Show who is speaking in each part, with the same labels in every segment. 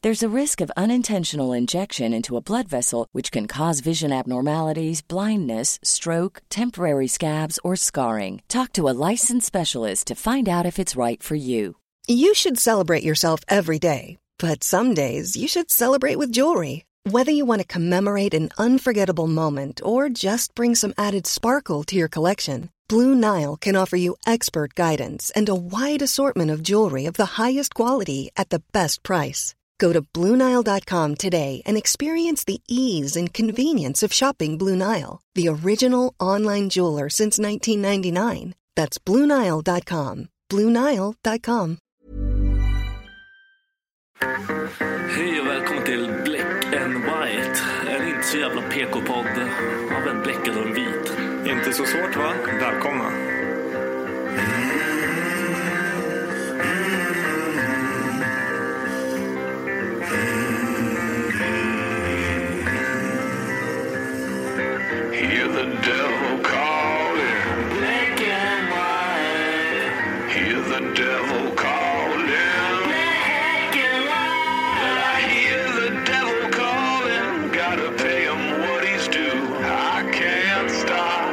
Speaker 1: There's a risk of unintentional injection into a blood vessel, which can cause vision abnormalities, blindness, stroke, temporary scabs, or scarring. Talk to a licensed specialist to find out if it's right for you.
Speaker 2: You should celebrate yourself every day, but some days you should celebrate with jewelry. Whether you want to commemorate an unforgettable moment or just bring some added sparkle to your collection, Blue Nile can offer you expert guidance and a wide assortment of jewelry of the highest quality at the best price. Go to BlueNile.com today and experience the ease and convenience of shopping Blue Nile, the original online jeweler since 1999. That's BlueNile.com. BlueNile.com.
Speaker 3: Hej och välkommen till Black and White. En inte så jävla PK-podd av en bläckad och en vit.
Speaker 4: Inte så svårt va? Välkomna.
Speaker 5: Hear the devil calling. Black and white. Hear the devil calling. Black and white. I hear the devil calling. Gotta pay him what he's due. I can't stop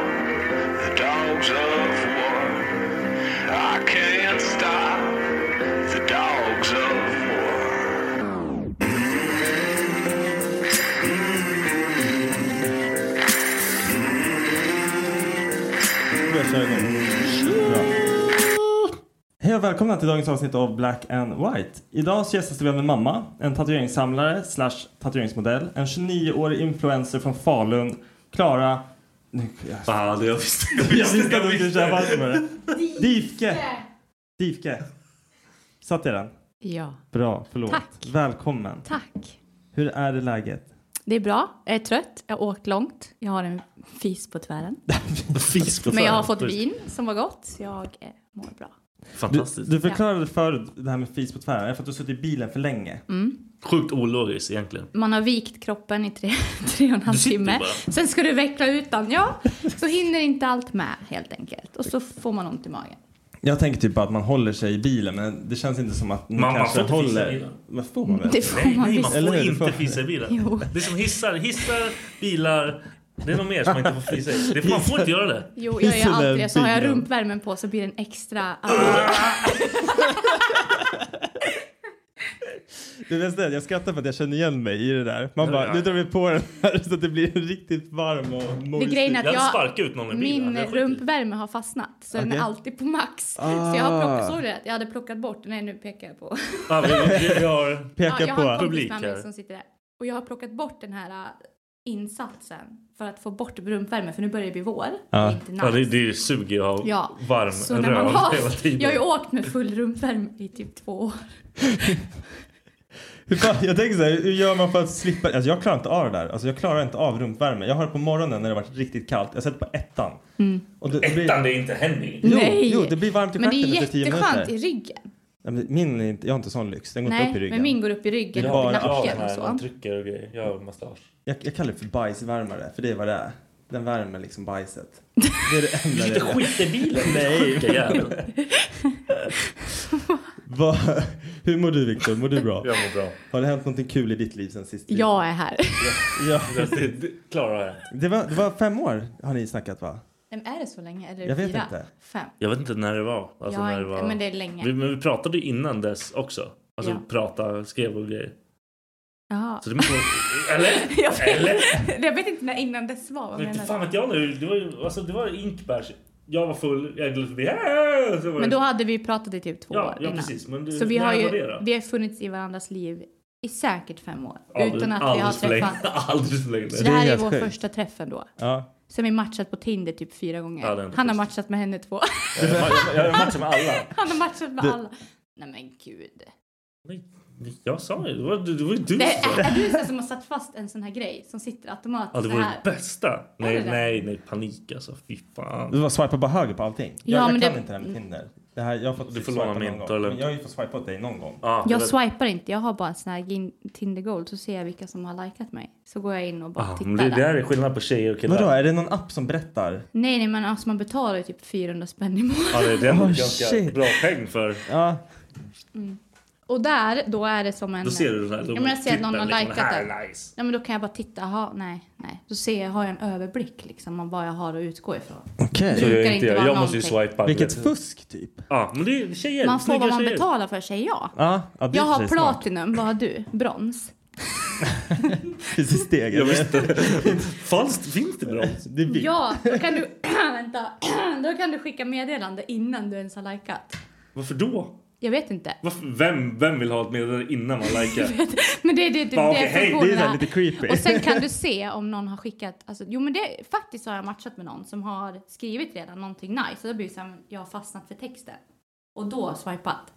Speaker 5: the dogs of war. I can't stop the dogs of war.
Speaker 6: Jag kör igång. Bra. Hej och välkomna till dagens avsnitt av Black and White. Idag så gästas vi av en mamma, en tatueringssamlare slash tatueringsmodell, en 29-årig influencer från Falun, Klara... Nu- jag-
Speaker 3: Ah, det jag visste.
Speaker 6: Jag visste att du skulle köra fast med det. Difke! Difke. Satt jag den?
Speaker 7: Ja,
Speaker 6: Bra, förlåt.
Speaker 7: Tack.
Speaker 6: Välkommen.
Speaker 7: tack.
Speaker 6: Hur är det läget?
Speaker 7: Det är bra. Jag är trött. Jag har åkt långt. Jag har en fis på tvären.
Speaker 3: Fis på
Speaker 7: Men jag har fått vin som var gott. Jag eh, mår bra.
Speaker 8: Du,
Speaker 1: Fantastiskt.
Speaker 8: du förklarade förut det här med fis på tvären. Det är för att du har suttit i bilen för länge.
Speaker 9: Mm.
Speaker 1: Sjukt ologiskt egentligen.
Speaker 9: Man har vikt kroppen i tre, tre och en halv timme.
Speaker 1: bara.
Speaker 9: Sen ska du veckla ut den. Ja, så hinner inte allt med helt enkelt. Och så får man ont i magen.
Speaker 8: Jag tänker typ bara att man håller sig i bilen men det känns inte som att man,
Speaker 1: Man- man
Speaker 8: kanske
Speaker 1: får inte fisa i
Speaker 8: håller.
Speaker 1: bilen.
Speaker 8: Men får man väl?
Speaker 9: Det får
Speaker 1: Nej, nej, man
Speaker 8: Eller
Speaker 1: får
Speaker 8: hur? Det
Speaker 1: inte fisa i bilen.
Speaker 9: Jo.
Speaker 1: Det är som hissar, hissar, bilar. Det är nog mer som man inte får fisa i. Det, man får inte göra det.
Speaker 9: Jo, jag gör alltid det. Så har jag
Speaker 1: bilen.
Speaker 9: rumpvärmen på så blir den extra...
Speaker 8: Det är det, jag skrattar för att jag känner igen mig i det där. Man bara, nu drar vi på den här så att det blir riktigt varm och
Speaker 9: Det
Speaker 8: mojs.
Speaker 9: grejen är att jag, min rumpvärme har fastnat så den
Speaker 8: Okej.
Speaker 9: är alltid på max.
Speaker 8: Ah.
Speaker 9: Så jag har plockat, såg du det? Jag hade plockat bort, nej nu pekar jag på.
Speaker 1: Ja, Ah, vi, vi, vi har
Speaker 8: Pekar
Speaker 9: ja, jag har en
Speaker 8: på
Speaker 9: kompis med mig som sitter där. Och jag har plockat bort den här äh, insatsen för att få bort rumpvärmen för nu börjar det bli vår.
Speaker 8: Ah.
Speaker 1: Ja.
Speaker 9: Inte nice.
Speaker 1: Ja, det, det suger ju att ha
Speaker 9: Ja.
Speaker 1: varm
Speaker 9: Så när man
Speaker 1: röv
Speaker 9: har,
Speaker 1: hela tiden.
Speaker 9: jag har ju åkt med full rumpvärme i typ två år.
Speaker 8: Hur fan, jag tänker så här, hur gör man för att slippa? Alltså jag klarar inte av det där. Alltså jag klarar inte av rumpvärme. Jag har det på morgonen när det har varit riktigt kallt. Jag sätter på ettan. Och det, ettan
Speaker 1: blir... det är inte Henning.
Speaker 8: Jo,
Speaker 9: Mm. Nej.
Speaker 8: jo, det blir varmt i
Speaker 9: Men det är
Speaker 8: stjärten efter tio
Speaker 9: jätteskönt i
Speaker 8: minuter.
Speaker 9: ryggen.
Speaker 8: Ja, men Min är inte, jag har inte sån lyx. Den går inte upp i
Speaker 9: Nej,
Speaker 8: ryggen.
Speaker 9: men min går upp i
Speaker 8: Det
Speaker 9: ryggen
Speaker 8: är
Speaker 9: och i
Speaker 8: bara
Speaker 9: nacken och
Speaker 1: Man
Speaker 9: så.
Speaker 1: trycker och grejer. Gör massage.
Speaker 8: Jag, jag kallar det för bajsvärmare, för det är vad det är. Den värmer liksom bajset. Det är det enda det
Speaker 1: Du sitter
Speaker 8: är.
Speaker 1: skit i bilen, din sjuka jävel.
Speaker 8: Nej. Va, hur mår du Viktor? Mår du bra?
Speaker 1: Jag mår bra.
Speaker 8: Har det hänt någonting kul i ditt liv sen sist?
Speaker 9: Jag är här.
Speaker 8: Ja.
Speaker 1: Det- det- Klara har hänt.
Speaker 8: Det var, det var fem år har ni snackat va?
Speaker 9: Men är det så länge? Eller är det
Speaker 1: Jag vet
Speaker 9: fyra?
Speaker 1: inte.
Speaker 9: Fem?
Speaker 1: Jag vet inte när det var. Alltså
Speaker 9: Jag
Speaker 1: när det
Speaker 9: inte-
Speaker 1: var.
Speaker 9: men det är länge.
Speaker 1: Vi, men vi pratade ju innan dess också. Alltså
Speaker 9: Ja.
Speaker 1: prata, skrev och grejer.
Speaker 9: Jaha.
Speaker 1: Så det måste vara... Eller?
Speaker 9: Jag vet,
Speaker 1: Eller?
Speaker 9: jag vet inte när innan dess var. Vad
Speaker 1: Men inte
Speaker 9: menar
Speaker 1: fan
Speaker 9: du?
Speaker 1: vet jag nu. Det var ju alltså, det var inkbärs. Jag var full, jag gled förbi. Äh, så var
Speaker 9: Men
Speaker 1: det-
Speaker 9: då hade vi pratat i typ två
Speaker 1: Ja,
Speaker 9: år
Speaker 1: ja,
Speaker 9: innan.
Speaker 1: precis. Men det-
Speaker 9: så vi
Speaker 1: när
Speaker 9: har
Speaker 1: var
Speaker 9: ju
Speaker 1: det då?
Speaker 9: vi har funnits i varandras liv i säkert fem år.
Speaker 1: Aldrig-
Speaker 9: utan att vi har
Speaker 1: aldrig för länge.
Speaker 9: träffat.
Speaker 1: Aldrig för länge.
Speaker 9: Så det här är,
Speaker 1: helt
Speaker 9: vår
Speaker 1: sjukt.
Speaker 9: första träff ändå.
Speaker 8: Ja.
Speaker 9: Sen har vi matchat på Tinder typ fyra gånger.
Speaker 1: Ja, det är inte
Speaker 9: Han har matchat med henne två.
Speaker 1: Jag matchar med alla.
Speaker 9: Han har matchat med
Speaker 1: Det-
Speaker 9: alla. Nej men gud.
Speaker 1: Jag sa ju det. var- Det var ju du
Speaker 9: Det
Speaker 1: som sa
Speaker 9: är, är
Speaker 1: det.
Speaker 9: du sån som har satt fast en sån här grej som sitter automatiskt
Speaker 1: Ja, det
Speaker 9: så
Speaker 1: var
Speaker 9: här?
Speaker 1: det bästa. Nej,
Speaker 9: det det?
Speaker 1: nej, nej. Panik alltså. Fy fan.
Speaker 8: Du var swipa bara höger på allting.
Speaker 9: Ja,
Speaker 8: jag jag kan
Speaker 9: men det- Mm,
Speaker 8: inte det här med Tinder. Det här, jag har fått
Speaker 1: Du får
Speaker 8: swipa
Speaker 1: låna
Speaker 8: någon
Speaker 1: min,
Speaker 8: gång.
Speaker 1: ta det lugnt.
Speaker 8: Men Jag har ju fått swipa åt dig någon gång.
Speaker 1: Ja,
Speaker 9: Jag swipar inte, jag har bara en sån här in- Tinder-gold så ser jag vilka som har likat mig. Så går jag in och bara
Speaker 1: Ah,
Speaker 9: tittar
Speaker 1: men det,
Speaker 9: där.
Speaker 1: det här är skillnad på tjejer och killar.
Speaker 8: Vadå, är det någon app som berättar?
Speaker 9: Nej, nej men alltså man betalar ju typ 400 spänn i månaden.
Speaker 1: Ja, det, det är ändå
Speaker 8: Oh,
Speaker 1: ganska
Speaker 8: shit.
Speaker 1: bra peng för...
Speaker 8: Ja.
Speaker 9: Mm. Och där, då är det som en...
Speaker 1: Då ser du den här
Speaker 9: Ja, men jag ser att någon har
Speaker 1: titeln, liksom,
Speaker 9: likat
Speaker 1: här är
Speaker 9: den.
Speaker 1: nice.
Speaker 9: Ja, men då kan jag bara titta, jaha, nej, nej. Då ser jag, har jag en överblick liksom av vad jag har att utgå ifrån.
Speaker 8: Okej.
Speaker 1: Så
Speaker 9: brukar
Speaker 1: jag
Speaker 9: inte
Speaker 1: inte gör.
Speaker 9: vara
Speaker 1: Jag måste ju
Speaker 9: någonting.
Speaker 1: swipa.
Speaker 8: Vilket fusk typ.
Speaker 1: Ja, men det är tjejer.
Speaker 9: Man får
Speaker 1: snygga
Speaker 9: vad man
Speaker 1: tjejer.
Speaker 9: betalar för, säger jag.
Speaker 8: Ja, ja, det är i och
Speaker 9: jag
Speaker 8: för
Speaker 9: har
Speaker 8: sig smart.
Speaker 9: platinum, vad har du? Brons?
Speaker 8: Precis steget. Jag
Speaker 1: visste. Falskt, finns det brons?
Speaker 8: Det är vitt.
Speaker 9: Ja, då kan du... vänta. då kan du skicka meddelande innan du ens har likat.
Speaker 1: Varför då?
Speaker 9: Jag vet inte.
Speaker 1: Varför, vem, vem vill ha ett meddelande innan man likar?
Speaker 9: Men det är det, det,
Speaker 1: Bara,
Speaker 9: det
Speaker 1: okej, hej.
Speaker 9: funktionen
Speaker 1: Det är lite creepy.
Speaker 9: Och sen kan du se om någon har skickat, alltså, jo men det, faktiskt har jag matchat med någon som har skrivit redan någonting nice och då blir det så här, men jag har fastnat för texten. Och då swipat.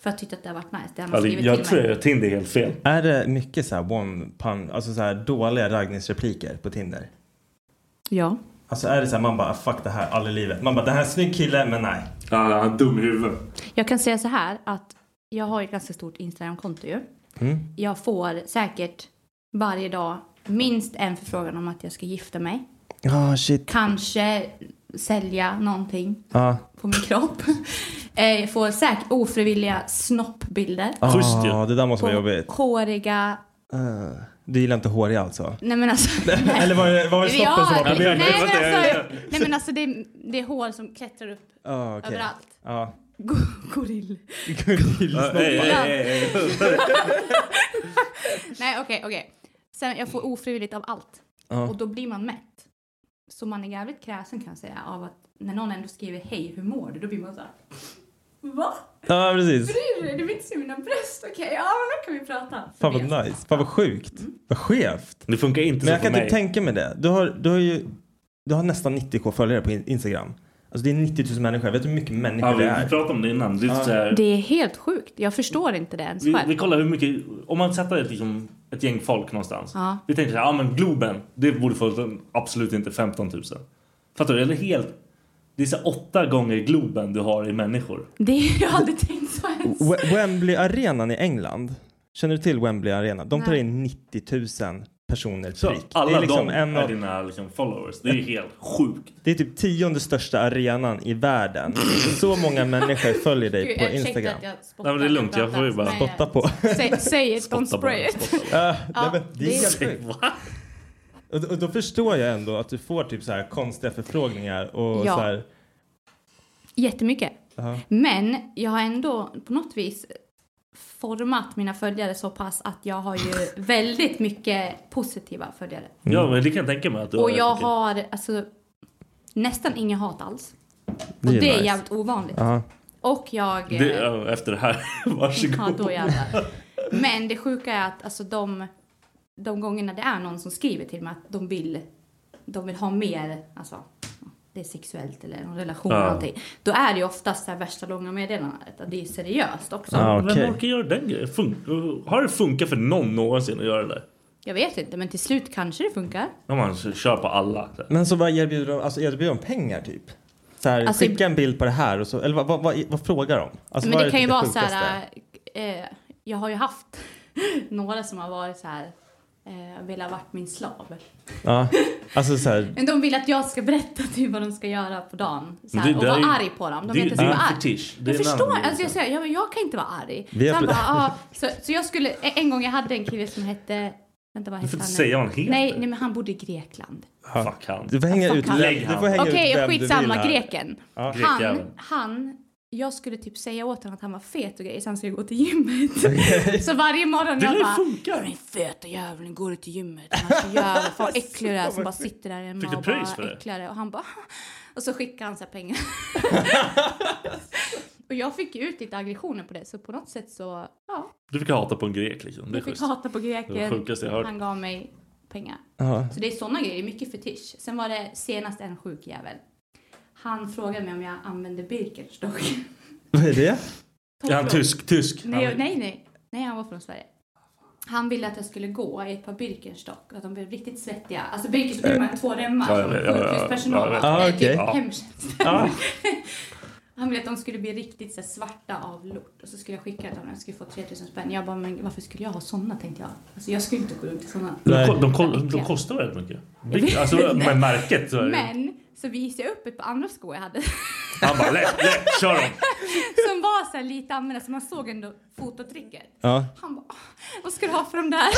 Speaker 9: För jag tyckte att det har varit nice, det han har
Speaker 1: Alltså,
Speaker 9: skrivit
Speaker 1: jag
Speaker 9: till
Speaker 1: tror
Speaker 9: mig.
Speaker 1: jag gör Tinder helt fel.
Speaker 8: Är det mycket så här one pun, alltså så här dåliga raggningsrepliker på Tinder?
Speaker 9: Ja.
Speaker 8: Alltså är det så här man bara fuck det här aldrig i livet. Man bara det här är en snygg kille men nej.
Speaker 1: Ja, han är dum i huvudet.
Speaker 9: Jag kan säga så här att jag har ju ett ganska stort Instagram-konto ju.
Speaker 8: Mm.
Speaker 9: Jag får säkert varje dag minst en förfrågan om att jag ska gifta mig.
Speaker 8: Ja shit.
Speaker 9: Kanske sälja någonting.
Speaker 8: Ja.
Speaker 9: på min kropp. Eh, Jag får säkert ofrivilliga snoppbilder.
Speaker 8: Ja, Ah, det där måste vara jobbigt.
Speaker 9: Håriga...
Speaker 8: Eh, du gillar inte håriga alltså?
Speaker 9: Nej men alltså...
Speaker 8: Eller var det, var det
Speaker 9: Ja,
Speaker 8: snoppen som var problemet?
Speaker 9: Nej men alltså, nej, men alltså det, är, det är hår som klättrar upp
Speaker 8: Ja, Ah, okej.
Speaker 9: överallt.
Speaker 8: Ja.
Speaker 9: Go- gorill.
Speaker 8: Gorillsnoppar.
Speaker 1: Hej, hej, hej, hej.
Speaker 9: Nej okej, okej. Sen jag får ofrivilligt av allt.
Speaker 8: Ja.
Speaker 9: Och då blir man mätt. Så man är jävligt kräsen kan jag säga av att när någon ändå skriver hej, hur mår du? Då blir man så här. Va?
Speaker 8: Ja precis.
Speaker 9: Bryr du dig? Du vill inte se mina bröst? Okej, ja men då kan vi prata.
Speaker 8: Fan vad nice. Fan vad sjukt. Vad skevt.
Speaker 1: Det funkar inte
Speaker 8: Men
Speaker 1: så
Speaker 8: jag kan
Speaker 1: för
Speaker 8: typ
Speaker 1: mig.
Speaker 8: tänka mig det. Du har, du har ju du har nästan 90k följare på in- Instagram. Alltså det är 90 000 människor. Vet du hur mycket människor
Speaker 1: Ja,
Speaker 8: det
Speaker 1: vi
Speaker 8: är?
Speaker 1: pratade om det innan. Det är så här-
Speaker 9: Det är helt sjukt. Jag förstår inte det ens
Speaker 1: Vi,
Speaker 9: själv.
Speaker 1: vi kollar hur mycket, om man sätter ett, liksom, ett gäng folk någonstans.
Speaker 9: Ja.
Speaker 1: Vi tänkte så här, ja men Globen, det borde få absolut inte 15 000. Fattar du? Eller helt, Det är så här åtta gånger Globen du har i människor.
Speaker 3: Det är jag har aldrig tänkt så ens.
Speaker 9: We- Wembley arenan i England. Känner du till Wembley arena? De tar
Speaker 3: Nej.
Speaker 9: in 90 000 personer
Speaker 1: Så
Speaker 9: prick.
Speaker 1: alla
Speaker 9: det är liksom
Speaker 1: de
Speaker 9: en
Speaker 1: är
Speaker 9: av,
Speaker 1: dina liksom, followers. Det är ju helt sjukt.
Speaker 9: Det är typ tionde största arenan i världen. så många människor följer dig
Speaker 3: Gud,
Speaker 9: på
Speaker 3: ursäkta
Speaker 9: Instagram.
Speaker 3: att jag spottar Nej, men
Speaker 1: det är lugnt, jag får ju bara-
Speaker 9: spotta på.
Speaker 3: Säg, säg it, don't spray it.
Speaker 9: Ja,
Speaker 3: Ja,
Speaker 9: nej, men det
Speaker 3: det-
Speaker 9: är helt sjukt. Och, och då förstår jag ändå att du får typ så här konstiga förfrågningar och
Speaker 3: Ja.
Speaker 9: så här.
Speaker 3: Jättemycket.
Speaker 9: Aha.
Speaker 3: Men jag har ändå på något vis format mina följare så pass att jag har ju väldigt mycket positiva följare.
Speaker 1: Ja, men det kan jag tänka mig att du
Speaker 3: Mm. Och jag
Speaker 1: tycker.
Speaker 3: har alltså nästan inget hat alls.
Speaker 1: Det
Speaker 3: och
Speaker 1: är
Speaker 3: det är
Speaker 1: nice.
Speaker 3: jävligt ovanligt.
Speaker 1: Ja.
Speaker 3: Och jag... eh,
Speaker 1: Det, ja, efter det här,
Speaker 3: Ja,
Speaker 1: varsågod.
Speaker 3: då jävlar. Men det sjuka är att alltså, de, de gångerna det är någon som skriver till mig att de vill, de vill ha mer, alltså det är sexuellt eller en relation
Speaker 1: Ja.
Speaker 3: eller någonting. Då är det ju oftast det här värsta långa meddelandet. Att det är ju seriöst också.
Speaker 1: Ja, Vem orkar göra den grejen? Fun- har det funkat för någon någonsin att göra det där?
Speaker 3: Jag vet inte, men till slut kanske det funkar.
Speaker 1: Om man kör på alla.
Speaker 9: Men så vad erbjuder de? Alltså erbjuder de pengar typ? Så här,
Speaker 3: Alltså,
Speaker 9: skicka en bild på det här och så, eller vad, vad, vad, vad frågar de? Alltså,
Speaker 3: men
Speaker 9: vad
Speaker 3: det
Speaker 9: är
Speaker 3: kan ju
Speaker 9: typ
Speaker 3: vara så
Speaker 9: sjukaste?
Speaker 3: här, eh, jag har ju haft några som har varit så här, eh, vill ha varit min slav.
Speaker 9: Ja, alltså så här.
Speaker 3: Men de vill att jag ska berätta typ vad de ska göra på dagen. Så här,
Speaker 9: Men det
Speaker 3: och
Speaker 9: där
Speaker 3: vara
Speaker 9: är ju-
Speaker 3: arg på dem. De
Speaker 9: det-
Speaker 3: vet att
Speaker 9: det är
Speaker 3: jag
Speaker 9: en
Speaker 3: är arg.
Speaker 9: fetisch. Det är
Speaker 3: äh, Jag
Speaker 9: en
Speaker 3: förstår.
Speaker 9: annan
Speaker 3: Alltså jag säger, ja, men jag kan inte vara arg.
Speaker 9: Vi
Speaker 3: Så,
Speaker 9: har
Speaker 3: han
Speaker 9: pl-
Speaker 3: bara, ah, så, så jag skulle, en gång jag hade en kille som hette, vänta vad
Speaker 9: Du
Speaker 3: hette
Speaker 9: får
Speaker 3: han?
Speaker 9: inte
Speaker 3: nu?
Speaker 9: säga vad han heter.
Speaker 3: Nej, nej, men han bodde i Grekland.
Speaker 1: Fuck han.
Speaker 9: Du får hänga ut
Speaker 1: han. Lägg
Speaker 9: du
Speaker 1: han.
Speaker 9: får hänga
Speaker 3: Okej,
Speaker 9: ut vem du vill
Speaker 3: skitsamma,
Speaker 9: här.
Speaker 3: greken.
Speaker 9: Ja.
Speaker 3: Han, han, jag skulle typ säga åt honom att han var fet och grejer så han skulle gå till gymmet. Så varje morgon
Speaker 10: Det
Speaker 3: jag
Speaker 10: lär
Speaker 3: bara,
Speaker 10: funka.
Speaker 3: "Du är den feta jäveln, går du till gymmet? Han är så jävla fan äcklig det här som bara sitter där hemma
Speaker 10: Alltså, Fick du
Speaker 3: och
Speaker 10: pris för
Speaker 3: bara
Speaker 10: det?
Speaker 3: äcklar det. Och han bara, och så skickar han så här pengar. och jag fick ju ut lite aggressioner på det så på något sätt så, ja,
Speaker 1: Du fick hata på en grek liksom. Det är
Speaker 3: jag fick
Speaker 1: schysst.
Speaker 3: hata på
Speaker 1: Det var
Speaker 3: greken.
Speaker 1: sjukaste jag hört.
Speaker 3: Han gav mig pengar.
Speaker 1: Ja.
Speaker 3: Så det är sådana grejer, det är mycket fetisch. Sen var det senast en sjuk jävel. Han frågade mig om jag använde Birkenstock.
Speaker 9: Vad är det?
Speaker 1: Är han tysk? Tysk?
Speaker 3: Nej,
Speaker 1: Han-
Speaker 3: nej, nej. Nej, han var från Sverige. Han ville att jag skulle gå i ett par Birkenstock och att de blev riktigt svettiga. Alltså Birkenstock är med två remmar
Speaker 1: Ja,
Speaker 3: som
Speaker 1: jag vet, ja, ja,
Speaker 3: sjukhuspersonal.
Speaker 1: ja, jag vet.
Speaker 3: har.
Speaker 1: Ah,
Speaker 3: Det är
Speaker 1: okej.
Speaker 3: typ hemtjänst.
Speaker 1: Ja.
Speaker 3: Han ville att de skulle bli riktigt så här, svarta av lort och så skulle jag skicka dem och jag skulle få 3000 spänn. Jag bara, men varför skulle jag ha sådana tänkte jag. Alltså jag skulle inte gå runt i sådana.
Speaker 1: De, ko- de, ko- de kostar väldigt mycket. Vilket- Alltså med märket så är det.
Speaker 3: Men så visade jag upp ett par andra skor jag hade
Speaker 1: Han bara lätt, lätt, kör dem.
Speaker 3: som var så här lite använda så man såg ändå fotavtrycket.
Speaker 9: Ja.
Speaker 3: Han bara, "Åh, vad ska du ha för dem där?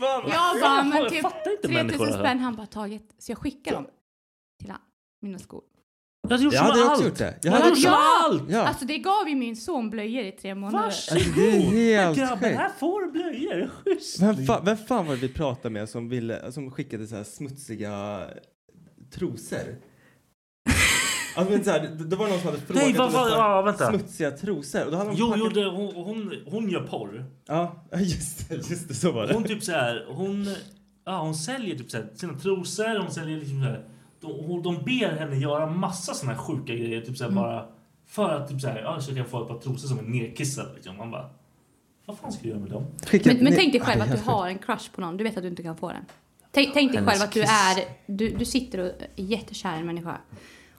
Speaker 10: vad
Speaker 3: jag bara,
Speaker 10: fan,
Speaker 3: men
Speaker 10: jag
Speaker 3: typ
Speaker 10: fattar inte människor
Speaker 3: 3000
Speaker 10: här."
Speaker 3: spänn. Han bara, taget. Så jag skickar dem till han, mina skor.
Speaker 1: Jag hade gjort
Speaker 9: Jag
Speaker 1: så
Speaker 9: hade
Speaker 1: med
Speaker 9: också
Speaker 1: allt.
Speaker 9: gjort det.
Speaker 1: Jag hade gjort så med
Speaker 3: ja,
Speaker 1: allt.
Speaker 3: Alltså det gav ju min son blöjor i tre månader.
Speaker 9: Alltså, det är helt
Speaker 1: Grabben,
Speaker 9: sjukt.
Speaker 1: här får du blöjor. Schysst.
Speaker 9: Vem, fa, vem fan var det vi pratade med som, ville, som skickade så här smutsiga trosor? Alltså, men så här, det, det var någon som hade frågat
Speaker 1: Nej, vad
Speaker 9: om
Speaker 1: var
Speaker 9: så
Speaker 1: det?
Speaker 9: här
Speaker 1: Ja, vänta.
Speaker 9: smutsiga trosor. Och då hade de
Speaker 1: Jo,
Speaker 9: packat-
Speaker 1: jo det, hon, hon, hon gör porr.
Speaker 9: Ja, just det, just det, så var det.
Speaker 1: Hon typ så här, hon, ja, hon säljer typ så här, sina trosor, hon säljer liksom så här, de, hon- de ber henne göra massa såna här sjuka grejer typ så här,
Speaker 9: Mm.
Speaker 1: bara för att typ så här, ja, så jag kan få ett par trosor som är nedkissade liksom. Man bara, vad fan ska jag göra med dem?
Speaker 3: Men, men tänk dig själv att du har en crush på någon. Du vet att du inte kan få den. Tänk, tänk dig
Speaker 1: Hennes
Speaker 3: själv att du
Speaker 1: kiss.
Speaker 3: är, du, du sitter och är jättekär i en människa.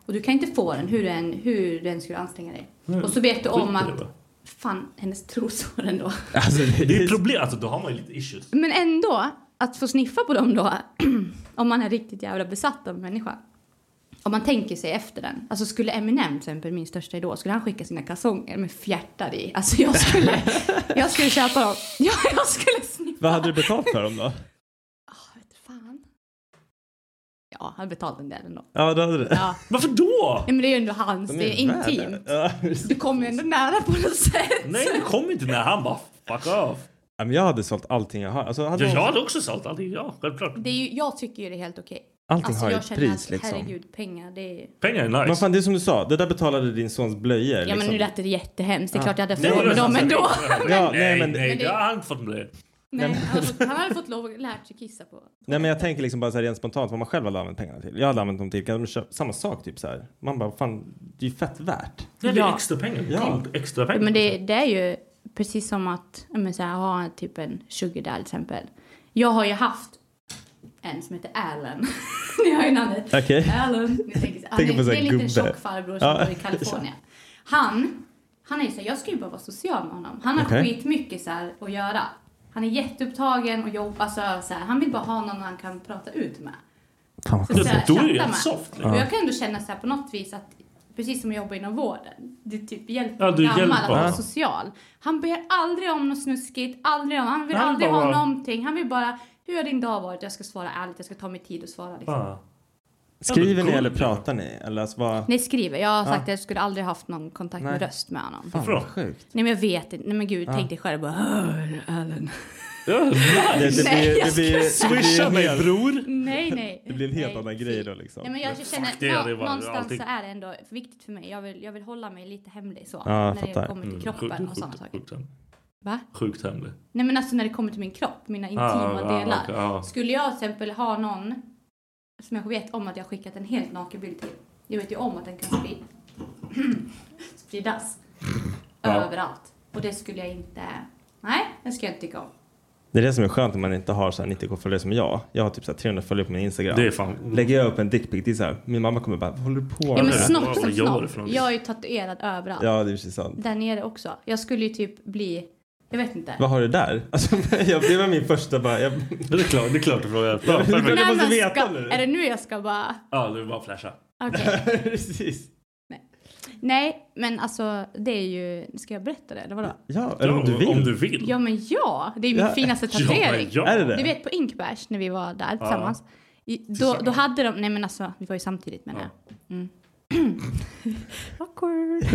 Speaker 3: Och du kan inte få den hur du än, hur du än skulle anstränga dig.
Speaker 1: Nej,
Speaker 3: och så vet du
Speaker 1: skit Mm. i
Speaker 3: om
Speaker 1: det
Speaker 3: att,
Speaker 1: bara.
Speaker 3: fan, hennes trosor ändå.
Speaker 1: det, är ett problem, alltså då har man ju lite issues.
Speaker 3: Men ändå, att få sniffa på dem då, om man är riktigt jävla besatt av en människa. Om man tänker sig efter den. Alltså skulle Eminem till exempel, min största idol, skulle han skicka sina kalsonger med fjärtar i? Alltså jag skulle, jag skulle köpa dem. Ja, jag skulle sniffa.
Speaker 9: Vad hade du betalt för dem då?
Speaker 3: Fan. Ja, han har betalt en del ändå.
Speaker 9: Ja, då hade du det.
Speaker 3: Ja.
Speaker 1: Varför då?
Speaker 3: Nej, men det är ju ändå hans,
Speaker 9: De
Speaker 3: det är
Speaker 9: ju värda det.
Speaker 3: intimt.
Speaker 9: Ja,
Speaker 3: Du kommer ju ändå nära på något sätt.
Speaker 1: Nej, det kom inte när han bara, fuck off.
Speaker 9: Ja, men jag hade sålt allting jag har. Alltså, hade
Speaker 1: Ja,
Speaker 9: hon-
Speaker 1: jag hade också sålt allting, ja självklart.
Speaker 3: Det är ju, jag tycker ju det är helt okej. Alltså,
Speaker 9: Allting har ju
Speaker 3: jag
Speaker 9: ett
Speaker 3: känner
Speaker 9: pris,
Speaker 3: att,
Speaker 9: liksom.
Speaker 3: Herregud, pengar, det är ju...
Speaker 1: Pengar är nice.
Speaker 9: Men fan, det är som du sa, det där betalade din sons blöjor. liksom.
Speaker 3: Ja, men nu lät det jättehemskt. Det är klart jag hade haft råd
Speaker 1: men alltså,
Speaker 3: med dem ändå.
Speaker 9: Ja,
Speaker 1: nej,
Speaker 9: nej,
Speaker 1: men,
Speaker 9: men-
Speaker 1: nej, det har han inte fått med det.
Speaker 3: Nej, alltså, han, hade fått, han hade fått lov att lära sig kissa på.
Speaker 9: Nej men jag tänker liksom bara så här rent spontant vad man själv hade använt pengarna till. Jag hade använt dem till kan de köpa samma sak typ så här. Man bara fan det är ju fett värt.
Speaker 1: Nej, det är extra pengar.
Speaker 9: Ja.
Speaker 1: Extra pengar. liksom.
Speaker 3: Men det, det är ju precis som att ja, men så här, ha typ en sugar där till exempel. Jag har ju haft
Speaker 9: en som heter Allen. Ni har ju namnet.
Speaker 1: Okej.
Speaker 9: Allen. Ni tänker, så- han
Speaker 1: Tänker
Speaker 9: är,
Speaker 1: på
Speaker 9: det
Speaker 1: så
Speaker 9: är
Speaker 1: här
Speaker 9: en liten
Speaker 1: gubbe.
Speaker 9: tjock farbror som
Speaker 1: Ja.
Speaker 9: bor i Kalifornien. Han, han är ju så här, jag skulle ju bara vara social med honom. Han har
Speaker 1: Okej.
Speaker 9: skitmycket så här att göra. Han är jätteupptagen och jobbar så här, så här. Han vill bara ha någon han kan prata ut med.
Speaker 1: Fan vad
Speaker 9: Så så här,
Speaker 1: skönt.
Speaker 9: chatta med.
Speaker 11: liksom.
Speaker 9: Och
Speaker 1: Ja.
Speaker 9: jag kan ändå känna så här på något vis att precis som jag jobbar inom vården, det typ hjälper
Speaker 11: Ja,
Speaker 9: en
Speaker 11: du
Speaker 9: gammal
Speaker 11: hjälper
Speaker 9: att vara
Speaker 11: honom.
Speaker 9: social. Han ber aldrig om något snuskigt, aldrig om, han vill
Speaker 11: Nej, han
Speaker 9: aldrig
Speaker 11: bara-
Speaker 9: ha någonting. Han vill bara, hur har din dag varit? Jag ska svara ärligt, jag ska ta mig tid och svara liksom.
Speaker 1: Skriver ni eller pratar ni? Eller alltså bara...
Speaker 9: Nej, skriver. Jag har sagt
Speaker 1: Ja.
Speaker 9: att jag skulle aldrig haft någon kontakt med
Speaker 1: Nej.
Speaker 9: röst med honom.
Speaker 1: Fan, vad sjukt.
Speaker 9: Nej men jag vet inte. Nej men gud,
Speaker 1: Ja.
Speaker 9: tänk dig själv bara "Hör, Alan.
Speaker 1: Det- det blir-
Speaker 9: Nej,
Speaker 1: det
Speaker 9: jag
Speaker 1: blir-
Speaker 9: ska-
Speaker 1: det blir Swisha mig, helt-
Speaker 11: bror.
Speaker 9: Nej nej.
Speaker 1: Det blir en helt annan grej då liksom.
Speaker 9: Nej, men jag känner
Speaker 11: fuck det, det är
Speaker 9: nå-
Speaker 11: bara
Speaker 9: någonstans
Speaker 11: allting.
Speaker 9: så är det ändå viktigt för mig. Jag vill, jag vill hålla mig lite hemlig så.
Speaker 11: jag
Speaker 9: när
Speaker 11: fattar.
Speaker 9: det kommer till
Speaker 11: Mm,
Speaker 9: kroppen
Speaker 11: sjukt,
Speaker 9: och sådana saker.
Speaker 11: Sjukt hemlig.
Speaker 9: Va?
Speaker 11: Sjukt hemlig.
Speaker 9: Nej men alltså när det kommer till min kropp, mina
Speaker 11: Ah,
Speaker 9: intima
Speaker 11: ah,
Speaker 9: delar.
Speaker 11: okej, ah.
Speaker 9: Skulle jag till exempel ha någon som jag vet om att jag skickat en helt naken bild till. Jag vet ju om att den kan sprid... spridas.
Speaker 1: Ja.
Speaker 9: Överallt. Och det skulle jag inte... Nej, det skulle jag inte tycka om.
Speaker 1: Det är det som är skönt när man inte har så här 90k följare som jag. Jag har typ så här 300 följare på min Instagram.
Speaker 11: Det är fan-
Speaker 1: Lägger jag upp en dickpic, det är så här, min mamma kommer bara, vad håller du på
Speaker 9: Ja men
Speaker 1: med?
Speaker 9: snopp som snopp. Jag är ju tatuerad överallt.
Speaker 1: Ja, det är precis sant.
Speaker 9: Där nere också. Jag skulle ju typ bli... Jag vet inte.
Speaker 1: Vad har du där? Alltså, jag, det var min första bara... Jag... Det är klart, det är klart du frågar. Ja, perfekt.
Speaker 9: Nej,
Speaker 1: du måste
Speaker 9: men
Speaker 1: veta
Speaker 9: ska,
Speaker 1: nu.
Speaker 9: Är det nu jag ska bara...
Speaker 11: Ja, du bara flasha.
Speaker 9: Okej.
Speaker 1: precis.
Speaker 9: Nej, men alltså det är ju... Ska jag berätta det eller vadå?
Speaker 1: Ja, eller om du vill. Om du
Speaker 11: vill.
Speaker 9: Ja men ja, det är min
Speaker 1: Ja.
Speaker 9: finaste
Speaker 1: Ja, men
Speaker 9: tatuering.
Speaker 1: ja. Är det det?
Speaker 9: Du vet på Inkbärs när vi var där
Speaker 1: Ja.
Speaker 9: tillsammans. I- Då, då hade de, nej men alltså vi var ju samtidigt menar jag. Mm. Awkward.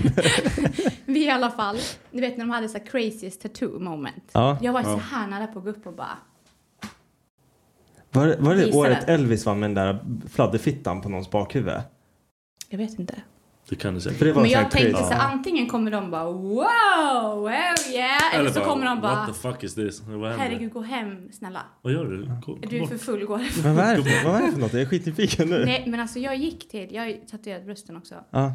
Speaker 9: vi i alla fall, du vet när de hade så här craziest tattoo moment.
Speaker 1: Ja.
Speaker 9: Jag var så
Speaker 1: Ja.
Speaker 9: här nära på att gå upp och bara,
Speaker 1: Var, det- var det
Speaker 9: Visa
Speaker 1: året
Speaker 9: den.
Speaker 1: Elvis var med den där fladderfittan på någons bakhuvud?
Speaker 9: jag vet inte.
Speaker 11: Det kan du säkert.
Speaker 1: För det var
Speaker 9: Men
Speaker 1: så här
Speaker 9: jag tänkte
Speaker 1: crazy.
Speaker 9: så här, antingen kommer de bara wow, hell yeah. Eller, så kommer de
Speaker 11: What
Speaker 9: bara,
Speaker 11: the fuck is this? Vad händer?
Speaker 9: herregud gå hem snälla.
Speaker 11: Vad gör du? Gå,
Speaker 9: Du är för full, gå hem.
Speaker 1: Vad var det för- vad var det för något? Jag är skitnyfiken nu.
Speaker 9: Nej men alltså jag gick till, jag har ju tatuerat brösten också.
Speaker 1: Ja.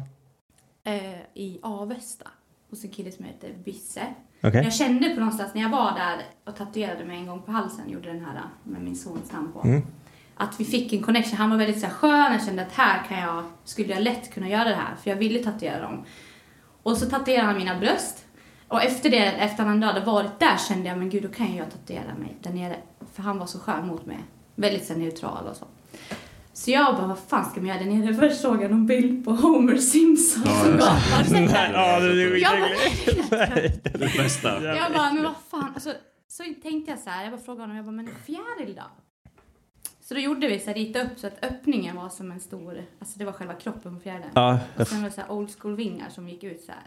Speaker 9: eh, i Avesta hos en kille som heter Bisse.
Speaker 1: Okej.
Speaker 9: Jag kände på någonstans när jag var där och tatuerade mig en gång på halsen, gjorde den här eh, med min sons namn på.
Speaker 1: Mm.
Speaker 9: Att vi fick en connection. Han var väldigt så här, skön. Jag kände att här kan jag, skulle jag lätt kunna göra det här. För jag ville tatuera dem. Och så tatuerade han mina bröst. Och efter det, efter han hade varit där kände jag, men gud då kan ju jag tatuera mig där nere. För han var så skön mot mig. Väldigt så här, neutral och så. Så jag bara, vad fan ska man göra där nere? Först såg jag någon bild på Homer Simpson. som bara, "Har du sett den?"
Speaker 1: Ja, det är
Speaker 9: Jag bara,
Speaker 11: Det bästa.
Speaker 9: jag bara, men vad fan. Alltså, så tänkte jag så här, jag bara frågade honom, jag bara, men en fjäril då? Så då gjorde vi så här, rita upp så att öppningen var som en stor, alltså det var själva kroppen på fjärilen.
Speaker 1: Ja,
Speaker 9: och sen var det så här old school vingar som gick ut så här.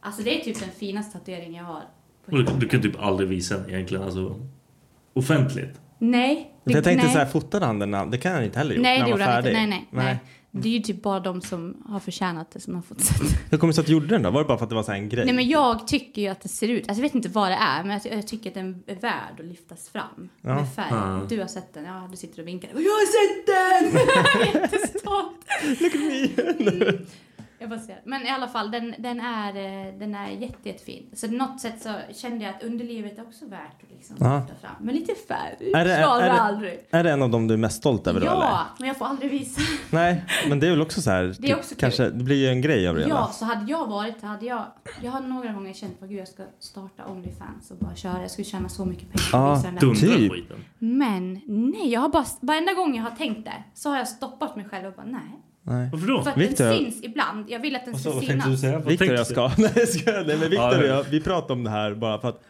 Speaker 9: Alltså det är typ den finaste tatueringen jag har.
Speaker 11: Du, du kan typ aldrig visa den egentligen. Alltså, offentligt.
Speaker 9: Nej.
Speaker 1: För jag tänkte
Speaker 9: nej.
Speaker 1: så här, fotade han den? när- Det kan han inte heller gjort.
Speaker 9: Nej,
Speaker 1: när
Speaker 9: det
Speaker 1: var
Speaker 9: gjorde han inte.
Speaker 1: färdig.
Speaker 9: Nej, nej, nej. Det är ju typ bara de som har förtjänat det som har fått se
Speaker 1: Hur kommer det sig att du gjorde den då? Var det bara för att det var så här en grej?
Speaker 9: Nej men jag tycker ju att det ser ut, alltså jag vet inte vad det är, men jag, jag tycker att den är värd att lyftas fram.
Speaker 1: Ja.
Speaker 9: Med färg.
Speaker 1: Ja.
Speaker 9: Du har sett den, ja du sitter och vinkar. Och jag har sett den! Jättestolt! Look at me! mm. Jag bara ser. Men i alla fall, den, den är, eh, den är jätte, jättefin. Så på något sätt så kände jag att underlivet är också värt att liksom
Speaker 1: Ja.
Speaker 9: lyfta fram. Men lite färg,
Speaker 1: Är det, är,
Speaker 9: svarar
Speaker 1: är,
Speaker 9: aldrig.
Speaker 1: det, är det en av dem du är mest stolt över då eller?
Speaker 9: Ja, men jag får aldrig visa.
Speaker 1: Nej, men det är väl också så här.
Speaker 9: Det är också kul.
Speaker 1: kanske, det blir ju en grej av det
Speaker 9: Ja,
Speaker 1: hela.
Speaker 9: så hade jag varit, hade jag, jag har några gånger känt att jag ska starta Onlyfans och bara köra, jag skulle tjäna så mycket pengar på att
Speaker 1: Ja,
Speaker 9: visa den där.
Speaker 1: typ.
Speaker 9: Men nej, jag har bara, varenda gång jag har tänkt det så har jag stoppat mig själv och bara nej.
Speaker 1: Nej. Varför
Speaker 9: För att den syns ibland, jag vill att den ska synas.
Speaker 1: Viktor och jag ska. Nej, jag skojar. Nej, men Viktor
Speaker 11: Ja,
Speaker 1: och jag, vi pratade om det här bara för att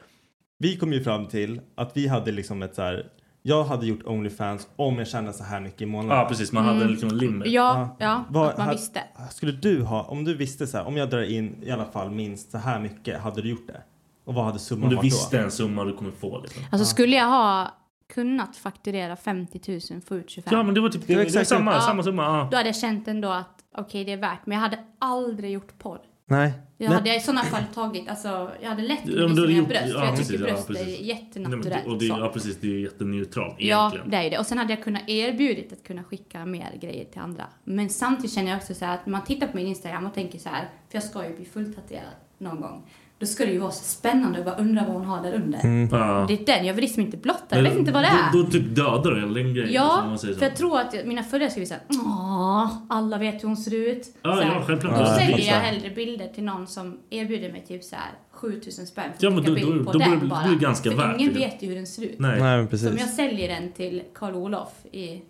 Speaker 1: vi kom ju fram till att vi hade liksom ett så här. Jag hade gjort Onlyfans om jag tjänade så här mycket i månaden.
Speaker 11: Ja, precis. Man hade Mm. liksom en limit.
Speaker 9: Ja, ja, att man
Speaker 1: ha-
Speaker 9: visste.
Speaker 1: Skulle du ha, om du visste så här, om jag drar in i alla fall minst så här mycket, hade du gjort det? Och vad hade summan
Speaker 11: Om du
Speaker 1: varit då?
Speaker 11: visste en summa du kommer få. Liksom.
Speaker 9: Alltså skulle jag ha kunnat fakturera 50 000, få ut 25
Speaker 11: Ja, men det var typ det var
Speaker 1: exakt-
Speaker 11: samma,
Speaker 9: Ja.
Speaker 11: samma summa. Ja.
Speaker 9: Då hade jag känt ändå att okej det är värt, men jag hade aldrig gjort porr.
Speaker 1: Nej.
Speaker 9: Jag
Speaker 1: Nej.
Speaker 9: hade i sådana fall tagit, alltså jag hade lätt
Speaker 11: Ja, men
Speaker 9: kunnat
Speaker 11: du hade
Speaker 9: visa mina
Speaker 11: gjort-
Speaker 9: bröst. för
Speaker 11: ja,
Speaker 9: jag
Speaker 11: precis,
Speaker 9: tycker
Speaker 11: ja,
Speaker 9: bröst
Speaker 11: precis.
Speaker 9: är
Speaker 11: Nej, men
Speaker 9: jättenaturellt.
Speaker 11: det- och det,
Speaker 9: så.
Speaker 11: ja precis, det är ju jätteneutralt
Speaker 9: Ja,
Speaker 11: egentligen.
Speaker 9: det är ju det. Och sen hade jag kunnat erbjudit att kunna skicka mer grejer till andra. Men samtidigt känner jag också så här att när man tittar på min Instagram och tänker så här, för jag ska ju bli fulltatuerad någon gång.
Speaker 3: Då ska det ju vara så spännande att bara undra vad hon har där under.
Speaker 1: Mm. Ja.
Speaker 3: Det är den, jag vill liksom inte blotta. Jag
Speaker 1: Men
Speaker 3: vet inte vad det är.
Speaker 1: Då, då typ dödar du hela den grejen. liksom, om
Speaker 3: Ja,
Speaker 1: man säger så.
Speaker 3: för jag tror att jag- mina följare skulle säga Åh, alla vet hur hon ser ut.
Speaker 1: Ja,
Speaker 3: Så här.
Speaker 1: ja, självklart.
Speaker 3: Då
Speaker 1: Ja,
Speaker 3: säljer
Speaker 1: exakt.
Speaker 3: jag hellre bilder till någon som erbjuder mig typ så här 7000 spänn för
Speaker 1: Ja,
Speaker 3: att
Speaker 1: men
Speaker 3: skicka
Speaker 1: då- då-
Speaker 3: bild på
Speaker 1: då blir
Speaker 3: den
Speaker 1: det-
Speaker 3: bara.
Speaker 1: det blir ganska
Speaker 3: för
Speaker 1: värt
Speaker 3: ingen
Speaker 1: det.
Speaker 3: vet ju hur den ser ut.
Speaker 1: Nej.
Speaker 9: Nej, men precis.
Speaker 3: Så om jag säljer den till Karl-Olof i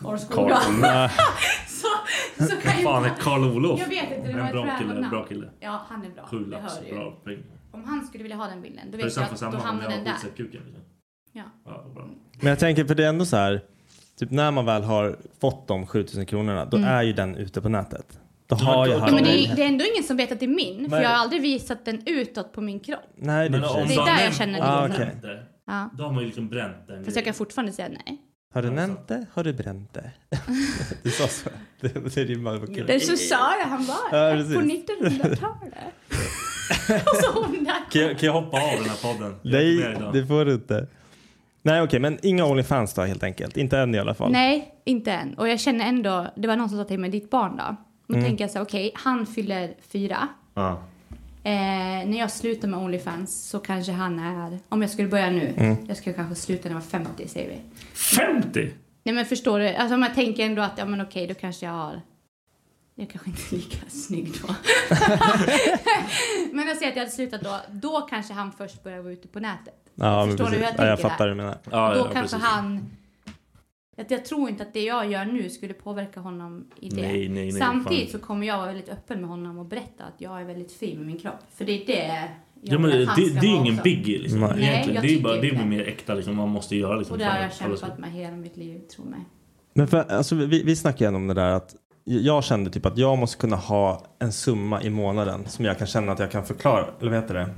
Speaker 3: Karlskoga.
Speaker 1: Karl- Nej.
Speaker 3: så, så kan ju...
Speaker 1: Fan, är Karl-Olof?
Speaker 3: Jag vet inte, det var
Speaker 1: En
Speaker 3: ett
Speaker 1: bra kille.
Speaker 3: random
Speaker 1: En
Speaker 3: namn.
Speaker 1: bra kille.
Speaker 3: Ja, han är bra.
Speaker 1: Sju
Speaker 3: Det
Speaker 1: lax,
Speaker 3: hör du ju.
Speaker 1: Bra pengar.
Speaker 3: Om han skulle vilja ha den bilden, då
Speaker 1: För
Speaker 3: vet
Speaker 1: sen
Speaker 3: jag
Speaker 1: får
Speaker 3: att
Speaker 1: samma
Speaker 3: då
Speaker 1: om
Speaker 3: hamnar
Speaker 1: jag har
Speaker 3: den där.
Speaker 1: skitsatt kuken, liksom.
Speaker 3: Ja.
Speaker 1: Ja, bra.
Speaker 9: Men jag tänker, för det är ändå så här, typ när man väl har fått de 7000 kronorna, då
Speaker 3: Mm.
Speaker 9: är ju den ute på nätet. Då
Speaker 1: men
Speaker 9: har
Speaker 1: då-
Speaker 9: jag
Speaker 3: Ja, men det,
Speaker 9: möjlighet.
Speaker 3: är, det är ändå ingen som vet att det är min, för
Speaker 9: Nej.
Speaker 3: jag har aldrig visat den utåt på min kropp.
Speaker 9: Nej, det är
Speaker 1: Men
Speaker 9: för
Speaker 1: om
Speaker 9: sig.
Speaker 1: du har
Speaker 3: där jag
Speaker 1: nämnt-
Speaker 3: känner
Speaker 1: om
Speaker 3: det.
Speaker 1: du har
Speaker 9: Ah, okej.
Speaker 1: nämnt det,
Speaker 3: Ja.
Speaker 1: Då har man ju liksom bränt den
Speaker 3: Fast jag kan fortfarande säga nej.
Speaker 9: Har du nämnt det? Har du bränt det? du sa så. Det, det rimmade på kul.
Speaker 3: Det så sa jag, han
Speaker 9: Ja,
Speaker 3: bara
Speaker 9: precis.
Speaker 3: på 1900-talet. Och så hon där.
Speaker 1: Kan jag, kan jag hoppa av den här podden? Jag är inte med
Speaker 9: Nej,
Speaker 1: idag.
Speaker 9: det får du inte. Nej, okej, men inga Onlyfans då helt enkelt. Inte än i alla fall.
Speaker 3: Nej, inte än. Och jag känner ändå, det var någon som sa till mig, ditt barn då? Då
Speaker 9: Mm.
Speaker 3: tänker jag så här, okej, han fyller fyra.
Speaker 1: Ja.
Speaker 3: Eh, när jag slutar med Onlyfans så kanske han är, om jag skulle börja nu,
Speaker 1: Mm.
Speaker 3: jag skulle kanske sluta när jag var 50 säger vi.
Speaker 1: 50?
Speaker 3: Nej men förstår du, alltså om jag tänker ändå att, ja men okej, då kanske jag har, jag kanske inte är lika snygg då. men jag säger att jag hade slutat då, då kanske han först börjar vara ute på nätet.
Speaker 9: Ja, men
Speaker 3: Förstår du hur
Speaker 9: precis.
Speaker 3: jag
Speaker 9: ja, jag
Speaker 3: tänker
Speaker 9: fattar
Speaker 3: här?
Speaker 9: hur du menar.
Speaker 3: då kanske han... Att jag tror inte att det jag gör nu skulle påverka honom i det.
Speaker 1: Nej, nej, nej,
Speaker 3: Samtidigt
Speaker 1: fan.
Speaker 3: så kommer jag vara väldigt öppen med honom och berätta att jag är väldigt fin med min kropp. För det är det jag
Speaker 1: Ja, men
Speaker 3: vill
Speaker 1: det,
Speaker 3: att han
Speaker 1: det
Speaker 3: ska
Speaker 1: är ju
Speaker 3: vara
Speaker 1: ingen
Speaker 3: också.
Speaker 1: biggie liksom,
Speaker 3: Nej,
Speaker 1: egentligen.
Speaker 3: jag
Speaker 1: det är ju
Speaker 3: tycker
Speaker 1: bara, det är
Speaker 3: inte
Speaker 1: ju mer äkta liksom, man måste göra liksom.
Speaker 3: Och det har
Speaker 1: för
Speaker 3: jag
Speaker 1: att hålla sig-
Speaker 3: kämpat med hela mitt liv, tro mig.
Speaker 9: Men för, alltså, vi, vi snackade ju ändå om det där att jag kände typ att jag måste kunna ha en summa i månaden som jag kan känna att jag kan förklara, eller vad heter det?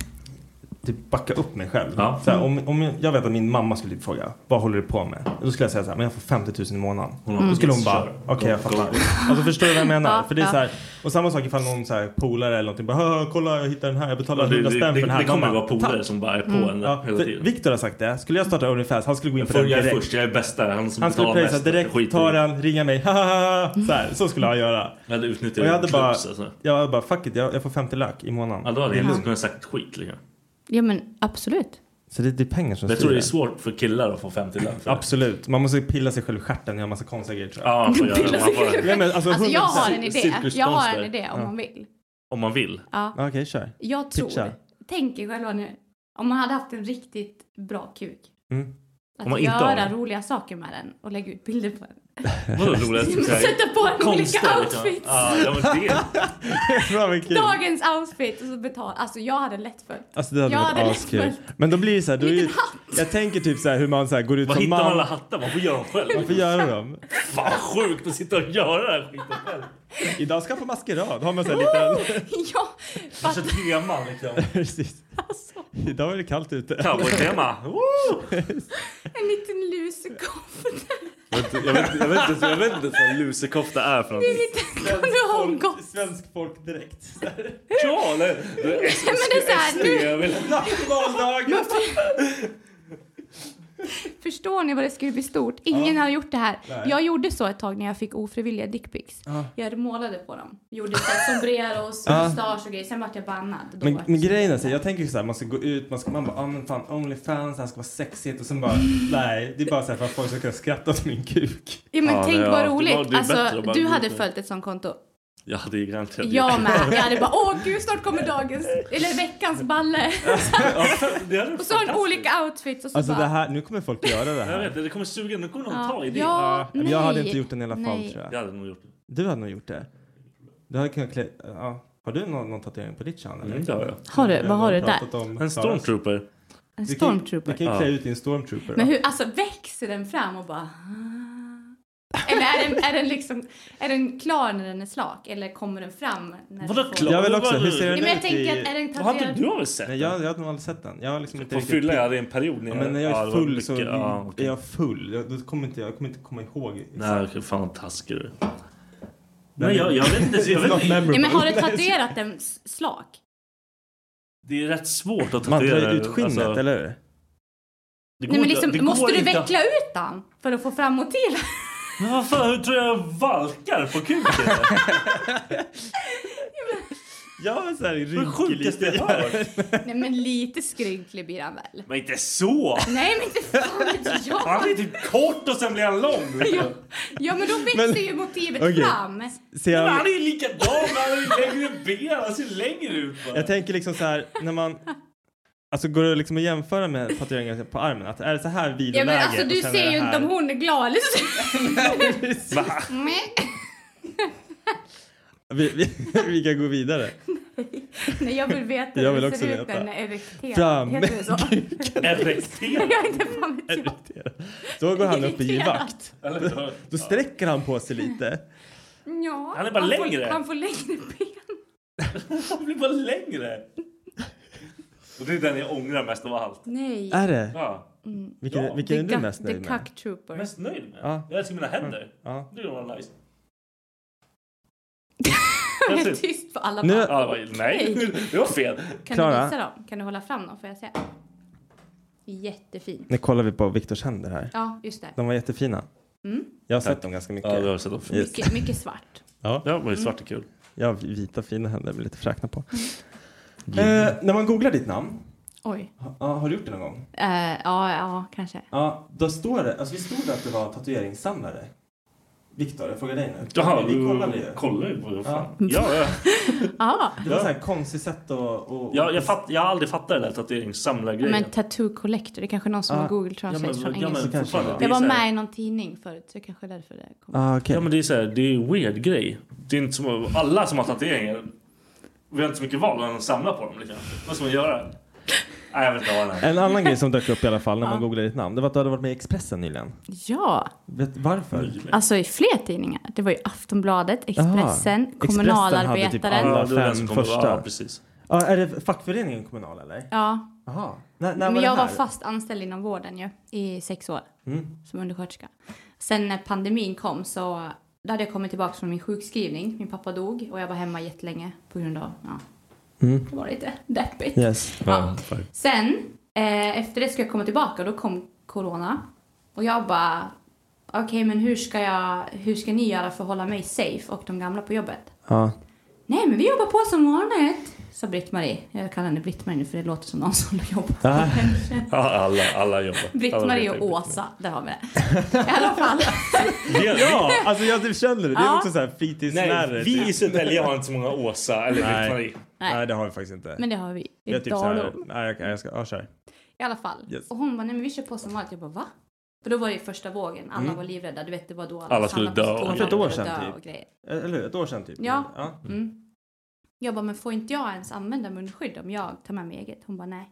Speaker 9: Typ backa upp mig själv.
Speaker 1: Ja.
Speaker 9: Så här, om, om jag, jag vet att min mamma skulle typ fråga, vad håller du på med? Då skulle jag säga så här, men jag får 50 000 i månaden.
Speaker 1: Mm.
Speaker 9: Då skulle hon bara,
Speaker 1: Kör.
Speaker 9: okej jag
Speaker 1: Go,
Speaker 9: fattar.
Speaker 1: go.
Speaker 9: Alltså förstår du vad jag menar?
Speaker 1: Ja,
Speaker 9: För det är
Speaker 1: ja.
Speaker 9: så här, och samma sak ifall någon så här, polare eller någonting bara, "Hö, hö, kolla jag hittade den här, jag betalar
Speaker 1: Ja, det-
Speaker 9: 100
Speaker 1: det-
Speaker 9: spänn
Speaker 1: det-
Speaker 9: för den här.
Speaker 1: det kommer
Speaker 9: Man bara,
Speaker 1: vara polare
Speaker 9: "Tack."
Speaker 1: som bara är på en
Speaker 9: Ja,
Speaker 1: hela
Speaker 9: för
Speaker 1: tiden.
Speaker 9: Viktor har sagt det, skulle jag starta Onlyfans, han skulle gå in på
Speaker 1: För
Speaker 9: den
Speaker 1: jag är
Speaker 9: direkt.
Speaker 1: först, jag är bäst där. Han som
Speaker 9: Han skulle
Speaker 1: betalar
Speaker 9: pröjsa
Speaker 1: mest.
Speaker 9: direkt,
Speaker 1: Skit i
Speaker 9: ta
Speaker 1: det.
Speaker 9: den, ringa mig, ha, ha, ha, ha. så, här, så skulle han göra.
Speaker 1: Jag hade utnyttjat
Speaker 9: Och jag hade
Speaker 1: det
Speaker 9: bara,
Speaker 1: klubs, alltså.
Speaker 9: jag hade bara fuck it, jag, jag får 50 lök i månaden.
Speaker 1: Ja, då hade
Speaker 9: Det är
Speaker 1: jag
Speaker 9: lugnt.
Speaker 1: liksom kunnat sagt skit liksom.
Speaker 3: Ja men absolut.
Speaker 9: Så det, det är pengar som
Speaker 1: Men jag tror det är
Speaker 9: styr
Speaker 1: svårt för killar att få 50 lapp. för det.
Speaker 9: Absolut, man måste pilla sig själv i stjärten, göra massa konstiga grejer tror jag.
Speaker 1: Ja, man får göra det. Man får-
Speaker 9: Nej, men
Speaker 3: Alltså, jag har en idé. Jag har en idé om
Speaker 9: Ja.
Speaker 3: man vill.
Speaker 1: Om man vill.
Speaker 3: Ja.
Speaker 9: Okej, kör.
Speaker 3: Jag tror,
Speaker 9: Pitcha.
Speaker 3: tänk er själva nu, om man hade haft en riktigt bra kuk.
Speaker 9: Mm.
Speaker 3: Att
Speaker 1: Om man inte har
Speaker 3: göra
Speaker 1: den.
Speaker 3: roliga saker med den och lägga ut bilder på den.
Speaker 1: Vadå roliga typ såhär-
Speaker 3: Sätta på en olika
Speaker 1: konster,
Speaker 3: outfits.
Speaker 1: Ja, ja, men det.
Speaker 9: Bra, men kul.
Speaker 3: Dagens outfit och så betala. Alltså jag hade lätt för
Speaker 9: Alltså det hade
Speaker 3: jag
Speaker 9: varit askul. Men då blir det så här, då är ju, jag tänker typ så här hur man så här går ut
Speaker 1: Var
Speaker 9: som
Speaker 1: hittar man
Speaker 9: man.
Speaker 1: alla hattar? Man får göra dem själv.
Speaker 9: Man får göra dem.
Speaker 1: Fan sjukt att sitta och göra den här skiten själv.
Speaker 9: Idag ska jag på maskerad, har man så här liten.
Speaker 3: ja,
Speaker 1: Kanske teman liksom.
Speaker 9: Precis. Idag var det kallt ute.
Speaker 1: Cowboytema.
Speaker 3: en liten lusekofta.
Speaker 1: Jag vet inte- jag vet inte jag vet inte ens vad lusekofta är för
Speaker 3: Det är lite Bornholmsgott.
Speaker 9: Svensk folk direkt.
Speaker 1: Ja, eller?
Speaker 3: Men det är så här,
Speaker 1: Jag vill-
Speaker 3: nu...
Speaker 9: Nationaldagen!
Speaker 3: Förstår ni vad det skulle bli stort? Ingen har gjort det här.
Speaker 9: Nej.
Speaker 3: Jag gjorde så ett tag när jag fick ofrivilliga dickpics.
Speaker 9: Ja.
Speaker 3: Jag målade på dem. Gjorde så här sombreros,
Speaker 9: Ja.
Speaker 3: mustasch och grejer. Sen vart jag bannad. Då
Speaker 9: Men,
Speaker 3: vart det
Speaker 9: men
Speaker 3: så.
Speaker 9: grejen är så här, jag tänker ju så här, man ska gå ut, man, ska, man bara, ah, men fan Onlyfans, det här ska vara sexigt och sen bara, nej, det är bara så här för att folk ska kunna skratta åt min kuk.
Speaker 3: Ja, men
Speaker 1: Ja,
Speaker 3: tänk
Speaker 1: det- ja,
Speaker 3: vad
Speaker 1: det var-
Speaker 3: roligt.
Speaker 1: det är bättre
Speaker 3: alltså,
Speaker 1: att bara
Speaker 3: du
Speaker 1: gå
Speaker 3: hade
Speaker 1: ut med-
Speaker 3: följt ett sånt konto.
Speaker 1: Jag hade ju garanterat
Speaker 3: Jag med. Jag hade bara, åh gud, snart kommer dagens, eller veckans balle. och så har hon olika outfits och så
Speaker 9: Alltså
Speaker 3: bara...
Speaker 9: det här, nu kommer folk göra det
Speaker 1: Jag
Speaker 9: här.
Speaker 1: vet, det kommer suga. Nu kommer någon
Speaker 3: Ja.
Speaker 1: ta i det.
Speaker 3: Ja, nej.
Speaker 9: jag hade inte gjort den i alla fall
Speaker 3: Nej.
Speaker 9: tror jag.
Speaker 1: Jag hade nog gjort det.
Speaker 9: Du hade nog gjort det. Du hade kunnat klä, ja. Har du någon, någon tatuering på ditt kön eller?
Speaker 1: Mm, det har jag.
Speaker 3: Har du? Vad har du
Speaker 9: pratat
Speaker 3: där?
Speaker 9: om Saras.
Speaker 1: En stormtrooper.
Speaker 3: En
Speaker 9: Du kan ju-
Speaker 3: stormtrooper.
Speaker 9: Du kan ju klä
Speaker 1: Ja.
Speaker 9: ut din stormtrooper.
Speaker 3: Men
Speaker 9: då.
Speaker 3: hur, alltså växer den fram och bara... "Ah." Eller är den, är den liksom, är den klar när den är slak? Eller kommer den fram? När
Speaker 1: Vadå
Speaker 3: den får-
Speaker 1: klar?
Speaker 9: Jag vill också, hur ser
Speaker 3: Nej,
Speaker 9: den
Speaker 3: men jag
Speaker 9: ut
Speaker 3: tänker
Speaker 9: i-
Speaker 3: att är den
Speaker 1: Vad hade
Speaker 3: tatuerad...
Speaker 1: du har väl sett
Speaker 9: Nej,
Speaker 1: den?
Speaker 9: jag, jag hade nog aldrig sett den. Jag har liksom inte
Speaker 1: På
Speaker 9: riktigt-
Speaker 1: fylla jag hade en period när
Speaker 9: Ja, men när jag
Speaker 1: ja,
Speaker 9: är
Speaker 1: det var
Speaker 9: full
Speaker 1: mycket-
Speaker 9: så
Speaker 1: ja, okej.
Speaker 9: är jag full. Jag, då kommer inte, jag kommer inte komma ihåg.
Speaker 1: Nej, okej, fan vad taskig du är. Nej, jag, jag vet inte. Jag
Speaker 9: It's not
Speaker 1: vet inte.
Speaker 9: memorable.
Speaker 3: Nej, men har du tatuerat den s- slak?
Speaker 1: Det är rätt svårt att
Speaker 9: Man
Speaker 1: tatuera.
Speaker 9: drar ju ut skinnet,
Speaker 1: alltså.
Speaker 9: eller hur?
Speaker 1: Det går
Speaker 3: Nej, men
Speaker 1: inte- det
Speaker 3: liksom,
Speaker 1: går
Speaker 3: måste du
Speaker 1: inte-
Speaker 3: veckla ut den för att få fram motiven?
Speaker 1: Men vad fan, hur tror jag jag valkar på kuken?
Speaker 9: Jag var såhär
Speaker 1: Det sjukaste jag hört.
Speaker 3: Nej men lite skrynklig blir han väl?
Speaker 1: Men inte så!
Speaker 3: Nej men inte fan vet
Speaker 1: Han
Speaker 3: jag!
Speaker 1: blir typ kort och sen blir han lång.
Speaker 3: Ja men då
Speaker 9: Men-
Speaker 3: växer ju motivet
Speaker 9: Okej.
Speaker 3: fram.
Speaker 9: Ser
Speaker 1: Men
Speaker 9: han-
Speaker 1: han är ju likadan, men han har ju längre ben. Han ser längre ut bara.
Speaker 9: Jag tänker liksom så här, när man... Alltså går det liksom att jämföra med tatueringar på armen? Att är det så här
Speaker 3: Ja
Speaker 9: videoläge?
Speaker 3: men alltså du
Speaker 9: och sen är
Speaker 3: ser
Speaker 9: det
Speaker 3: ju inte
Speaker 9: här-
Speaker 3: om hon är glad eller sur.
Speaker 9: Va?
Speaker 3: Nej.
Speaker 9: Vi, vi, vi kan gå vidare.
Speaker 3: Nej jag vill veta
Speaker 9: Jag
Speaker 3: hur
Speaker 9: vill
Speaker 3: det
Speaker 9: också
Speaker 3: ser ut
Speaker 9: veta.
Speaker 3: när den är erekterad.
Speaker 9: Fram
Speaker 3: Heter det så?
Speaker 1: Erekterad?
Speaker 3: Jag är inte fan vet jag.
Speaker 9: Då går han upp i givakt.
Speaker 1: Eller hur?
Speaker 9: Då sträcker han på sig lite.
Speaker 3: Ja,
Speaker 1: Han är bara
Speaker 3: får-
Speaker 1: längre.
Speaker 3: Han får längre ben.
Speaker 1: Han blir bara längre. Och det är den jag ångrar mest av allt.
Speaker 3: Nej.
Speaker 9: Är det?
Speaker 1: Ja.
Speaker 3: Mm.
Speaker 9: Vilken,
Speaker 1: Ja.
Speaker 9: vilken är
Speaker 3: The
Speaker 9: du
Speaker 3: Cuck-
Speaker 9: mest nöjd
Speaker 3: The
Speaker 9: med?
Speaker 3: Cuck Trooper.
Speaker 1: Mest nöjd med?
Speaker 9: Ja.
Speaker 1: Jag älskar mina händer.
Speaker 9: Ja.
Speaker 1: Det var nice.
Speaker 3: Jag är tyst på alla
Speaker 9: Nu-
Speaker 3: bara.
Speaker 1: Ja, det var- nej, det var fel.
Speaker 3: Kan
Speaker 9: Klara?
Speaker 3: du visa dem? Kan du hålla fram dem? Får jag se? Jättefin.
Speaker 9: Nu kollar vi på Viktors händer här.
Speaker 3: Ja, just det.
Speaker 9: De var jättefina.
Speaker 3: Mm.
Speaker 9: Jag har sett dem ganska mycket.
Speaker 1: Ja, du har sett dem.
Speaker 9: Yes.
Speaker 3: Mycket, mycket svart. Mm.
Speaker 9: Ja.
Speaker 1: Ja, men svart är kul.
Speaker 9: Jag har vita fina händer med lite fräkna på.
Speaker 3: Mm.
Speaker 9: Eh, när man googlar ditt namn,
Speaker 3: Oj.
Speaker 9: ha, ja, har du gjort det någon gång?
Speaker 3: Eh, ja, ja, kanske.
Speaker 9: Ja, då står det, alltså det stod det att du var tatueringssamlare. Viktor, jag frågar dig nu.
Speaker 1: Jaha,
Speaker 9: vi
Speaker 1: du
Speaker 9: kollade ju.
Speaker 1: kollar ju på det.
Speaker 9: Ja.
Speaker 1: fan. Ja, ja.
Speaker 3: Ja.
Speaker 9: Det var så här konstigt sätt att... Och,
Speaker 1: Jag, jag, fatt, jag har aldrig fattat den där tatueringssamlargrejen.
Speaker 3: Men tattoo collector, det är kanske någon som
Speaker 1: Ja.
Speaker 3: har Google
Speaker 1: Ja, men-
Speaker 3: Translate från
Speaker 1: ja, men
Speaker 3: engelska.
Speaker 1: fortfarande, det är
Speaker 3: Jag var
Speaker 1: så här-
Speaker 3: med i någon tidning förut, så kanske därför det kom.
Speaker 9: Ah, okay.
Speaker 1: Ja men det är så här, det är en weird grej. Det är inte som alla som har tatueringar. Vi har inte så mycket val än att samla på dem. Liksom. Vad ska man göra? Nej jag vet inte vad den är.
Speaker 9: En annan grej som dök upp i alla fall när man googlade ditt namn, det var att du hade varit med i Expressen nyligen.
Speaker 3: Ja,
Speaker 9: Vet varför?
Speaker 3: alltså i fler tidningar. Det var ju Aftonbladet, Expressen,
Speaker 9: Expressen hade typ
Speaker 3: Kommunalarbetaren.
Speaker 9: alla
Speaker 1: Ja, det var den
Speaker 9: fem
Speaker 1: som kom-
Speaker 9: första.
Speaker 1: ja, precis.
Speaker 9: Ja, är det fackföreningen kommunal eller?
Speaker 3: Ja,
Speaker 9: Jaha. När, när var
Speaker 3: men
Speaker 9: det
Speaker 3: jag
Speaker 9: här?
Speaker 3: var fast anställd inom vården ju i sex år
Speaker 9: Mm.
Speaker 3: som undersköterska. Sen när pandemin kom så då hade jag kommit tillbaka från min sjukskrivning. Min pappa dog och jag var hemma jättelänge på grund av, ja,
Speaker 9: Mm.
Speaker 3: det var lite deppigt.
Speaker 9: Yes.
Speaker 3: Ja. Sen eh, efter det ska jag komma tillbaka och då kom corona. Och jag bara, okej men hur ska jag, hur ska ni göra för att hålla mig safe och de gamla på jobbet?
Speaker 9: Ja.
Speaker 3: Nej men vi jobbar på som vanligt, sa Britt-Marie. Jag kallar henne Britt-Marie nu för det låter som någon som jobbar på
Speaker 9: Ah.
Speaker 3: henne.
Speaker 1: Ja, alla, alla jobbar.
Speaker 3: Britt-Marie och Åsa, där har vi det. I alla fall.
Speaker 9: ja, alltså jag typ känner det. Det är
Speaker 3: Ja.
Speaker 9: också så här fritidslärare.
Speaker 1: Nej,
Speaker 9: typ.
Speaker 1: vi i Södertälje har inte så många Åsa eller
Speaker 9: Nej.
Speaker 1: Britt-Marie.
Speaker 3: Nej.
Speaker 9: Nej, det har vi faktiskt inte.
Speaker 3: Men det har vi
Speaker 9: Vi
Speaker 3: i
Speaker 9: har typ så här,
Speaker 3: Dalom.
Speaker 9: nej, jag, jag ska, ja, kör.
Speaker 3: I alla fall.
Speaker 9: Yes.
Speaker 3: Och hon bara, nej men vi kör på som vanligt. Jag bara, va? För då var det ju första vågen. Alla
Speaker 9: Mm.
Speaker 3: var livrädda. Du vet, det var då
Speaker 1: Alla skulle
Speaker 3: samlades
Speaker 1: dö.
Speaker 3: på tårna
Speaker 9: För ett
Speaker 3: och
Speaker 9: år
Speaker 3: dö
Speaker 9: sedan typ.
Speaker 3: och grejer.
Speaker 9: Eller hur? Ett år sedan typ.
Speaker 3: Ja.
Speaker 9: ja.
Speaker 3: Mm. Jag bara, men får inte jag ens använda munskydd om jag tar med mig eget? Hon bara, nej.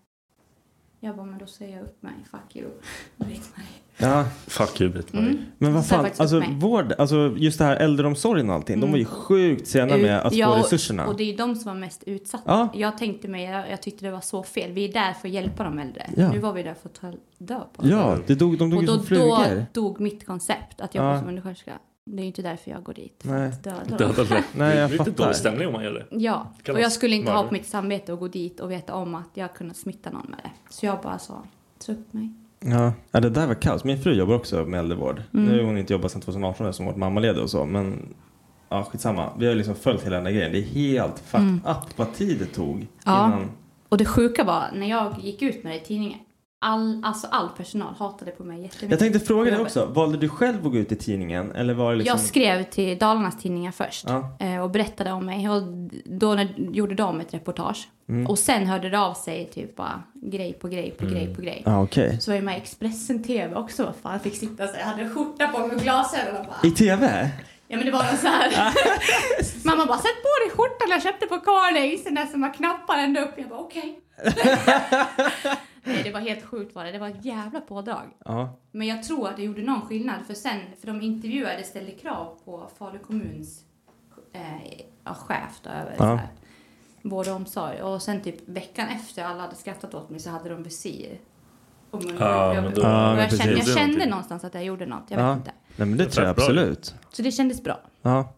Speaker 3: Jag bara, men då säger jag upp mig. Fuck you. Britt-Marie.
Speaker 9: Ja.
Speaker 1: Fuck you Britt-Marie.
Speaker 3: Mm.
Speaker 9: Men vad
Speaker 3: Så jag
Speaker 9: fan,
Speaker 3: faktiskt
Speaker 9: alltså
Speaker 3: upp mig.
Speaker 9: vård, alltså just det här äldreomsorgen och allting. De var ju sjukt sena med att
Speaker 3: Mm. Ja,
Speaker 9: få
Speaker 3: och-
Speaker 9: resurserna.
Speaker 3: Och det är ju de som var mest utsatta.
Speaker 9: Ja.
Speaker 3: Jag tänkte mig, jag, jag tyckte det var så fel. Vi är där för att hjälpa de äldre.
Speaker 9: Ja.
Speaker 3: Nu var vi där för att ta död på dem.
Speaker 9: Ja, det dog, de dog
Speaker 3: Och
Speaker 9: ju
Speaker 3: då,
Speaker 9: som flugor.
Speaker 3: då dog mitt koncept att jobba
Speaker 9: alltså, Ja.
Speaker 3: som undersköterska. Det är ju inte därför jag går dit. För
Speaker 9: Nej.
Speaker 3: att döda dem.
Speaker 1: Döda dem.
Speaker 9: Nej, jag
Speaker 1: det är lite
Speaker 9: fattar.
Speaker 1: dålig stämning om man gör det.
Speaker 3: Ja,
Speaker 1: Kallas
Speaker 3: och jag skulle inte ha
Speaker 1: mördare.
Speaker 3: på mitt samvete att gå dit och veta om att jag kunnat smitta någon med det. Så jag bara sa, så upp mig.
Speaker 9: Ja. ja, det där var kaos. Min fru jobbar också med äldrevård.
Speaker 3: Mm.
Speaker 9: Nu har hon inte jobbat sedan 2018 eftersom hon varit mammaledig och så. Men ja, skitsamma. Vi har ju liksom följt hela den där grejen. Det är helt fucked up vad tid det tog.
Speaker 3: Ja.
Speaker 9: Innan...
Speaker 3: Och det sjuka var, när jag gick ut med det i tidningen, all, alltså all personal hatade på mig jättemycket.
Speaker 9: Jag tänkte fråga dig
Speaker 3: Jag-
Speaker 9: också. Valde du själv att gå ut i tidningen? Eller var det liksom...
Speaker 3: Jag skrev till Dalarnas tidningar först
Speaker 9: Ja.
Speaker 3: eh, och berättade om mig. Och då när, gjorde de ett reportage.
Speaker 9: Mm.
Speaker 3: Och sen hörde det av sig typ bara grej på grej på grej på grej.
Speaker 9: Ja, okej.
Speaker 3: Så var jag med i Expressen TV också. Vad fan, jag fick sitta så här. Jag hade en skjorta på mig och glasögon och bara.
Speaker 9: I tv?
Speaker 3: Ja men det var någon så här. Mamma bara sätt på dig skjortan jag köpte på Carlings. Den där som har knappar ända upp. Jag bara okej. Nej det var helt sjukt var det. Det var ett jävla pådrag.
Speaker 9: Ja.
Speaker 3: Men jag tror att det gjorde någon skillnad för sen, för de intervjuade ställde krav på Falu kommuns eh, ja, chef då, över
Speaker 9: Ja.
Speaker 3: så här, vård och omsorg. Och sen typ veckan efter alla hade skrattat åt mig så hade de visir. Och mun-
Speaker 1: Ja, men då-
Speaker 3: och
Speaker 9: Ja, men
Speaker 3: jag kände, jag
Speaker 1: precis.
Speaker 3: kände någonstans att jag gjorde något, jag
Speaker 9: ja.
Speaker 3: vet inte.
Speaker 9: Nej, men det
Speaker 1: Det
Speaker 9: tror jag
Speaker 1: var bra.
Speaker 9: absolut.
Speaker 3: Så det kändes bra. Mm.
Speaker 9: Ja.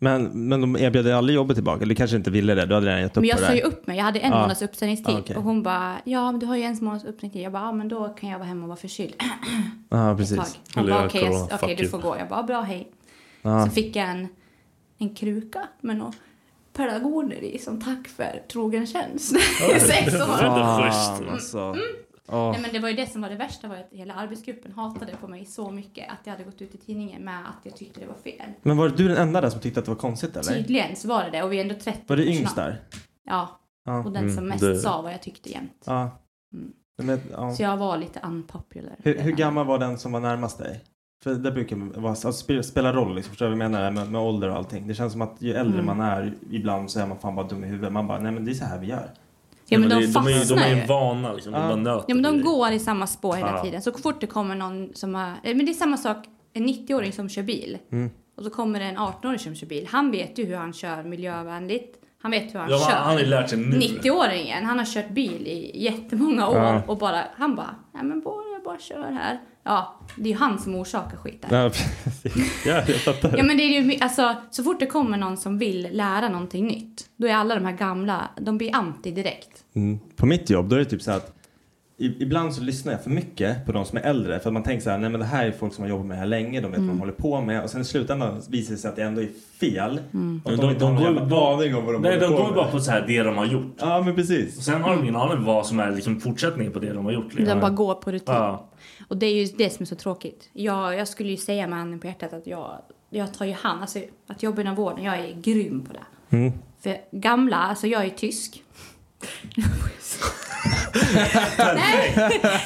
Speaker 9: Men, men de erbjöd dig aldrig jobbet tillbaka? Du kanske inte ville det? Du hade redan gett upp
Speaker 3: Men jag
Speaker 9: på det?
Speaker 3: sa ju upp mig, jag hade en
Speaker 9: Ja.
Speaker 3: månads uppsägningstid.
Speaker 9: Ja, Ah. okej.
Speaker 3: Och hon bara, ja men du har ju en månads uppsägningstid. Jag bara, ja men då kan jag vara hemma och vara förkyld
Speaker 9: Ja,
Speaker 3: ett tag.
Speaker 9: Ah, precis.
Speaker 3: Hon
Speaker 1: Eller
Speaker 3: bara,
Speaker 1: jag
Speaker 3: okej
Speaker 1: kollar,
Speaker 3: jag- okej,
Speaker 1: fuck
Speaker 3: du
Speaker 1: you.
Speaker 3: får gå. Jag bara, bra hej.
Speaker 9: Ja.
Speaker 3: Så fick jag en, en kruka med något
Speaker 1: pedagoger i som tack för trogen tjänst.
Speaker 9: Oj.
Speaker 1: I sex
Speaker 9: Fan,
Speaker 1: år. Mm,
Speaker 9: alltså.
Speaker 1: mm.
Speaker 9: Åh.
Speaker 1: Nej, men det var ju det som var det värsta var ju att hela arbetsgruppen hatade på mig så mycket att jag hade gått ut i tidningen med att jag tyckte det var fel.
Speaker 9: Men var du den enda där som tyckte att det var konstigt eller?
Speaker 1: Tydligen så var det det och vi är ändå 30
Speaker 9: Var det
Speaker 1: personal.
Speaker 9: yngst där?
Speaker 1: Ja.
Speaker 9: Ja.
Speaker 1: Och den
Speaker 9: Mm,
Speaker 1: som mest
Speaker 9: det-
Speaker 1: sa vad jag tyckte jämt.
Speaker 9: Ja.
Speaker 1: Mm.
Speaker 9: Men, ja.
Speaker 1: Så jag var lite unpopular.
Speaker 9: Hur, hur gammal var den som var närmast dig? För det brukar vara, alltså, spe- spela roll, liksom, förstår du vad jag menar med, med ålder och allting. Det känns som att ju äldre
Speaker 1: Mm.
Speaker 9: man är, ibland så är man fan bara dum i huvudet. Man bara, nej men det är så här vi gör.
Speaker 1: Ja, men de
Speaker 9: är- är-
Speaker 1: fastnar
Speaker 9: är
Speaker 1: ju.
Speaker 3: vana liksom.
Speaker 9: Ja.
Speaker 1: Ja, men de går i samma spår
Speaker 9: Ja.
Speaker 1: hela tiden. Så fort det kommer någon som har... eh, Men det är samma sak, en 90-åring som kör bil.
Speaker 9: Mm.
Speaker 1: Och så kommer det en 18-åring som kör bil. Han vet ju hur han kör miljövänligt. Han vet hur han
Speaker 3: Ja,
Speaker 1: kör.
Speaker 3: men han har ju lärt sig nu.
Speaker 1: 90-åringen, han har kört bil i jättemånga år.
Speaker 9: Ja.
Speaker 1: Och bara, han bara, nej men bara, jag bara kör här. Ja, det är ju han som orsakar skiten.
Speaker 9: Ja, precis. Ja, jag fattar.
Speaker 1: Ja men det är ju, my- alltså så fort det kommer någon som vill lära någonting nytt. Då är alla de här gamla, de blir anti direkt.
Speaker 9: Mm. På mitt jobb då är det typ så här att i- ibland så lyssnar jag för mycket på de som är äldre för att man tänker så här, nej men det här är folk som har jobbat med det här länge, de vet vad
Speaker 3: Mm.
Speaker 9: de håller på med och sen i slutändan visar det sig att det ändå är fel.
Speaker 3: Mm.
Speaker 9: Och att de,
Speaker 3: Men de-
Speaker 9: inte har
Speaker 3: de
Speaker 9: någon
Speaker 3: går-
Speaker 9: jävla aning om vad de
Speaker 3: Nej,
Speaker 9: håller
Speaker 3: de
Speaker 9: på
Speaker 3: går
Speaker 9: med.
Speaker 3: bara på så här, det de har gjort.
Speaker 9: Ja, men precis.
Speaker 3: Och sen har de ingen aning vad som är liksom, fortsättningen på det de har gjort. Liksom.
Speaker 1: De bara går på rutin.
Speaker 3: Ja.
Speaker 1: Och det är ju det som är så tråkigt. Jag, jag skulle ju säga med handen på hjärtat att jag, jag tar ju hand, alltså att jobba inom vården, jag är grym på det.
Speaker 9: Mm.
Speaker 1: För gamla, alltså jag är tysk.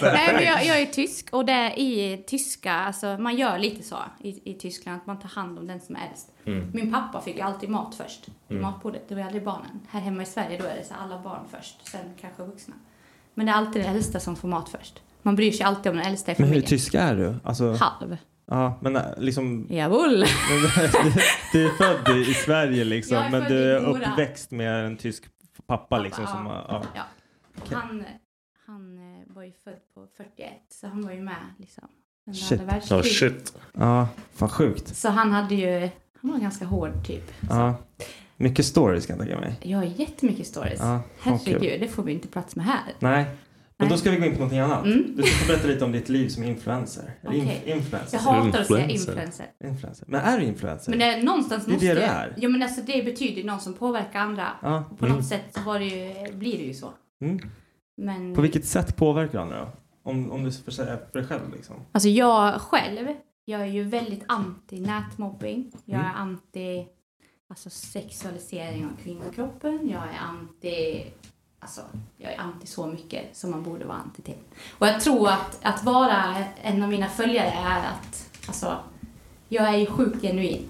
Speaker 1: Nej, men jag, jag är tysk och det är i tyska, alltså man gör lite så i, i Tyskland, att man tar hand om den som är äldst.
Speaker 12: Mm.
Speaker 1: Min pappa fick ju alltid mat först, i
Speaker 12: Mm.
Speaker 1: matbordet, det var ju aldrig barnen. Här hemma i Sverige då är det så här, alla barn först, sen kanske vuxna. Men det är alltid den äldsta som får mat först. Man bryr sig alltid om den äldsta i
Speaker 9: Men
Speaker 1: familjen.
Speaker 9: hur tysk är du? Alltså,
Speaker 1: Halv.
Speaker 9: Ja, men äh, liksom...
Speaker 1: Jawohl!
Speaker 9: Men du- du är född i, i Sverige liksom,
Speaker 1: Jag är
Speaker 9: men
Speaker 1: född
Speaker 9: du
Speaker 1: i
Speaker 9: är
Speaker 1: Mora.
Speaker 9: uppväxt med en tysk pappa, liksom. Som,
Speaker 1: ja.
Speaker 9: ja.
Speaker 1: Ja.
Speaker 9: Okej.
Speaker 1: Han, han eh, var ju född på 41, så han var ju med liksom. under
Speaker 9: Shit.
Speaker 1: andra världskriget.
Speaker 9: Ja, fan sjukt.
Speaker 1: Så han hade ju, han var ganska hård typ.
Speaker 9: Ja. Mycket stories kan jag tänka mig.
Speaker 1: Jag har jättemycket stories.
Speaker 9: Ja, fan kul.
Speaker 1: Herregud, det får vi inte plats med här.
Speaker 9: Nej. Men då ska vi gå in på någonting annat.
Speaker 1: Mm.
Speaker 9: Du ska få berätta lite om ditt liv som influencer. Eller inf-
Speaker 1: Okej.
Speaker 9: influencer.
Speaker 1: Jag hatar att säga influencer.
Speaker 9: influencer. Men är du influencer?
Speaker 1: Men det, någonstans
Speaker 9: Det är
Speaker 1: måste
Speaker 9: det
Speaker 1: ju...
Speaker 9: du är.
Speaker 1: Ja men alltså det betyder ju någon som påverkar andra.
Speaker 9: Ja.
Speaker 1: Och på
Speaker 9: Mm.
Speaker 1: något sätt så var det ju, blir det ju så.
Speaker 9: Mm.
Speaker 1: Men...
Speaker 9: På vilket sätt påverkar du andra då? Om, om du får säga för dig själv liksom.
Speaker 1: Alltså jag själv, jag är ju väldigt anti nätmobbing. Jag är
Speaker 9: Mm.
Speaker 1: anti alltså, sexualisering av kvinnokroppen. Jag är anti, alltså jag är anti så mycket som man borde vara anti till. Och jag tror att, att vara en av mina följare är att, alltså jag är ju sjukt genuin.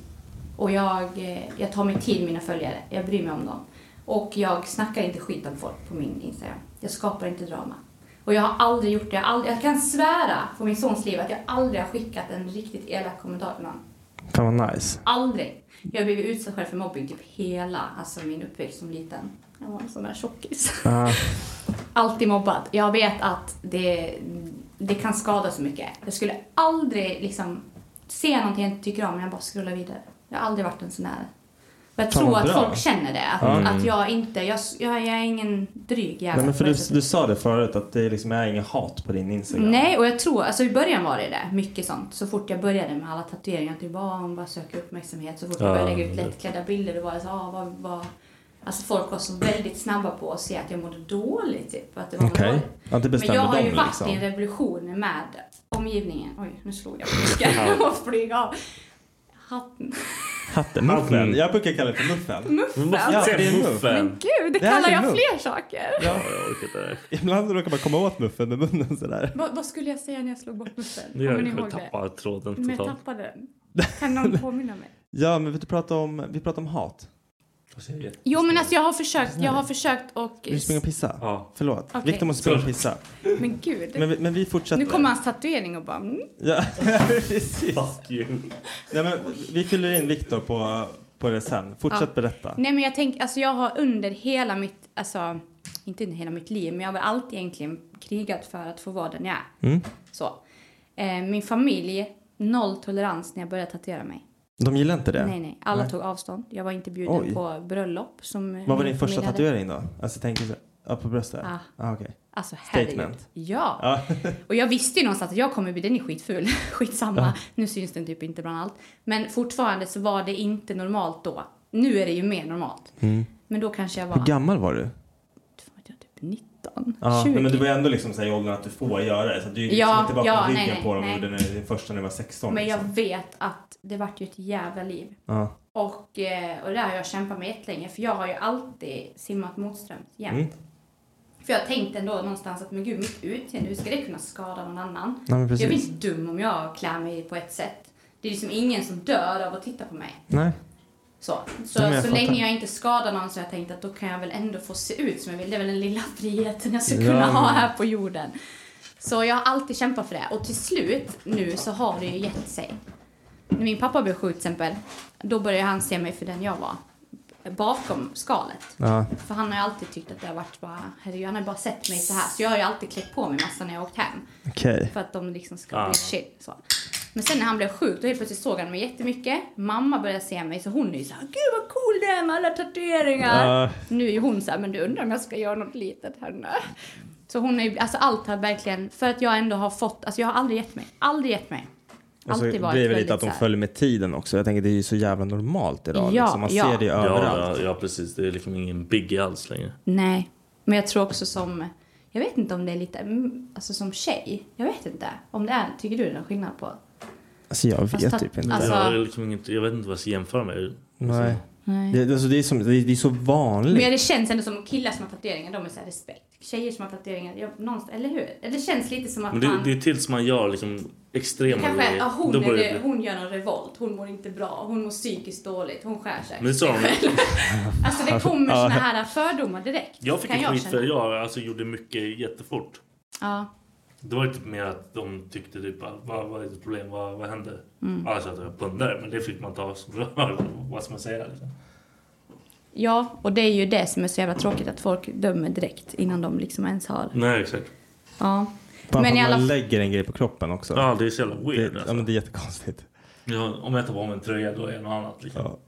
Speaker 1: Och jag, eh, jag tar mig till mina följare, jag bryr mig om dem. Och jag snackar inte skit om folk på min Instagram. Jag skapar inte drama. Och jag har aldrig gjort det. Jag, har aldrig, jag kan svära på min sons liv att jag aldrig har skickat en riktigt elak kommentar till någon.
Speaker 9: Fan vad nice.
Speaker 1: Aldrig. Jag har blivit utsatt själv för mobbing typ hela alltså min uppväxt som liten. Jag var en sån där tjockis.
Speaker 9: Ja.
Speaker 1: Alltid mobbad. Jag vet att det, det kan skada så mycket. Jag skulle aldrig liksom se någonting jag inte tycker om men jag bara scrollar vidare. Jag har aldrig varit en sån här. Jag
Speaker 9: Fan,
Speaker 1: tror
Speaker 9: vad
Speaker 1: att
Speaker 9: bra.
Speaker 1: folk känner det. Att,
Speaker 9: Mm.
Speaker 1: att jag inte, jag, jag, jag är ingen dryg jävel.
Speaker 9: Nej, men för
Speaker 1: på det
Speaker 9: du, du sa det förut att det liksom är inget hat på din Instagram.
Speaker 1: Nej, och jag tror, alltså i början var det det, mycket sånt. Så fort jag började med alla tatueringar, typ ah, hon bara söker uppmärksamhet. Så fort jag
Speaker 9: Ja,
Speaker 1: började lägga ut
Speaker 9: det-
Speaker 1: lättklädda bilder, då var det så, ah, vad, vad... Alltså folk var så väldigt snabba på att se att jag mådde dåligt, typ. Att det var något
Speaker 9: Okej.
Speaker 1: dåligt.
Speaker 9: Ja, det
Speaker 1: Men
Speaker 9: bestämde
Speaker 1: jag har ju
Speaker 9: de,
Speaker 1: varit
Speaker 9: liksom.
Speaker 1: i en revolution med omgivningen. Oj, nu slog jag på disken. Jag måste flyga av. Hatten.
Speaker 9: Hatten, muffen. Jag brukar kalla det för muffen.
Speaker 1: Muffen?
Speaker 9: Ja, det är
Speaker 1: Men
Speaker 9: muffen.
Speaker 1: gud, det,
Speaker 9: Det här
Speaker 1: kallar
Speaker 9: är
Speaker 1: jag
Speaker 9: muff.
Speaker 1: fler saker.
Speaker 9: Ja. Ibland råkar man komma åt muffen med munnen sådär.
Speaker 1: Vad, vad skulle jag säga när jag slog bort muffen?
Speaker 9: Det gör
Speaker 1: Kommer ni
Speaker 9: jag.
Speaker 1: ihåg
Speaker 9: Tappar tråden
Speaker 1: Men jag
Speaker 9: totalt.
Speaker 1: tappade den. Kan någon påminna mig?
Speaker 9: Ja, men vi pratar om, vi pratar om hat.
Speaker 1: Jo men alltså jag har försökt, jag har försökt och...
Speaker 9: Vill du springa och pissa? Ja. Förlåt.
Speaker 1: Okej.
Speaker 9: Viktor måste springa och pissa.
Speaker 1: Men gud.
Speaker 9: Men, vi- men vi fortsätter.
Speaker 1: nu kommer hans tatuering och bara... Mm.
Speaker 9: Ja, precis. Fuck you. Nej, men vi fyller in Viktor på, på det sen. Fortsätt
Speaker 1: Ja.
Speaker 9: berätta.
Speaker 1: Nej men jag tänker, alltså jag har under hela mitt, alltså inte under hela mitt liv, men jag har väl alltid egentligen krigat för att få vara den jag är.
Speaker 9: Mm.
Speaker 1: Så. Eh, min familj, noll tolerans när jag började tatuera mig.
Speaker 9: De gillar inte det?
Speaker 1: Nej nej, alla tog avstånd. Jag var inte bjuden
Speaker 9: Oj.
Speaker 1: på bröllop som eh,
Speaker 9: Vad var
Speaker 1: min
Speaker 9: din första
Speaker 1: familj hade.
Speaker 9: tatuering då? Alltså tänk så ja, på bröstet?
Speaker 1: Ah.
Speaker 9: Ah, okej.
Speaker 1: Alltså herregud.
Speaker 9: Statement. Ah.
Speaker 1: Ja.
Speaker 9: Ja.
Speaker 1: Och jag visste ju någonstans att jag kommer bli, den är skitful, skitsamma, nu syns den typ inte bland allt. Men fortfarande så var det inte normalt då. Nu är det ju mer normalt.
Speaker 12: Mm.
Speaker 3: Men då kanske jag var...
Speaker 9: Hur gammal var du?
Speaker 3: Typ 19,
Speaker 9: Ja,
Speaker 3: 20.
Speaker 9: nej, men du var ändå liksom så här i åldern att du får göra det. Så att du är
Speaker 3: Ja,
Speaker 9: liksom inte bara
Speaker 3: ja,
Speaker 9: på
Speaker 3: nej,
Speaker 9: ryggen
Speaker 3: nej,
Speaker 9: på dem
Speaker 3: nej.
Speaker 9: och gjorde det första när du var 16.
Speaker 3: Men jag
Speaker 9: liksom.
Speaker 3: vet att det vart ju ett jävla liv.
Speaker 9: Ja.
Speaker 3: Och, eh, och det har jag kämpat med jättelänge för jag har ju alltid simmat motströms jämt.
Speaker 9: Mm.
Speaker 3: För jag tänkte ändå någonstans att men gud mitt utseende, hur ska det kunna skada någon annan?
Speaker 9: Nej, men
Speaker 3: jag blir
Speaker 9: precis.
Speaker 3: inte dum om jag klär mig på ett sätt. Det är liksom ingen som dör av att titta på mig.
Speaker 9: Nej.
Speaker 3: Så, så,
Speaker 9: Ja, men jag
Speaker 3: så
Speaker 9: fattar.
Speaker 3: länge jag inte skadar någon så har jag tänkt att då kan jag väl ändå få se ut som jag vill. Det är väl den lilla friheten jag ska
Speaker 8: Ja,
Speaker 3: kunna
Speaker 8: men-
Speaker 3: ha här på jorden. Så jag har alltid kämpat för det. Och till slut nu så har det ju gett sig. När min pappa blev sjuk till exempel, då började han se mig för den jag var. Bakom skalet.
Speaker 9: Ja.
Speaker 3: För han har ju alltid tyckt att det har varit bara, herregud, han har ju bara sett mig så här. Så jag har ju alltid klätt på mig massa när jag har åkt hem.
Speaker 9: Okej.
Speaker 3: För att de liksom ska
Speaker 9: Ah.
Speaker 3: bli chill. Så. Men sen när han blev sjuk, då helt plötsligt såg han mig jättemycket. Mamma började se mig, så hon är ju så här, gud vad cool du är med alla tatueringar.
Speaker 8: Ja.
Speaker 3: Nu är ju hon så här, men du undrar om jag ska göra något litet här nu. Så hon är ju, alltså allt har verkligen, för att jag ändå har fått, alltså jag har aldrig gett mig, aldrig gett mig.
Speaker 9: Och så
Speaker 3: Alltid varit
Speaker 9: blir det
Speaker 3: väldigt
Speaker 9: lite att de
Speaker 3: så här-
Speaker 9: följer med tiden också. Jag tänker det är ju så jävla normalt idag.
Speaker 3: Ja,
Speaker 9: liksom. Man
Speaker 3: ja.
Speaker 9: ser det ju
Speaker 3: Ja,
Speaker 9: överallt.
Speaker 1: Ja, precis. Det är liksom ingen biggie alls längre.
Speaker 3: Nej, men jag tror också som, jag vet inte om det är lite, mm, alltså som tjej, jag vet inte. Om det är, tycker du det är någon skillnad på?
Speaker 9: Alltså jag
Speaker 3: Fast
Speaker 9: vet
Speaker 3: att-
Speaker 9: typ inte.
Speaker 3: alltså-
Speaker 1: Jag, har liksom inget, jag vet inte vad jag ska jämföra med.
Speaker 9: Nej.
Speaker 3: Nej.
Speaker 9: Det, alltså, det, är som, det, är, det är så vanligt.
Speaker 3: Men det känns ändå som killar som har tatueringar, de är såhär respekt. Tjejer som har tatueringar, jag, någonstans, eller hur? Eller Det känns lite som att
Speaker 1: Men det,
Speaker 3: man...
Speaker 1: det är tills man gör liksom extrema
Speaker 3: kanske, ja, hon,
Speaker 1: Då
Speaker 3: är
Speaker 1: börjar det
Speaker 3: det,
Speaker 1: bli-
Speaker 3: hon gör någon revolt, hon mår inte bra, hon mår psykiskt dåligt, hon skär sig.
Speaker 1: Men det sa de.
Speaker 3: Alltså det kommer såna här fördomar direkt.
Speaker 1: Jag fick
Speaker 3: kan
Speaker 1: ett skit
Speaker 3: känna.
Speaker 1: för att jag alltså, gjorde mycket jättefort.
Speaker 3: Ja.
Speaker 1: Det var ju typ mer att de tyckte typ att, vad, vad är ditt problem, vad, vad händer?
Speaker 3: Mm.
Speaker 1: Alltså att jag är pundare, men det fick man ta som rör. Vad ska man säga? Liksom.
Speaker 3: ja, och det är ju det som är så jävla tråkigt att folk dömer direkt innan de liksom ens har...
Speaker 1: Nej, exakt.
Speaker 3: Ja.
Speaker 9: Bara
Speaker 3: Men
Speaker 9: för
Speaker 3: i
Speaker 9: att
Speaker 3: alla
Speaker 9: man
Speaker 3: fall...
Speaker 9: lägger en grej på kroppen också.
Speaker 1: Ja, det är så jävla weird,
Speaker 9: Det,
Speaker 1: alltså.
Speaker 9: ja, men det är jättekonstigt.
Speaker 1: Ja, om jag tar på mig en tröja då är jag något annat. Liksom.
Speaker 9: Ja.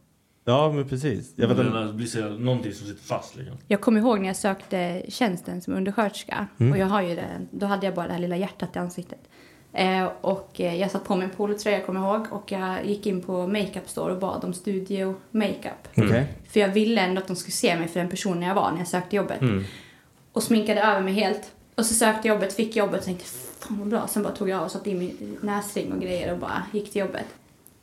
Speaker 9: Ja, men precis. Jag
Speaker 1: Jag
Speaker 9: vet
Speaker 1: vet
Speaker 9: inte.
Speaker 1: det blir så jävla, någonting som sitter fast. Liksom.
Speaker 3: Jag kommer ihåg när jag sökte tjänsten som undersköterska.
Speaker 1: Mm.
Speaker 3: Och jag har ju det, då hade jag bara det här lilla hjärtat i ansiktet. Eh, och eh, jag satt på mig en polotröja, jag kommer ihåg. Och jag gick in på makeup store och bad om studio makeup.
Speaker 9: Okej.
Speaker 3: För jag ville ändå att de skulle se mig för den personen jag var när jag sökte jobbet.
Speaker 9: Mm.
Speaker 3: Och sminkade över mig helt. Och så sökte jag jobbet, fick jobbet och tänkte fan vad bra. Sen bara tog jag av och satte in min näsring och grejer och bara gick till jobbet.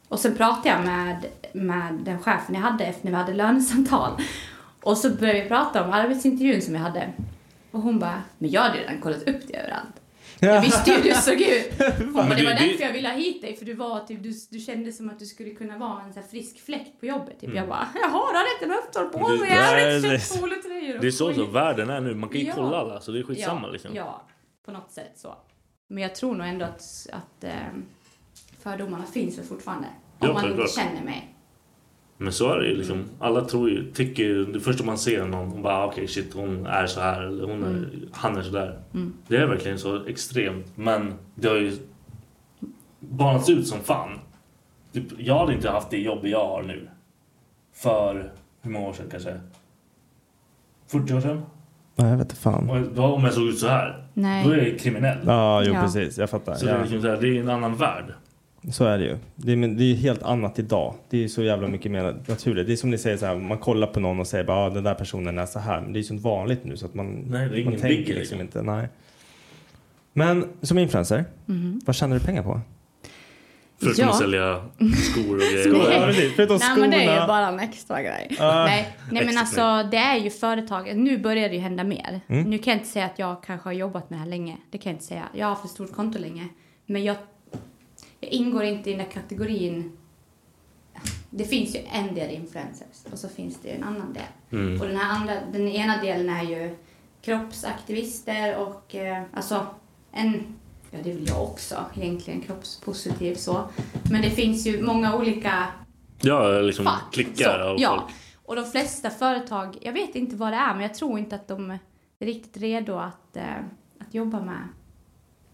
Speaker 3: Och sen pratade jag med, med den chefen jag hade efter när vi hade lönesamtal. Och så började vi prata om arbetsintervjun som jag hade. Och hon bara, men jag hade ju redan kollat upp dig överallt. Jag visste ju hur du såg ut. Hon bara,
Speaker 1: Men
Speaker 3: det
Speaker 1: du-
Speaker 3: var
Speaker 1: du-
Speaker 3: därför jag ville ha hit dig för du var typ, du, du kände som att du skulle kunna vara en så här frisk fläkt på jobbet. Typ.
Speaker 1: Mm.
Speaker 3: Jag bara, jaha du har inte löftor på
Speaker 1: Du-
Speaker 3: mig, jag
Speaker 1: Nej,
Speaker 3: har inte
Speaker 1: precis.
Speaker 3: köpt polotröjor. och
Speaker 1: Det är så, så
Speaker 3: skit."
Speaker 1: världen är nu. Man kan ju
Speaker 3: Ja.
Speaker 1: kolla alla, så det är skitsamma.
Speaker 3: ja,
Speaker 1: liksom.
Speaker 3: Ja, på något sätt så. Men jag tror nog ändå att, att ehm, fördomarna finns väl fortfarande. Om
Speaker 1: Ja,
Speaker 3: man inte
Speaker 1: självklart.
Speaker 3: känner mig. Mm.
Speaker 1: Men så är det ju. Liksom. Alla tror ju, tycker ju, det första man ser någon, hon bara "Ah, okej shit hon är så här eller hon är,
Speaker 3: Mm.
Speaker 1: han är så där.
Speaker 3: Mm.
Speaker 1: Det är verkligen så extremt men det har ju banats ut som fan. Typ, jag hade inte haft det jobb jag har nu. För hur många år sedan kanske? 40 år sedan?
Speaker 9: Nej, jag vet inte fan.
Speaker 1: Och då, om jag såg ut så här,
Speaker 9: Nej.
Speaker 1: då är jag kriminell.
Speaker 9: Ja, jo
Speaker 1: Ja.
Speaker 9: precis. Jag fattar.
Speaker 1: Så det, är
Speaker 9: ja.
Speaker 1: liksom så här, det är en annan värld.
Speaker 9: Så är det ju. Det är, men det är ju helt annat idag. Det är ju så jävla mycket mer naturligt. Det är som ni säger så här, man kollar på någon och säger bara ah, den där personen är så här. Men det är ju så vanligt nu så att man,
Speaker 1: Nej, det är
Speaker 9: man
Speaker 1: ingen
Speaker 9: tänker
Speaker 1: big
Speaker 9: liksom,
Speaker 1: grej.
Speaker 9: inte. Nej. Men som influencer,
Speaker 3: Mhm.
Speaker 9: vad tjänar du pengar på?
Speaker 1: Förutom
Speaker 3: Ja.
Speaker 1: att sälja skor och grejer.
Speaker 9: Ja, precis. Förutom
Speaker 3: Nej men det är
Speaker 9: skorna.
Speaker 3: ju bara en extra grej.
Speaker 1: Ah.
Speaker 3: nej, nej men
Speaker 1: Extra
Speaker 3: alltså det är ju företag. Nu börjar det ju hända mer.
Speaker 1: Mm.
Speaker 3: Nu kan jag inte säga att jag kanske har jobbat med det här länge. Det kan jag inte säga. Jag har haft ett stort konto länge. Men jag, jag ingår inte i den här kategorin. Det finns ju en del influencers och så finns det ju en annan del.
Speaker 8: Mm.
Speaker 3: Och den här andra, den ena delen är ju kroppsaktivister och eh, alltså en Ja, det vill jag också egentligen, kroppspositiv så. Men det finns ju många olika
Speaker 1: Ja, liksom
Speaker 3: Fack.
Speaker 1: klickar
Speaker 3: Så,
Speaker 1: av
Speaker 3: ja.
Speaker 1: folk.
Speaker 3: Och de flesta företag, jag vet inte vad det är, men jag tror inte att de är riktigt redo att, eh, att jobba med,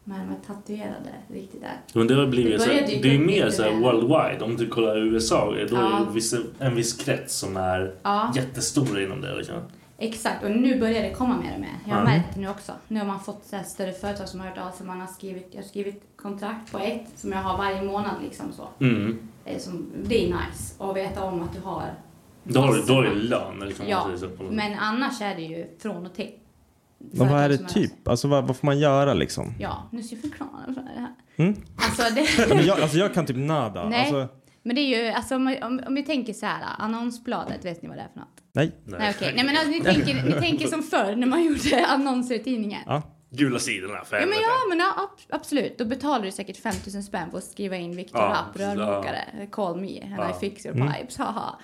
Speaker 3: med de här tatuerade riktigt där.
Speaker 1: Men det har blivit
Speaker 3: Det
Speaker 1: så
Speaker 3: börjar
Speaker 1: här,
Speaker 3: dyka
Speaker 1: det är
Speaker 3: upp
Speaker 1: mer
Speaker 3: lite
Speaker 1: så här
Speaker 3: mer.
Speaker 1: worldwide. Om du kollar USA, då är
Speaker 3: Ja.
Speaker 1: det vissa, en viss krets som är
Speaker 3: Ja.
Speaker 1: jättestor inom det. Liksom.
Speaker 3: Exakt, och nu börjar det komma mer och mer. Jag har
Speaker 1: Mm.
Speaker 3: märkt det nu också. Nu har man fått så här större företag som har hört av sig. Man har skrivit, jag har skrivit kontrakt på ett som jag har varje månad liksom så.
Speaker 1: Mm.
Speaker 3: Eh, Som, det är nice att veta om att du har
Speaker 1: Då har du, då är det lön. Liksom, om
Speaker 3: Ja,
Speaker 1: man säger så.
Speaker 3: men annars är det ju från och till.
Speaker 9: Men vad är det
Speaker 3: Företag som
Speaker 9: typ? Alltså vad, vad får man göra liksom?
Speaker 3: Ja, nu ska jag förklara för det här.
Speaker 9: Mm?
Speaker 3: Alltså
Speaker 9: Nej,
Speaker 3: det...
Speaker 9: men jag, alltså jag kan typ nada.
Speaker 3: Nej.
Speaker 9: Alltså,
Speaker 3: Men det är ju, alltså om, om, om vi tänker så här, annonsbladet, vet ni vad det är för något?
Speaker 9: nej.
Speaker 3: Nej, okej. Nej men alltså ni tänker, ni tänker som förr när man gjorde annonser i tidningen.
Speaker 9: Ja.
Speaker 1: Gula sidorna, för
Speaker 3: Ja men
Speaker 1: helvete.
Speaker 3: ja, men ja, ab- absolut. Då betalar du säkert 5000 spänn för att skriva in Viktor
Speaker 1: Ja,
Speaker 3: Rapp, rörmokare, call me, and
Speaker 1: Ja.
Speaker 3: I fix your
Speaker 1: Mm.
Speaker 3: pipes, haha.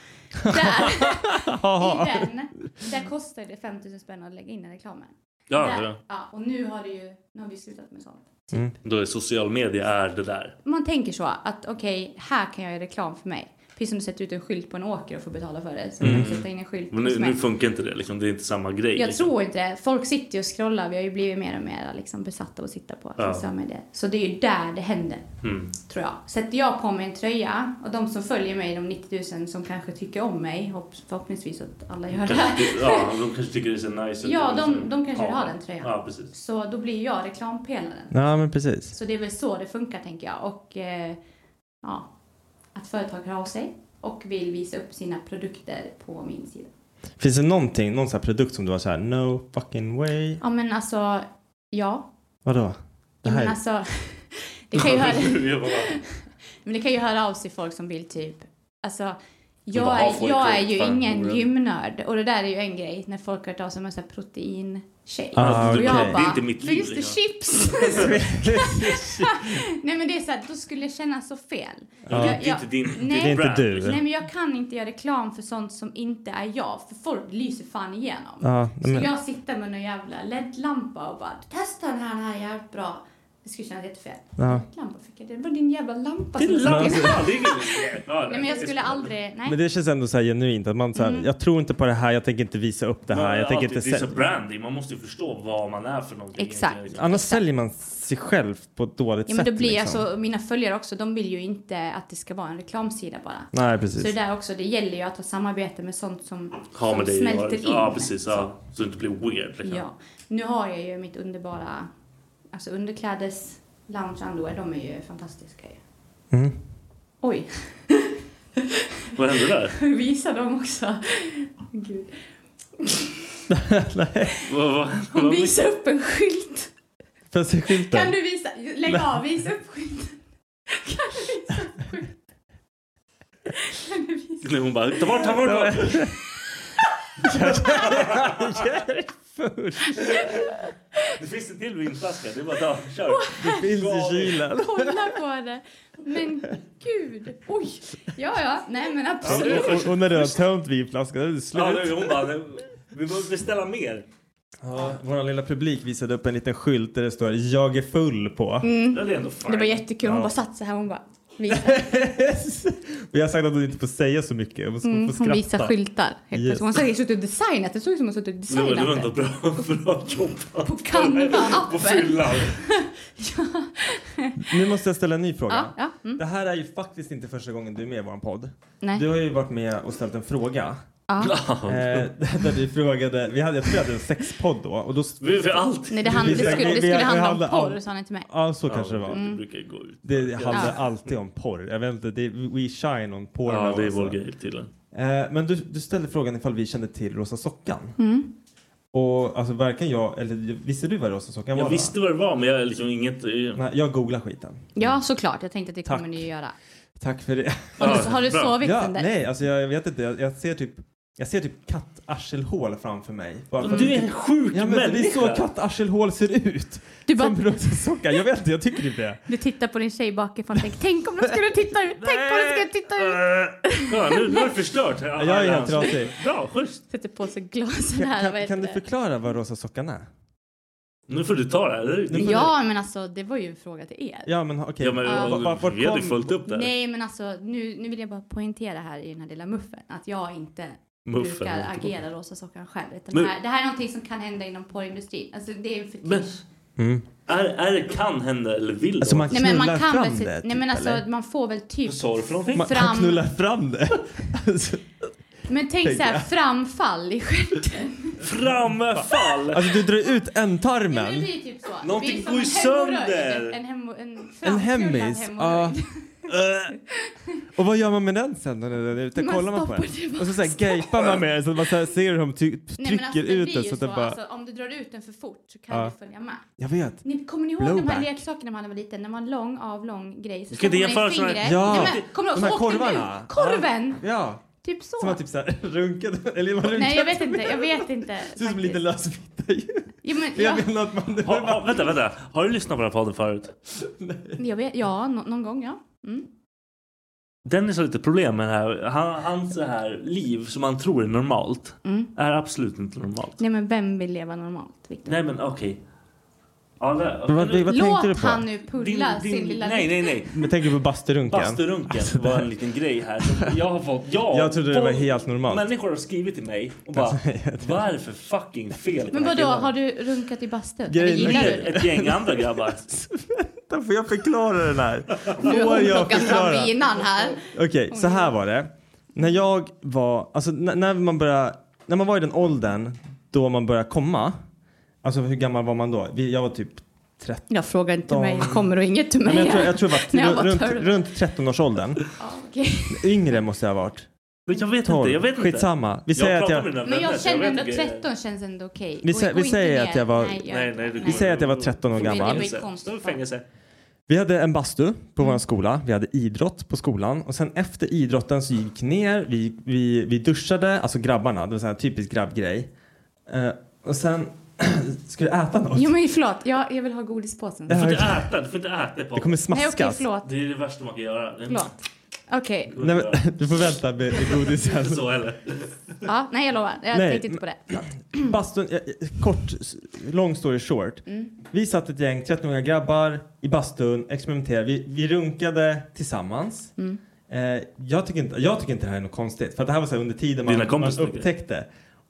Speaker 9: Haha.
Speaker 3: Där, i den, där kostar det 5000 spänn att lägga in den reklamen.
Speaker 1: Ja,
Speaker 3: där,
Speaker 1: ja.
Speaker 3: ja. Och nu har det ju, nu har vi slutat med sånt.
Speaker 9: Mm.
Speaker 1: Då är social media är det där.
Speaker 3: Man tänker så att okej, här kan jag göra reklam för mig. Precis som du sätter ut en skylt på en åker och får betala för det. Så mm.
Speaker 1: Mm.
Speaker 3: kan du sätta in en skylt
Speaker 1: Men
Speaker 3: hos
Speaker 1: nu,
Speaker 3: mig.
Speaker 1: nu funkar inte det. Liksom. Det är inte samma grej.
Speaker 3: Jag
Speaker 1: liksom.
Speaker 3: tror inte det. Folk sitter ju och scrollar. Vi har ju blivit mer och mer liksom besatta av att sitta på
Speaker 1: Ja.
Speaker 3: sociala medier. Så det är ju där det händer,
Speaker 1: Mm.
Speaker 3: tror jag. Sätter jag på mig en tröja och de som följer mig, de 90 000 som kanske tycker om mig, hopp- förhoppningsvis att alla gör det.
Speaker 1: Kanske- Ja, de kanske tycker det ser nice ut.
Speaker 3: Ja,
Speaker 1: Eller så-
Speaker 3: de, de kanske
Speaker 1: Ja.
Speaker 3: vill ha den tröjan.
Speaker 1: Ja, precis.
Speaker 3: Så då blir jag reklampelaren.
Speaker 9: Ja men precis.
Speaker 3: Så det är väl så det funkar, tänker jag. Och eh, ja, att företag hör av sig och vill visa upp sina produkter på min sida.
Speaker 9: Finns det någonting, någon sån här produkt som du var så här no fucking way?
Speaker 3: Ja, men alltså, ja.
Speaker 9: Vadå? Det här
Speaker 3: Men
Speaker 9: är
Speaker 3: alltså, det kan ju höra...
Speaker 1: Jag bara-
Speaker 3: Men det kan ju höra av sig folk som vill typ, alltså
Speaker 1: Men vad
Speaker 3: jag
Speaker 1: har
Speaker 3: är,
Speaker 1: "Ah, folk
Speaker 3: jag
Speaker 1: för
Speaker 3: är ju
Speaker 1: fan?
Speaker 3: ingen gymnörd och det där är ju en grej när folk har hört av sig med såhär proteintjej.
Speaker 1: Ah,
Speaker 3: och
Speaker 1: okej.
Speaker 3: jag
Speaker 1: Det är
Speaker 3: bara,
Speaker 1: inte mitt liv,
Speaker 3: finns det
Speaker 1: liksom."
Speaker 3: chips? nej men det är såhär, då skulle jag känna så fel.
Speaker 1: Ja, det är inte din- det är
Speaker 3: nej,
Speaker 9: inte brand, du. liksom.
Speaker 3: Nej men jag kan inte göra reklam för sånt som inte är jag, för folk lyser fan igenom.
Speaker 9: Ja,
Speaker 3: så
Speaker 9: men-
Speaker 3: jag sitter med någon jävla LED-lampa och bara, testa den här, den här är jävligt bra. Det skulle kännas jättefel.
Speaker 9: Ja.
Speaker 3: Lampa fick jag, det var din jävla lampa
Speaker 1: Det är
Speaker 3: som
Speaker 1: lampa,
Speaker 3: satt i-
Speaker 1: det är inget- Ja,
Speaker 3: Nej men jag skulle aldrig, nej.
Speaker 9: Men det känns ändå så här genuint att man så här,
Speaker 3: Mm.
Speaker 9: jag tror inte på det här, jag tänker inte visa upp det här, jag tänker inte
Speaker 1: alltid- Det är
Speaker 9: sälja.
Speaker 1: så branding. Man måste ju förstå vad man är för någonting.
Speaker 3: Exakt.
Speaker 1: egentligen.
Speaker 9: Annars säljer man sig själv på ett dåligt
Speaker 3: Ja
Speaker 9: sätt.
Speaker 3: men då blir
Speaker 9: liksom.
Speaker 3: alltså, mina följare också, de vill ju inte att det ska vara en reklamsida bara.
Speaker 9: Nej, precis.
Speaker 3: Så det där också, det gäller ju att ha samarbete med sånt som,
Speaker 1: Ha
Speaker 3: som
Speaker 1: med det att göra.
Speaker 3: smälter in.
Speaker 1: Ja, precis. Ja. Så det inte blir weird. Liksom.
Speaker 3: Ja. Nu har jag ju mitt underbara, alltså underklädes lounge underwear, de är ju fantastiska ju.
Speaker 9: Mm.
Speaker 3: Oj,
Speaker 1: Vad hände där?
Speaker 3: visa dem också. Gud.
Speaker 1: Vad- vad-
Speaker 3: Hon
Speaker 1: vad-
Speaker 3: visar upp en skylt.
Speaker 9: Får jag se skylten?
Speaker 3: Kan du visa? Lägg av, visa upp skylten. Kan du visa upp skylten? Kan du visa?
Speaker 1: Nej, hon bara, ta bort, ta bort, ta bort.
Speaker 9: Jag är full.
Speaker 1: Det finns en till vinflaska. Det är bara att ta. Kör.
Speaker 9: Det finns i kylen.
Speaker 3: Kolla på det. Men gud. Oj. Ja, ja. Nej, men absolut.
Speaker 9: Och, och när du har tömt vinflaskan, då är det slut.
Speaker 1: Ja, nu, hon bara, nu- vi behöver beställa mer.
Speaker 9: Ja, Vår lilla publik visade upp en liten skylt där det står “Jag är full” på.
Speaker 3: Mm.
Speaker 1: Det är ändå fine.
Speaker 3: Det var jättekul. Hon
Speaker 9: Ja.
Speaker 3: bara satt så här. Hon bara visar.
Speaker 9: Vi har sagt att hon inte får säga så mycket. Hon,
Speaker 3: Mm,
Speaker 9: får
Speaker 3: hon
Speaker 9: skratta.
Speaker 3: visar skyltar. Helt
Speaker 9: Yes.
Speaker 3: plötsligt. Hon har säkert suttit och designat. Det såg ut som hon suttit och
Speaker 1: Det var, det var
Speaker 3: designat
Speaker 1: ändå
Speaker 3: det.
Speaker 1: bra, bra jobbat.
Speaker 3: På Canva-appen.
Speaker 1: På fyllan.
Speaker 9: Nu måste jag ställa en ny fråga.
Speaker 3: Ja, ja. Mm.
Speaker 9: Det här är ju faktiskt inte första gången du är med i vår podd.
Speaker 3: Nej.
Speaker 9: Du har ju varit med och ställt en fråga.
Speaker 3: Ja.
Speaker 9: Eh, där du frågade, vi hade, jag tror jag hade en sexpodd då. Och då
Speaker 1: Vi för allt.
Speaker 3: Nej, det, hand, det skulle,
Speaker 9: Vi-
Speaker 3: det
Speaker 9: vi
Speaker 3: skulle handla om
Speaker 9: handlar om-
Speaker 3: porr, sa han Mm. till mig.
Speaker 9: ja, så kanske det var.
Speaker 1: Mm. Det brukar ju gå ut.
Speaker 9: Det handlar
Speaker 3: Ja.
Speaker 9: alltid om porr. Jag vet inte, det är, we shine on porr.
Speaker 1: Ja,
Speaker 9: now,
Speaker 1: det är vår
Speaker 9: alltså.
Speaker 1: grej tydligen.
Speaker 9: Eh, men du, du ställde frågan ifall vi kände till Rosa Sockan.
Speaker 3: Mm.
Speaker 9: Och alltså varken jag, eller visste du vad Rosa Sockan var? va?
Speaker 1: Jag visste vad det var, men jag är liksom inget...
Speaker 9: Nej, jag googlar skiten.
Speaker 3: Ja, såklart. Jag tänkte att det
Speaker 9: Tack.
Speaker 3: kommer ni ju göra.
Speaker 9: Tack för det.
Speaker 3: Har du, har du
Speaker 1: bra.
Speaker 3: sovit
Speaker 9: Ja,
Speaker 3: sen dess?
Speaker 9: nej, alltså jag, jag vet inte. Jag, jag ser typ jag ser typ kattarselhål framför mig. Bara för att-
Speaker 1: Du är en sjuk
Speaker 9: Ja, men det är så
Speaker 1: människa.
Speaker 9: kattarselhål ser ut.
Speaker 3: Du bara-
Speaker 9: Som rosa sockar. Jag vet inte, jag tycker inte det.
Speaker 3: Du tittar på din tjej bakifrån och tänker tänk om de skulle titta ut, tänk om de skulle titta ut.
Speaker 1: Ja, nu, nu har du förstört. Ja,
Speaker 9: Jag är helt trasig.
Speaker 1: Bra, schysst.
Speaker 3: Sätter på sig glasen här.
Speaker 9: Kan,
Speaker 3: vad
Speaker 9: kan,
Speaker 3: heter
Speaker 9: kan du
Speaker 3: det?
Speaker 9: förklara vad rosa sockan är?
Speaker 1: Nu får du ta det här. Det är-
Speaker 9: Nu får
Speaker 3: Ja, men alltså det var ju en fråga till er.
Speaker 9: Ja, men ha- okej.
Speaker 1: Ja, men,
Speaker 3: Ja.
Speaker 9: Va- va- vart
Speaker 1: vi hade
Speaker 9: kom-
Speaker 1: följt upp det här.
Speaker 3: Nej, men alltså nu, nu vill jag bara poängtera här i den här lilla muffen att jag inte
Speaker 1: Muffen,
Speaker 3: brukar
Speaker 1: inte
Speaker 3: agera rosa sockan själv. Utan
Speaker 1: Men-
Speaker 3: det, här, det här är någonting som kan hända inom porrindustrin. Alltså det är en fetisch.
Speaker 1: Men är, är det kan hända eller vill det?
Speaker 9: Mm. Alltså, man-
Speaker 3: Nej men man
Speaker 9: knullar
Speaker 3: kan
Speaker 9: fram
Speaker 3: väl se,
Speaker 9: det,
Speaker 3: Nej
Speaker 9: typ,
Speaker 3: men alltså
Speaker 9: eller?
Speaker 3: man får väl typ
Speaker 1: Vad sa du för någonting?
Speaker 9: Man kan
Speaker 3: Fram.
Speaker 9: knulla fram det. Alltså,
Speaker 3: Men tänk
Speaker 9: tänker
Speaker 3: så här
Speaker 9: jag.
Speaker 3: framfall i stjärten.
Speaker 1: Framfall!
Speaker 9: alltså du drar ut
Speaker 3: Nej, men det
Speaker 9: ändtarmen.
Speaker 3: blir typ så. Det blir
Speaker 1: Någonting
Speaker 3: som
Speaker 1: går
Speaker 3: en
Speaker 1: ju
Speaker 3: hemorrojd.
Speaker 1: sönder.
Speaker 3: En, hemo,
Speaker 9: En
Speaker 3: en, framknullad
Speaker 9: hemmis. Ja.
Speaker 3: hemorrojd.
Speaker 1: Eh,
Speaker 9: Och vad gör man med den sen när den är ute?
Speaker 3: Man
Speaker 9: Kollar man på den?
Speaker 3: stoppar det bara.
Speaker 9: Och så, så här, gapar man med den så att man så här, ser hur de ty-
Speaker 3: Nej,
Speaker 9: trycker
Speaker 3: men alltså, det
Speaker 9: ut
Speaker 3: blir
Speaker 9: den
Speaker 3: ju
Speaker 9: så att
Speaker 3: så,
Speaker 9: den bara...
Speaker 3: alltså, om du drar ut den för fort så kan
Speaker 9: Ja.
Speaker 3: du följa med.
Speaker 9: Jag vet.
Speaker 3: Ni, kommer ni ihåg de här
Speaker 9: Blowback.
Speaker 3: leksakerna man var liten? När man var lång avlång grej så
Speaker 9: Ska
Speaker 3: slog
Speaker 9: det
Speaker 3: man i
Speaker 9: jämföra så här-
Speaker 3: fingret.
Speaker 9: Ja.
Speaker 3: Nej, men, kommer du ihåg?
Speaker 9: De här
Speaker 3: Så åkte den
Speaker 9: korvarna.
Speaker 3: ut. Korven!
Speaker 9: Ja.
Speaker 3: Typ så.
Speaker 9: Som man typ så här runkade. Eller man runkade.
Speaker 3: Nej jag vet inte, jag vet inte.
Speaker 9: Det ser ut som en liten lösbit.
Speaker 3: Jo, men,
Speaker 9: Jag
Speaker 3: jag,
Speaker 9: menar att man...
Speaker 1: Ha, ha, vänta, vänta. Har du lyssnat på den här podden förut?
Speaker 3: jag vet, ja, nå- någon gång ja. Mm.
Speaker 1: Dennis har lite problem med det här. Han, hans så här liv som han tror är normalt
Speaker 3: Mm.
Speaker 1: är absolut inte normalt.
Speaker 3: Nej men vem vill leva normalt? Victor?
Speaker 1: Nej men okej. Alla-
Speaker 9: Men vad- vad tänkte
Speaker 3: Låt
Speaker 9: du på?
Speaker 3: han nu pulla sin lilla
Speaker 1: Nej, nej, nej.
Speaker 9: Men tänker du på basturunken?
Speaker 1: Basturunken var en liten grej här som jag har fått. Ja,
Speaker 9: Alltså, Jag trodde det var
Speaker 1: folk-
Speaker 9: helt normalt. Alltså,
Speaker 1: Människor har skrivit till mig och bara varför fucking fel på
Speaker 3: Men
Speaker 1: den här
Speaker 3: vadå,
Speaker 1: killen?"
Speaker 3: har du runkat i bastun? Eller
Speaker 1: Grejen
Speaker 3: gillar
Speaker 1: med
Speaker 3: du det?
Speaker 1: ett gäng andra grabbar.
Speaker 9: Vänta, får jag förklara den här?
Speaker 3: Nu
Speaker 9: Får jag
Speaker 3: plockas fram
Speaker 9: förklara?
Speaker 3: vinan här.
Speaker 9: Okej, så här var det. När jag var, alltså n- när man började, när man var i den åldern då man började komma, alltså hur gammal var man då? Vi- Jag var typ 13.
Speaker 3: Jag frågar inte mig,
Speaker 9: De-
Speaker 3: kommer och inget till
Speaker 9: Nej,
Speaker 3: mig.
Speaker 9: men jag tror, jag tror
Speaker 3: När jag
Speaker 9: jag
Speaker 3: var
Speaker 9: var runt,
Speaker 3: 12.
Speaker 9: runt 13-årsåldern.
Speaker 3: Okej.
Speaker 9: Yngre måste jag ha varit.
Speaker 1: Men jag vet
Speaker 9: Tolv.
Speaker 1: inte, jag vet inte.
Speaker 9: Skitsamma. Vi säger att
Speaker 1: pratar
Speaker 9: jag-
Speaker 1: med mina
Speaker 3: Men
Speaker 1: vänner,
Speaker 3: jag
Speaker 1: så
Speaker 3: känner
Speaker 1: vet
Speaker 3: ändå
Speaker 1: inte grejer.
Speaker 3: 13 känns ändå okej.
Speaker 9: Vi
Speaker 3: Gå-
Speaker 9: sä-
Speaker 3: gå
Speaker 9: vi
Speaker 3: inte
Speaker 9: säger
Speaker 3: ner.
Speaker 9: att jag var-
Speaker 3: Nej, gör
Speaker 1: Nej,
Speaker 3: inte
Speaker 1: nej, det
Speaker 3: det.
Speaker 1: går
Speaker 9: Vi säger att jag var 13 år
Speaker 3: Det blir-
Speaker 9: gammal.
Speaker 3: Det blir konstigt. Mm.
Speaker 1: Fängelse.
Speaker 9: Vi hade en bastu på vår skola. Vi hade idrott på skolan och sen efter idrotten så gick ner. Vi, vi, vi duschade, alltså grabbarna. Det var en sån här typisk grabbgrej. Eh, och sen ska du äta något?
Speaker 3: Jo men förlåt, jag, jag vill ha godispåsen.
Speaker 1: Du får inte äta, du får inte äta på.
Speaker 9: Det kommer
Speaker 3: Nej okej,
Speaker 9: smaskas.
Speaker 3: förlåt.
Speaker 1: Det är det värsta man kan göra. Det är
Speaker 3: Förlåt. Okej,
Speaker 9: Nej, men, du får vänta med med godisen.
Speaker 1: inte så heller.
Speaker 3: ja, nej jag lovar. Jag
Speaker 9: Nej,
Speaker 3: tänkte inte på det. Förlåt.
Speaker 9: Bastun, eh, eh, kort, s- lång story short.
Speaker 3: Mm.
Speaker 9: Vi satt ett gäng 13-åriga grabbar i bastun, experimenterade. Vi, vi runkade tillsammans.
Speaker 3: Mm.
Speaker 9: Eh, jag, tycker inte, jag tycker inte det här är något konstigt. För att det här var så här under tiden
Speaker 1: Dina
Speaker 9: man, man
Speaker 1: kompisar tycker det.
Speaker 9: upptäckte.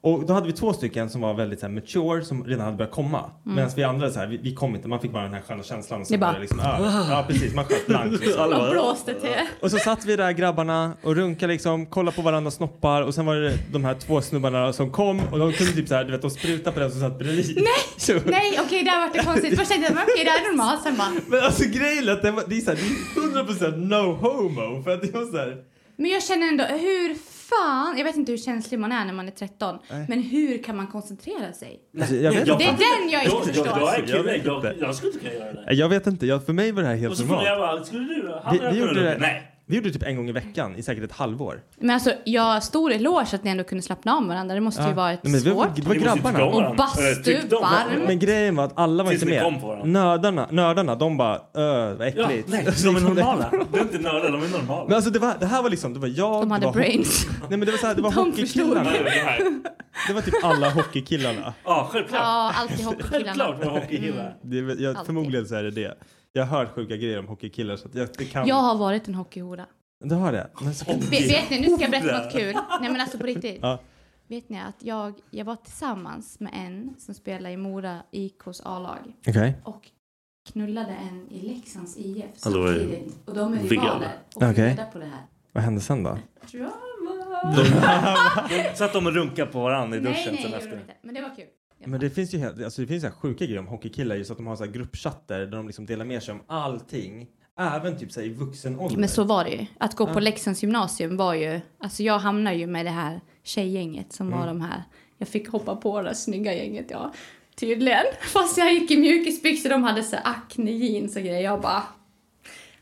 Speaker 9: Och då hade vi två stycken som var väldigt så här, mature som redan hade börjat komma.
Speaker 1: Mm.
Speaker 9: Medan vi andra så här, vi, vi kom inte. Man fick bara den här sköna känslan. Och så
Speaker 3: Ni bara-
Speaker 9: var det liksom, över. ja, precis. Man sköt blankt. Liksom.
Speaker 1: Alla
Speaker 3: Och
Speaker 1: bara,
Speaker 3: blåste till.
Speaker 9: Och så satt vi där grabbarna och runkade liksom, kollade på varandras snoppar och sen var det de här två snubbarna som kom och de kunde typ så här, du vet, de sprutade på den som satt bredvid. Nej! Så,
Speaker 3: Nej okej, där vart det konstigt. Först tänkte jag men okej, det här är normalt. Sen bara,
Speaker 9: Men alltså grejen är att det, var, det är så här, det är 100% no homo för att det var så här,
Speaker 3: men jag känner ändå hur fan, jag vet inte hur känslig man är när man är 13.
Speaker 9: Nej.
Speaker 3: Men hur kan man koncentrera sig?
Speaker 9: alltså, jag, vet,
Speaker 3: Det är den jag
Speaker 1: Jag,
Speaker 3: inte
Speaker 1: jag, är
Speaker 3: förstår.
Speaker 1: kille,
Speaker 9: vet
Speaker 1: jag,
Speaker 9: inte.
Speaker 1: jag skulle inte kunna göra det.
Speaker 9: Nej, jag vet inte, jag, för mig var det här
Speaker 1: Och
Speaker 9: helt
Speaker 1: så frågade
Speaker 9: normalt.
Speaker 1: jag bara, skulle du? Han
Speaker 9: Vi,
Speaker 1: hade
Speaker 9: vi, gjorde
Speaker 1: kunnat-
Speaker 9: det,
Speaker 1: Nej.
Speaker 9: vi gjorde det typ en gång i veckan i säkert ett halvår.
Speaker 3: Men alltså, jag stor eloge att ni ändå kunde slappna av varandra. Det måste ju
Speaker 9: Ja.
Speaker 3: vara ett
Speaker 9: Nej, men vi var-
Speaker 3: svårt.
Speaker 9: det var
Speaker 1: Ni måste inte
Speaker 9: grabbarna.
Speaker 1: gå varandra.
Speaker 3: Och bastu,
Speaker 1: Eh, tyckte de-
Speaker 3: varm.
Speaker 9: Men grejen var att alla var
Speaker 1: Tills
Speaker 9: inte
Speaker 1: ni kom på
Speaker 9: med.
Speaker 1: varandra.
Speaker 9: Nördarna, nördarna, de bara öh vad
Speaker 1: Ja,
Speaker 9: äckligt.
Speaker 1: nej,
Speaker 9: Så
Speaker 1: de är
Speaker 9: liksom det-
Speaker 1: normala. De är inte nördar, de är
Speaker 9: Men
Speaker 1: normala.
Speaker 9: alltså det, var, det här var liksom, det var jag,
Speaker 3: De
Speaker 9: det
Speaker 3: hade
Speaker 9: var
Speaker 3: brains.
Speaker 9: Nej men det var så här, det var
Speaker 3: De
Speaker 9: hockeykillarna.
Speaker 1: Nej, det här-
Speaker 9: Det var typ alla hockeykillarna. Mm.
Speaker 1: Ja, självklart.
Speaker 3: Ja, alltid hockeykillarna.
Speaker 1: Självklart var hockeykillar.
Speaker 9: Det, är väl- jag,
Speaker 3: Alltid.
Speaker 9: förmodligen så är det det. Jag har hört sjuka grejer om hockeykillar så att jag, det kan...
Speaker 3: Jag har varit en hockeyhora.
Speaker 9: Du har det? Men så kan...
Speaker 3: Vet, vet ni, nu ska jag berätta något kul. Nej men alltså på riktigt.
Speaker 9: Ja.
Speaker 3: Vet ni att jag, jag var tillsammans med en som spelar i Mora IKs A-lag
Speaker 9: Okej.
Speaker 3: och knullade en i Leksands IF
Speaker 1: Alltså, det var ju
Speaker 3: samtidigt. Och de är
Speaker 1: vilka
Speaker 3: rivaler och
Speaker 9: jävla-
Speaker 3: får
Speaker 9: Okej.
Speaker 3: reda på det här.
Speaker 9: Vad hände sen då?
Speaker 1: Så att de runkar på varandra i
Speaker 3: Nej,
Speaker 1: duschen
Speaker 3: nej,
Speaker 1: sen
Speaker 3: jag gjorde
Speaker 1: efter.
Speaker 3: inte. Men det var kul. Jag
Speaker 9: Men
Speaker 3: bara,
Speaker 9: det finns ju helt, alltså det finns så här sjuka grejer om hockeykillar just att de har så här gruppchatter där de liksom delar med sig om allting. Även typ så här i vuxen ålder.
Speaker 3: Men så var det ju. Att gå på
Speaker 9: Ja.
Speaker 3: Leksands gymnasium var ju... Alltså jag hamnade ju med det här tjejgänget som var
Speaker 9: Mm.
Speaker 3: de här... Jag fick hoppa på det här snygga gänget, ja. Tydligen. Fast jag gick i mjukisbyxor, de hade så här acne jeans och grejer. Jag bara...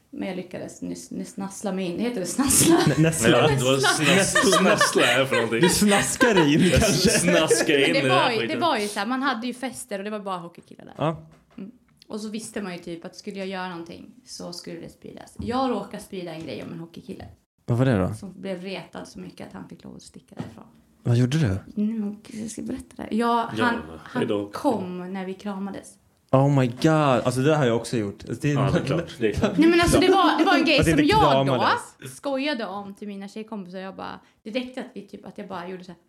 Speaker 3: Men jag lyckades nyss, nyss snassla mig in. Heter det snassla?
Speaker 1: Nej,
Speaker 9: Nässla.
Speaker 1: det var snass- snassla här för någonting.
Speaker 9: Du snaskar in
Speaker 1: Jag
Speaker 9: kanske?
Speaker 1: snaskar in
Speaker 3: Men
Speaker 1: i
Speaker 3: det
Speaker 1: den
Speaker 3: var
Speaker 1: här
Speaker 3: ju, det
Speaker 1: skiten.
Speaker 3: var ju så här, man hade ju fester och det var bara hockeykillar där. Mm.
Speaker 9: Ja.
Speaker 3: Och så visste man ju typ att skulle jag göra någonting så skulle det spridas. Jag råkade sprida en grej om en hockeykille
Speaker 9: Vad var det då?
Speaker 3: som blev retad så mycket att han fick lov att sticka därifrån.
Speaker 9: Vad gjorde du?
Speaker 3: Nu, jag ska berätta det här. Ja,
Speaker 1: Ja,
Speaker 3: han,
Speaker 1: hejdå.
Speaker 3: han kom när vi kramades.
Speaker 9: Oh my god. Alltså det har jag också gjort. Alltså, det är-
Speaker 1: Ja, det är klart. Det är klart.
Speaker 3: Nej men alltså det var, det var en grej
Speaker 9: Att
Speaker 3: som
Speaker 9: inte
Speaker 3: jag då
Speaker 9: kramades.
Speaker 3: skojade om till mina tjejkompisar. Jag bara, det räckte att vi typ, att jag bara gjorde så här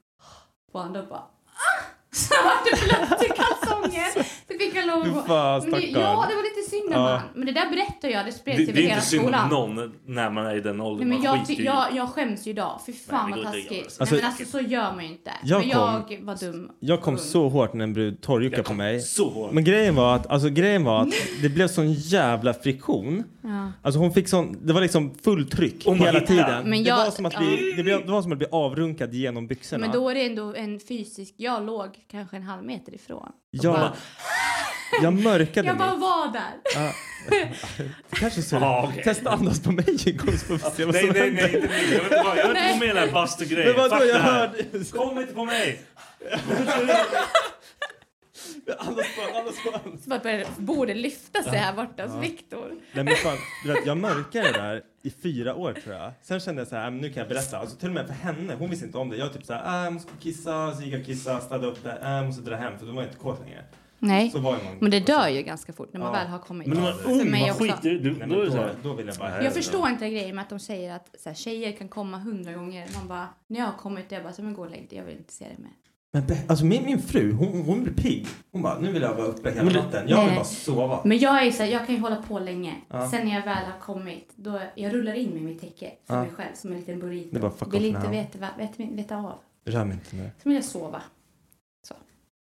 Speaker 3: på andra och bara ah! Så vart det blött i kalsongen. Så fick jag lov
Speaker 9: Fy
Speaker 3: att...
Speaker 9: fan,
Speaker 3: Men det-
Speaker 9: stackarn.
Speaker 3: Ja, det var lite synd om
Speaker 1: Ja.
Speaker 3: han. Men det där berättar jag, det
Speaker 1: Det,
Speaker 3: spreds över
Speaker 1: det är
Speaker 3: hela
Speaker 1: inte synd
Speaker 3: skolan.
Speaker 1: om någon när man är i den åldern.
Speaker 3: Nej, men
Speaker 1: man
Speaker 3: jag,
Speaker 1: skiter
Speaker 3: ty-
Speaker 1: ju i-
Speaker 3: jag, jag skäms ju idag. Fy fan
Speaker 1: Nej, det
Speaker 3: vad
Speaker 1: går inte att göra
Speaker 3: taskigt.
Speaker 1: så.
Speaker 3: Nej, men
Speaker 9: Alltså,
Speaker 3: alltså så gör man ju inte.
Speaker 9: jag
Speaker 3: men
Speaker 9: kom-
Speaker 3: jag var dum.
Speaker 9: Jag kom så hårt när en brud torrjuckade på mig. Men grejen var att, alltså, grejen var att det blev sån jävla friktion.
Speaker 3: Ja.
Speaker 9: Alltså hon fick sån, det var liksom fulltryck
Speaker 1: man
Speaker 9: hela
Speaker 1: hittar.
Speaker 9: tiden.
Speaker 3: Men
Speaker 9: det,
Speaker 3: jag-
Speaker 9: var som att bli, det, blev, det var som att bli avrunkad genom byxorna.
Speaker 3: Men då är det ändå en fysisk... Jag låg kanske en halv meter ifrån.
Speaker 9: jag, jag mörkade
Speaker 3: Jag bara
Speaker 9: mitt.
Speaker 3: var där.
Speaker 9: Ja. Kanske så.
Speaker 1: Ja, okej.
Speaker 9: Testa andas på mig igår så får vi se vad
Speaker 1: Alltså, Nej,
Speaker 9: som
Speaker 1: nej, nej,
Speaker 9: händer.
Speaker 1: inte mig. Jag vet inte vad- jag vet inte vad med den här
Speaker 9: Men
Speaker 1: bastugrejen.
Speaker 9: vadå, jag
Speaker 1: Fuck det här.
Speaker 9: hörde-
Speaker 1: Kom inte på mig!
Speaker 9: Andas på, andas på.
Speaker 3: Så att det borde lyfta sig här borta hos Viktor.
Speaker 9: Nej, men fan, du vet, jag mörkade det där i fyra år tror jag. Sen kände jag så här, "Ah, men nu kan jag berätta. Alltså, till och med för henne, hon visste inte om det. Jag typ så här, "Ah, jag måste kissa, så gick jag och kissade, städade upp det, "Ah, jag måste dra hem för då var jag inte kåt längre.
Speaker 3: Nej.
Speaker 9: Så var ju man.
Speaker 3: Men det dör ju ganska fort när man
Speaker 9: Ja.
Speaker 3: väl har kommit.
Speaker 9: Men när man är
Speaker 3: För
Speaker 9: ung,
Speaker 3: mig
Speaker 9: man
Speaker 3: också.
Speaker 9: skiter ju- du- Nej, men då är det så här- då vill jag bara- Jag
Speaker 3: Jag förstår inte grejen med att de säger att så här, tjejer kan komma hundra gånger. Man bara, när jag har kommit, jag bara, så men gå och lägg dig, jag vill inte se dig mer.
Speaker 9: Men be- alltså min, min fru, hon, hon blir pigg. Hon bara, nu vill jag vara uppe hela
Speaker 1: Men det-
Speaker 9: natten. Jag vill
Speaker 3: Nej.
Speaker 9: bara sova.
Speaker 3: Eh, Men jag är ju så här, jag kan ju hålla på länge.
Speaker 9: Ja.
Speaker 3: Sen när jag väl har kommit, då jag rullar in mig i mitt täcke för
Speaker 9: Ja.
Speaker 3: mig själv som en liten burrito.
Speaker 9: Det är bara, fuck
Speaker 3: vill
Speaker 9: off
Speaker 3: inte
Speaker 9: now.
Speaker 3: veta, va- veta, veta av.
Speaker 9: Rör mig inte nu.
Speaker 3: Så vill jag sova.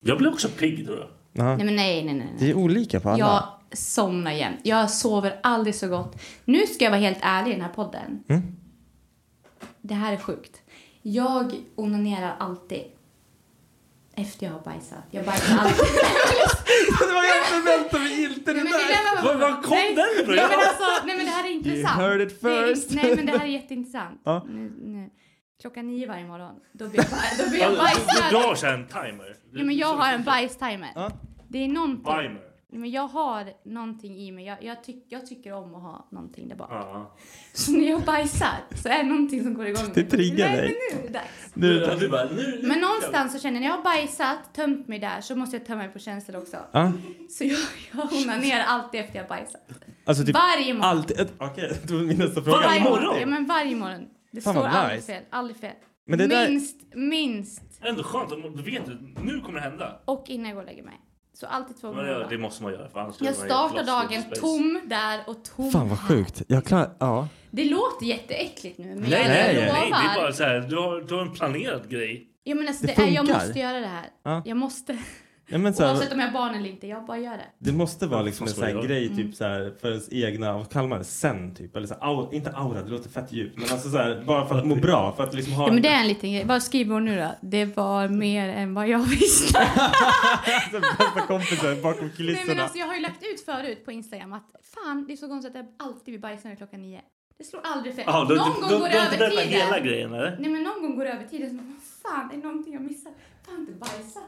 Speaker 1: Jag blir också pigg tror jag.
Speaker 9: Ja.
Speaker 3: Nej men nej, nej, nej. nej.
Speaker 9: Det är olika på alla.
Speaker 3: Jag somnar jämt. Jag sover aldrig så gott. Nu ska jag vara helt ärlig i den här podden.
Speaker 9: Mm.
Speaker 3: Det här är sjukt. Jag onanerar alltid. Efter jag har bajsat. Jag bajsar alltid.
Speaker 9: det var jag förväntade mig inte det
Speaker 3: Nej, men det där
Speaker 9: Var- var kom
Speaker 3: nej,
Speaker 9: den ifrån?
Speaker 3: nej, men alltså, nej men det här är intressant.
Speaker 9: heard it
Speaker 3: Det är in-
Speaker 9: first.
Speaker 3: nej men det här är jätteintressant.
Speaker 9: Ja.
Speaker 3: Nu, nu. Klockan nio varje morgon. Då blir jag, baj- då blir jag
Speaker 1: Alltså, Du
Speaker 3: bajsad.
Speaker 1: drar såhär en timer.
Speaker 3: Ja, men jag har en bajstimer. Det är någonting.
Speaker 1: Timer.
Speaker 3: Nej, Men jag har någonting i mig. Jag, jag, tyck, jag tycker om att ha någonting där bak.
Speaker 1: Ja.
Speaker 3: Så när jag bajsar så är det någonting som går igång.
Speaker 9: Det triggar
Speaker 3: Nej,
Speaker 9: dig.
Speaker 3: Men, nu är det dags.
Speaker 9: Nu,
Speaker 1: Ja, du bara, nu...
Speaker 3: men någonstans så känner jag när jag har bajsat, tömt mig där, så måste jag tömma mig på känslor också.
Speaker 9: Ja.
Speaker 3: Så jag, jag onanerar alltid efter jag har bajsat.
Speaker 9: Alltså typ
Speaker 3: Varje morgon.
Speaker 9: alltid. ett- Okej, det var min nästa fråga.
Speaker 3: Ja, men varje morgon. Det
Speaker 9: Fan,
Speaker 3: står
Speaker 9: vad
Speaker 3: aldrig
Speaker 9: nice.
Speaker 3: fel. Aldrig fel.
Speaker 9: Men det där-
Speaker 3: minst, minst.
Speaker 1: Ändå skönt, om du vet att nu kommer det hända.
Speaker 3: Och innan jag går och lägger mig. Så alltid två
Speaker 1: Men
Speaker 3: gånger. om
Speaker 1: det, det
Speaker 3: dagen.
Speaker 1: måste man göra för annars
Speaker 3: Jag
Speaker 1: blir man
Speaker 3: startar
Speaker 1: helt lost in
Speaker 3: dagen
Speaker 1: space.
Speaker 3: tom där och tom
Speaker 9: Fan vad
Speaker 3: här.
Speaker 9: sjukt. Jag klarar, ja.
Speaker 3: Det låter jätteäckligt nu, men
Speaker 1: Nej,
Speaker 3: jag
Speaker 1: nej,
Speaker 3: lovar.
Speaker 1: nej, det är bara såhär, du har, du har en planerad grej.
Speaker 3: Jag menar, alltså,
Speaker 9: Det
Speaker 3: det är, jag
Speaker 9: funkar.
Speaker 3: måste göra det här.
Speaker 9: Ja.
Speaker 3: Jag måste.
Speaker 9: ja men så
Speaker 3: Oavsett
Speaker 9: här,
Speaker 3: om jag har barn eller inte, jag bara gör det. Mm.
Speaker 9: det måste vara liksom en
Speaker 1: Vad
Speaker 9: sån
Speaker 1: ska jag
Speaker 9: här
Speaker 1: göra?
Speaker 9: grej typ så här för ens egna, vad kallar man det, sen typ? Eller så här, au, inte aura, det låter fett djupt. Men alltså så här, bara för att må bra. För att liksom ha
Speaker 3: Ja, men det är en liten grej. Vad skriver hon nu då? Det var mer än vad jag visste.
Speaker 9: alltså, bästa kompisen bakom
Speaker 3: Nej, men
Speaker 9: kulisserna.
Speaker 3: alltså, jag har ju lagt ut förut på Instagram att fan, det är så konstigt att jag alltid blir bajsnödig klockan nio. Det slår aldrig fel.
Speaker 1: Jaha, du
Speaker 3: någon
Speaker 1: har
Speaker 3: gång
Speaker 1: inte-
Speaker 3: går
Speaker 1: du- du
Speaker 3: det
Speaker 1: har inte
Speaker 3: över
Speaker 1: berättat
Speaker 3: tiden.
Speaker 1: hela grejen eller?
Speaker 3: Nej, men någon gång går det över tiden. Så man, vad fan, är det någonting jag missar? Fan, inte bajsa.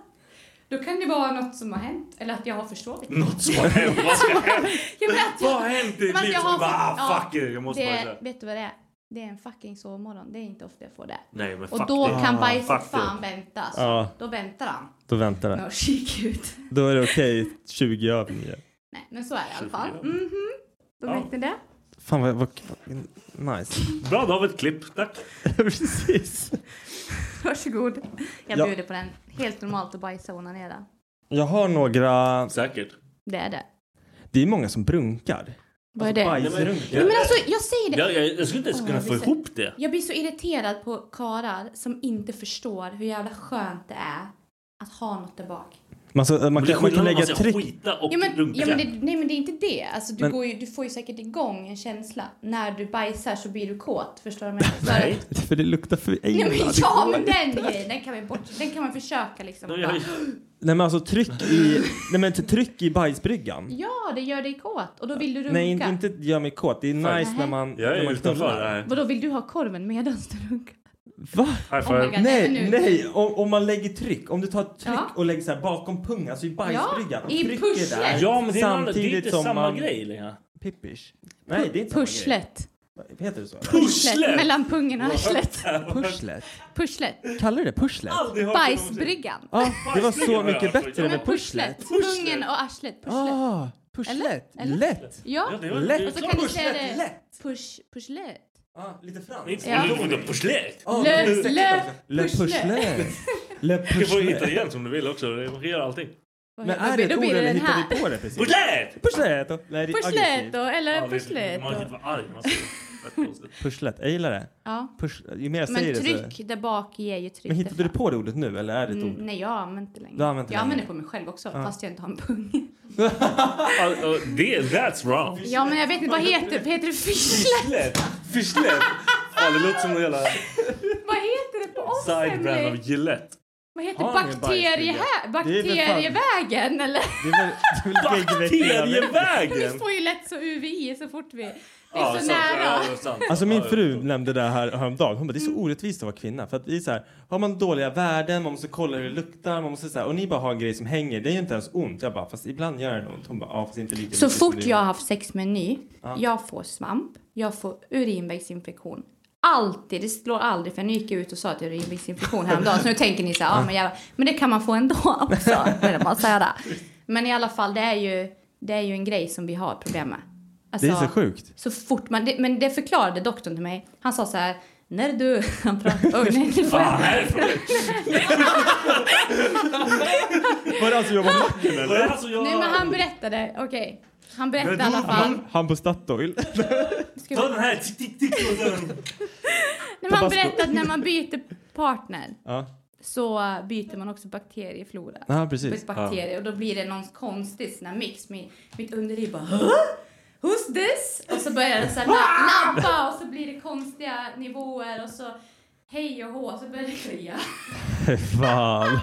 Speaker 3: Då kan det vara något som har hänt eller att jag har försovit.
Speaker 1: Något som har hänt, vad ska hända?
Speaker 3: Jag menar att jag-
Speaker 1: Vad har hänt i
Speaker 3: Men att
Speaker 1: ditt liv?
Speaker 3: jag har
Speaker 1: Bara,
Speaker 3: fått-
Speaker 1: ah,
Speaker 3: ja,
Speaker 1: fuck it, jag måste
Speaker 3: det,
Speaker 1: bajsa.
Speaker 3: Vet du vad det är? Det är en fucking sovmorgon. Det är inte ofta jag får det.
Speaker 1: Nej, men
Speaker 3: och
Speaker 1: fuck
Speaker 3: då
Speaker 1: det.
Speaker 3: kan
Speaker 1: Ah,
Speaker 3: bajset
Speaker 1: fuck
Speaker 3: fan
Speaker 1: det.
Speaker 3: vänta. Så
Speaker 9: Ja.
Speaker 3: Då väntar han.
Speaker 9: Då väntar
Speaker 3: När
Speaker 9: det.
Speaker 3: jag kikar ut.
Speaker 9: Då är det okej 20 över nio.
Speaker 3: Nej, men så är det i alla fall. Mhm. Då
Speaker 1: Mm-hmm. Ja.
Speaker 3: vet ni det.
Speaker 9: Fan vad, vad, vad nice.
Speaker 1: Bra, då har vi ett klipp. Tack.
Speaker 9: Precis.
Speaker 3: Varsågod. Jag
Speaker 9: Ja.
Speaker 3: bjuder på den. Helt normalt att bajsa och onanera.
Speaker 9: Jag har några,
Speaker 1: Säkert.
Speaker 3: Det är det.
Speaker 9: det är många som brunkar.
Speaker 3: Vad är det?
Speaker 9: Bajsrunkar.
Speaker 3: Nej, men alltså, jag säger det.
Speaker 1: Jag, jag, jag skulle inte ens
Speaker 3: Åh,
Speaker 1: kunna
Speaker 3: jag
Speaker 1: få
Speaker 3: blir så-
Speaker 1: ihop det.
Speaker 3: Jag blir så irriterad på karar som inte förstår hur jävla skönt det är att ha något där bak.
Speaker 9: Man, så, alltså, man,
Speaker 1: Men det alltså, är
Speaker 9: kan, man kan
Speaker 1: skillnad om
Speaker 9: lägga
Speaker 1: man ska
Speaker 9: tryck.
Speaker 1: skita och
Speaker 3: Ja, men,
Speaker 1: runka.
Speaker 3: ja, men det, nej men det är liksom- inte det. Alltså, du,
Speaker 9: Men-
Speaker 3: går ju, du får ju säkert igång en känsla. När du bajsar så blir du kåt. Förstår du vad jag menar?
Speaker 1: Nej.
Speaker 9: För det luktar för
Speaker 3: Nej
Speaker 9: illa.
Speaker 3: men
Speaker 9: Det
Speaker 3: ja
Speaker 9: går
Speaker 3: men
Speaker 9: inte.
Speaker 3: den grejen, den kan, vi bort, den kan man försöka liksom.
Speaker 1: Nej, jag-
Speaker 3: Bara,
Speaker 9: Nej men alltså tryck i, nej men t- tryck i bajsbryggan.
Speaker 3: Ja, det gör dig kåt och då vill du runka.
Speaker 9: Nej inte inte gör mig kåt. Det är nice
Speaker 3: Nej.
Speaker 9: när man,
Speaker 1: Jag
Speaker 9: när
Speaker 1: är
Speaker 9: man
Speaker 1: utanför det här.
Speaker 3: Vadå, vill du ha korven medan du runkar?
Speaker 9: Va?
Speaker 1: High
Speaker 3: Oh my God,
Speaker 1: five.
Speaker 3: nej,
Speaker 9: Nej,
Speaker 3: men nu-
Speaker 9: nej, om, om man lägger tryck. Om du tar tryck
Speaker 3: Ja.
Speaker 9: och lägger så här bakom pungen, alltså i bajsbryggan. och
Speaker 3: i
Speaker 9: trycker
Speaker 3: pushlet.
Speaker 9: där
Speaker 1: Ja, men det är, en annan- det är
Speaker 9: samtidigt
Speaker 1: inte
Speaker 9: som
Speaker 1: samma
Speaker 9: man...
Speaker 1: grej längre.
Speaker 9: Pippish? Nej, det är inte samma grej.
Speaker 3: Pushlet.
Speaker 9: Heter det så? eller?
Speaker 1: Pusslet!
Speaker 3: Mellan pungen och arslet.
Speaker 9: Pushlet?
Speaker 3: Pushlet.
Speaker 9: Kallar du det pushlet?
Speaker 1: Aldrig hört det någonsin.
Speaker 3: Bajsbryggan.
Speaker 9: Ja, det var så
Speaker 1: Bajsbryggan har
Speaker 9: mycket
Speaker 1: jag
Speaker 9: bättre
Speaker 1: hört.
Speaker 9: med
Speaker 3: Pushlet.
Speaker 9: pushlet.
Speaker 3: Pungen och arslet. Pushlet.
Speaker 9: Ah, pushlet.
Speaker 3: Eller?
Speaker 9: Lätt.
Speaker 3: Ja.
Speaker 1: det var-
Speaker 9: Lätt.
Speaker 1: det är
Speaker 3: Och så
Speaker 1: klart.
Speaker 3: kan du
Speaker 1: Pusslet.
Speaker 3: säga det.
Speaker 9: Lätt.
Speaker 3: Push, pushlet.
Speaker 9: Ah, lite
Speaker 1: Det är inte
Speaker 9: franskt.
Speaker 1: så
Speaker 3: Ja.
Speaker 1: mycket under pusslet.
Speaker 9: Ah,
Speaker 3: Le,
Speaker 9: men ursäkta.
Speaker 3: le,
Speaker 9: Le
Speaker 3: pushlet.
Speaker 9: pushlet. Le
Speaker 1: Du får hitta
Speaker 9: pushlet.
Speaker 1: igen som du vill också. Man kan göra allting.
Speaker 3: Vad
Speaker 9: Men
Speaker 3: heter-
Speaker 9: är det ett
Speaker 3: då
Speaker 9: ord
Speaker 3: blir det
Speaker 9: eller
Speaker 3: den
Speaker 9: hittar
Speaker 3: här.
Speaker 9: vi på det precis?
Speaker 1: Pushlet!
Speaker 9: Pushlet! och- Nej, det är
Speaker 3: Pushlet då,
Speaker 9: aggressivt.
Speaker 3: eller
Speaker 1: Man kan
Speaker 3: pushlet
Speaker 1: inte
Speaker 3: då.
Speaker 1: vara arg. Man ska-
Speaker 9: Pushlet, jag gillar det.
Speaker 3: Ja.
Speaker 9: Push, ju mer jag
Speaker 3: Men
Speaker 9: säger det så...
Speaker 3: tryck där bak ger ju tryck.
Speaker 9: Men hittade du på det ordet nu eller är det ett
Speaker 3: Mm,
Speaker 9: ord?
Speaker 3: Nej, jag har använt det länge.
Speaker 9: Du har använt det
Speaker 3: jag
Speaker 9: länge.
Speaker 3: använder det på mig själv också,
Speaker 9: Ja.
Speaker 3: fast jag inte har en pung.
Speaker 1: Uh, uh, det- that's wrong.
Speaker 3: Ja, men jag vet inte, vad heter det? Heter det fischlet?
Speaker 1: Fischlet! Fischlet! Fan, det låter som en jävla
Speaker 3: Vad heter det på oss?
Speaker 1: sidebrand
Speaker 3: Emily?
Speaker 1: av Gillette.
Speaker 3: Vad heter
Speaker 1: Har ni en
Speaker 3: bakterie här?
Speaker 1: bajsbrygga? Det är för fan-
Speaker 3: Bakterievägen, eller?
Speaker 9: Det är väl, det är väl
Speaker 3: Vi
Speaker 9: väggväggen?
Speaker 3: får ju lätt så UVI så fort vi... Det är
Speaker 1: Ja,
Speaker 3: så
Speaker 1: sant.
Speaker 3: nära. Mm.
Speaker 1: Ja, sant.
Speaker 9: Alltså min
Speaker 1: Ja,
Speaker 9: fru nämnde det här häromdagen. Hon bara, det är så orättvist att vara kvinna. För att vi är så här, har man dåliga värden, man måste kolla hur det luktar, man måste så här, och ni bara har en grej som hänger. Det är ju inte ens ont. Jag bara, fast ibland gör den ont. Hon bara, ja fast inte lika
Speaker 3: Så
Speaker 9: mycket som
Speaker 3: fort
Speaker 9: det
Speaker 3: jag
Speaker 9: gör.
Speaker 3: har haft sex med en ny,
Speaker 9: Ja.
Speaker 3: jag får svamp, jag får urinvägsinfektion. Alltid, det slår aldrig för jag gick ut och sa att jag hade urinvägsinfektion häromdagen. Så nu tänker ni så här, ja men jävlar. Men det kan man få ändå också, vill jag bara säga det. Men i alla fall, det är ju, det är ju en grej som vi har problem med. Alltså,
Speaker 9: Det är så sjukt.
Speaker 3: Så fort man, det, men det förklarade doktorn till mig. Han sa så här, när du, han pratade, oj nej, nu får
Speaker 9: Ah,
Speaker 3: jag.
Speaker 9: Var det alltså jag på macken
Speaker 1: Var
Speaker 9: eller?
Speaker 1: det alltså jag-
Speaker 3: Nej men han berättade, okej. Han berättade i alla fall.
Speaker 9: Han, han på Statoil.
Speaker 3: Ska vi-
Speaker 1: Ta den här, tick, tick, tick. och den.
Speaker 3: När man
Speaker 9: Tabasco.
Speaker 3: berättar att när man byter partner
Speaker 9: Ja.
Speaker 3: så byter man också bakterieflora.
Speaker 9: Ja, precis.
Speaker 3: Bakterier, Och då blir det någon konstig sån här mix. Mitt, mitt underliv bara Hå? Who's this? Och så börjar det så här na- nabba och så blir det konstiga nivåer och så hej och hå så börjar det klia.
Speaker 9: Fy Fan.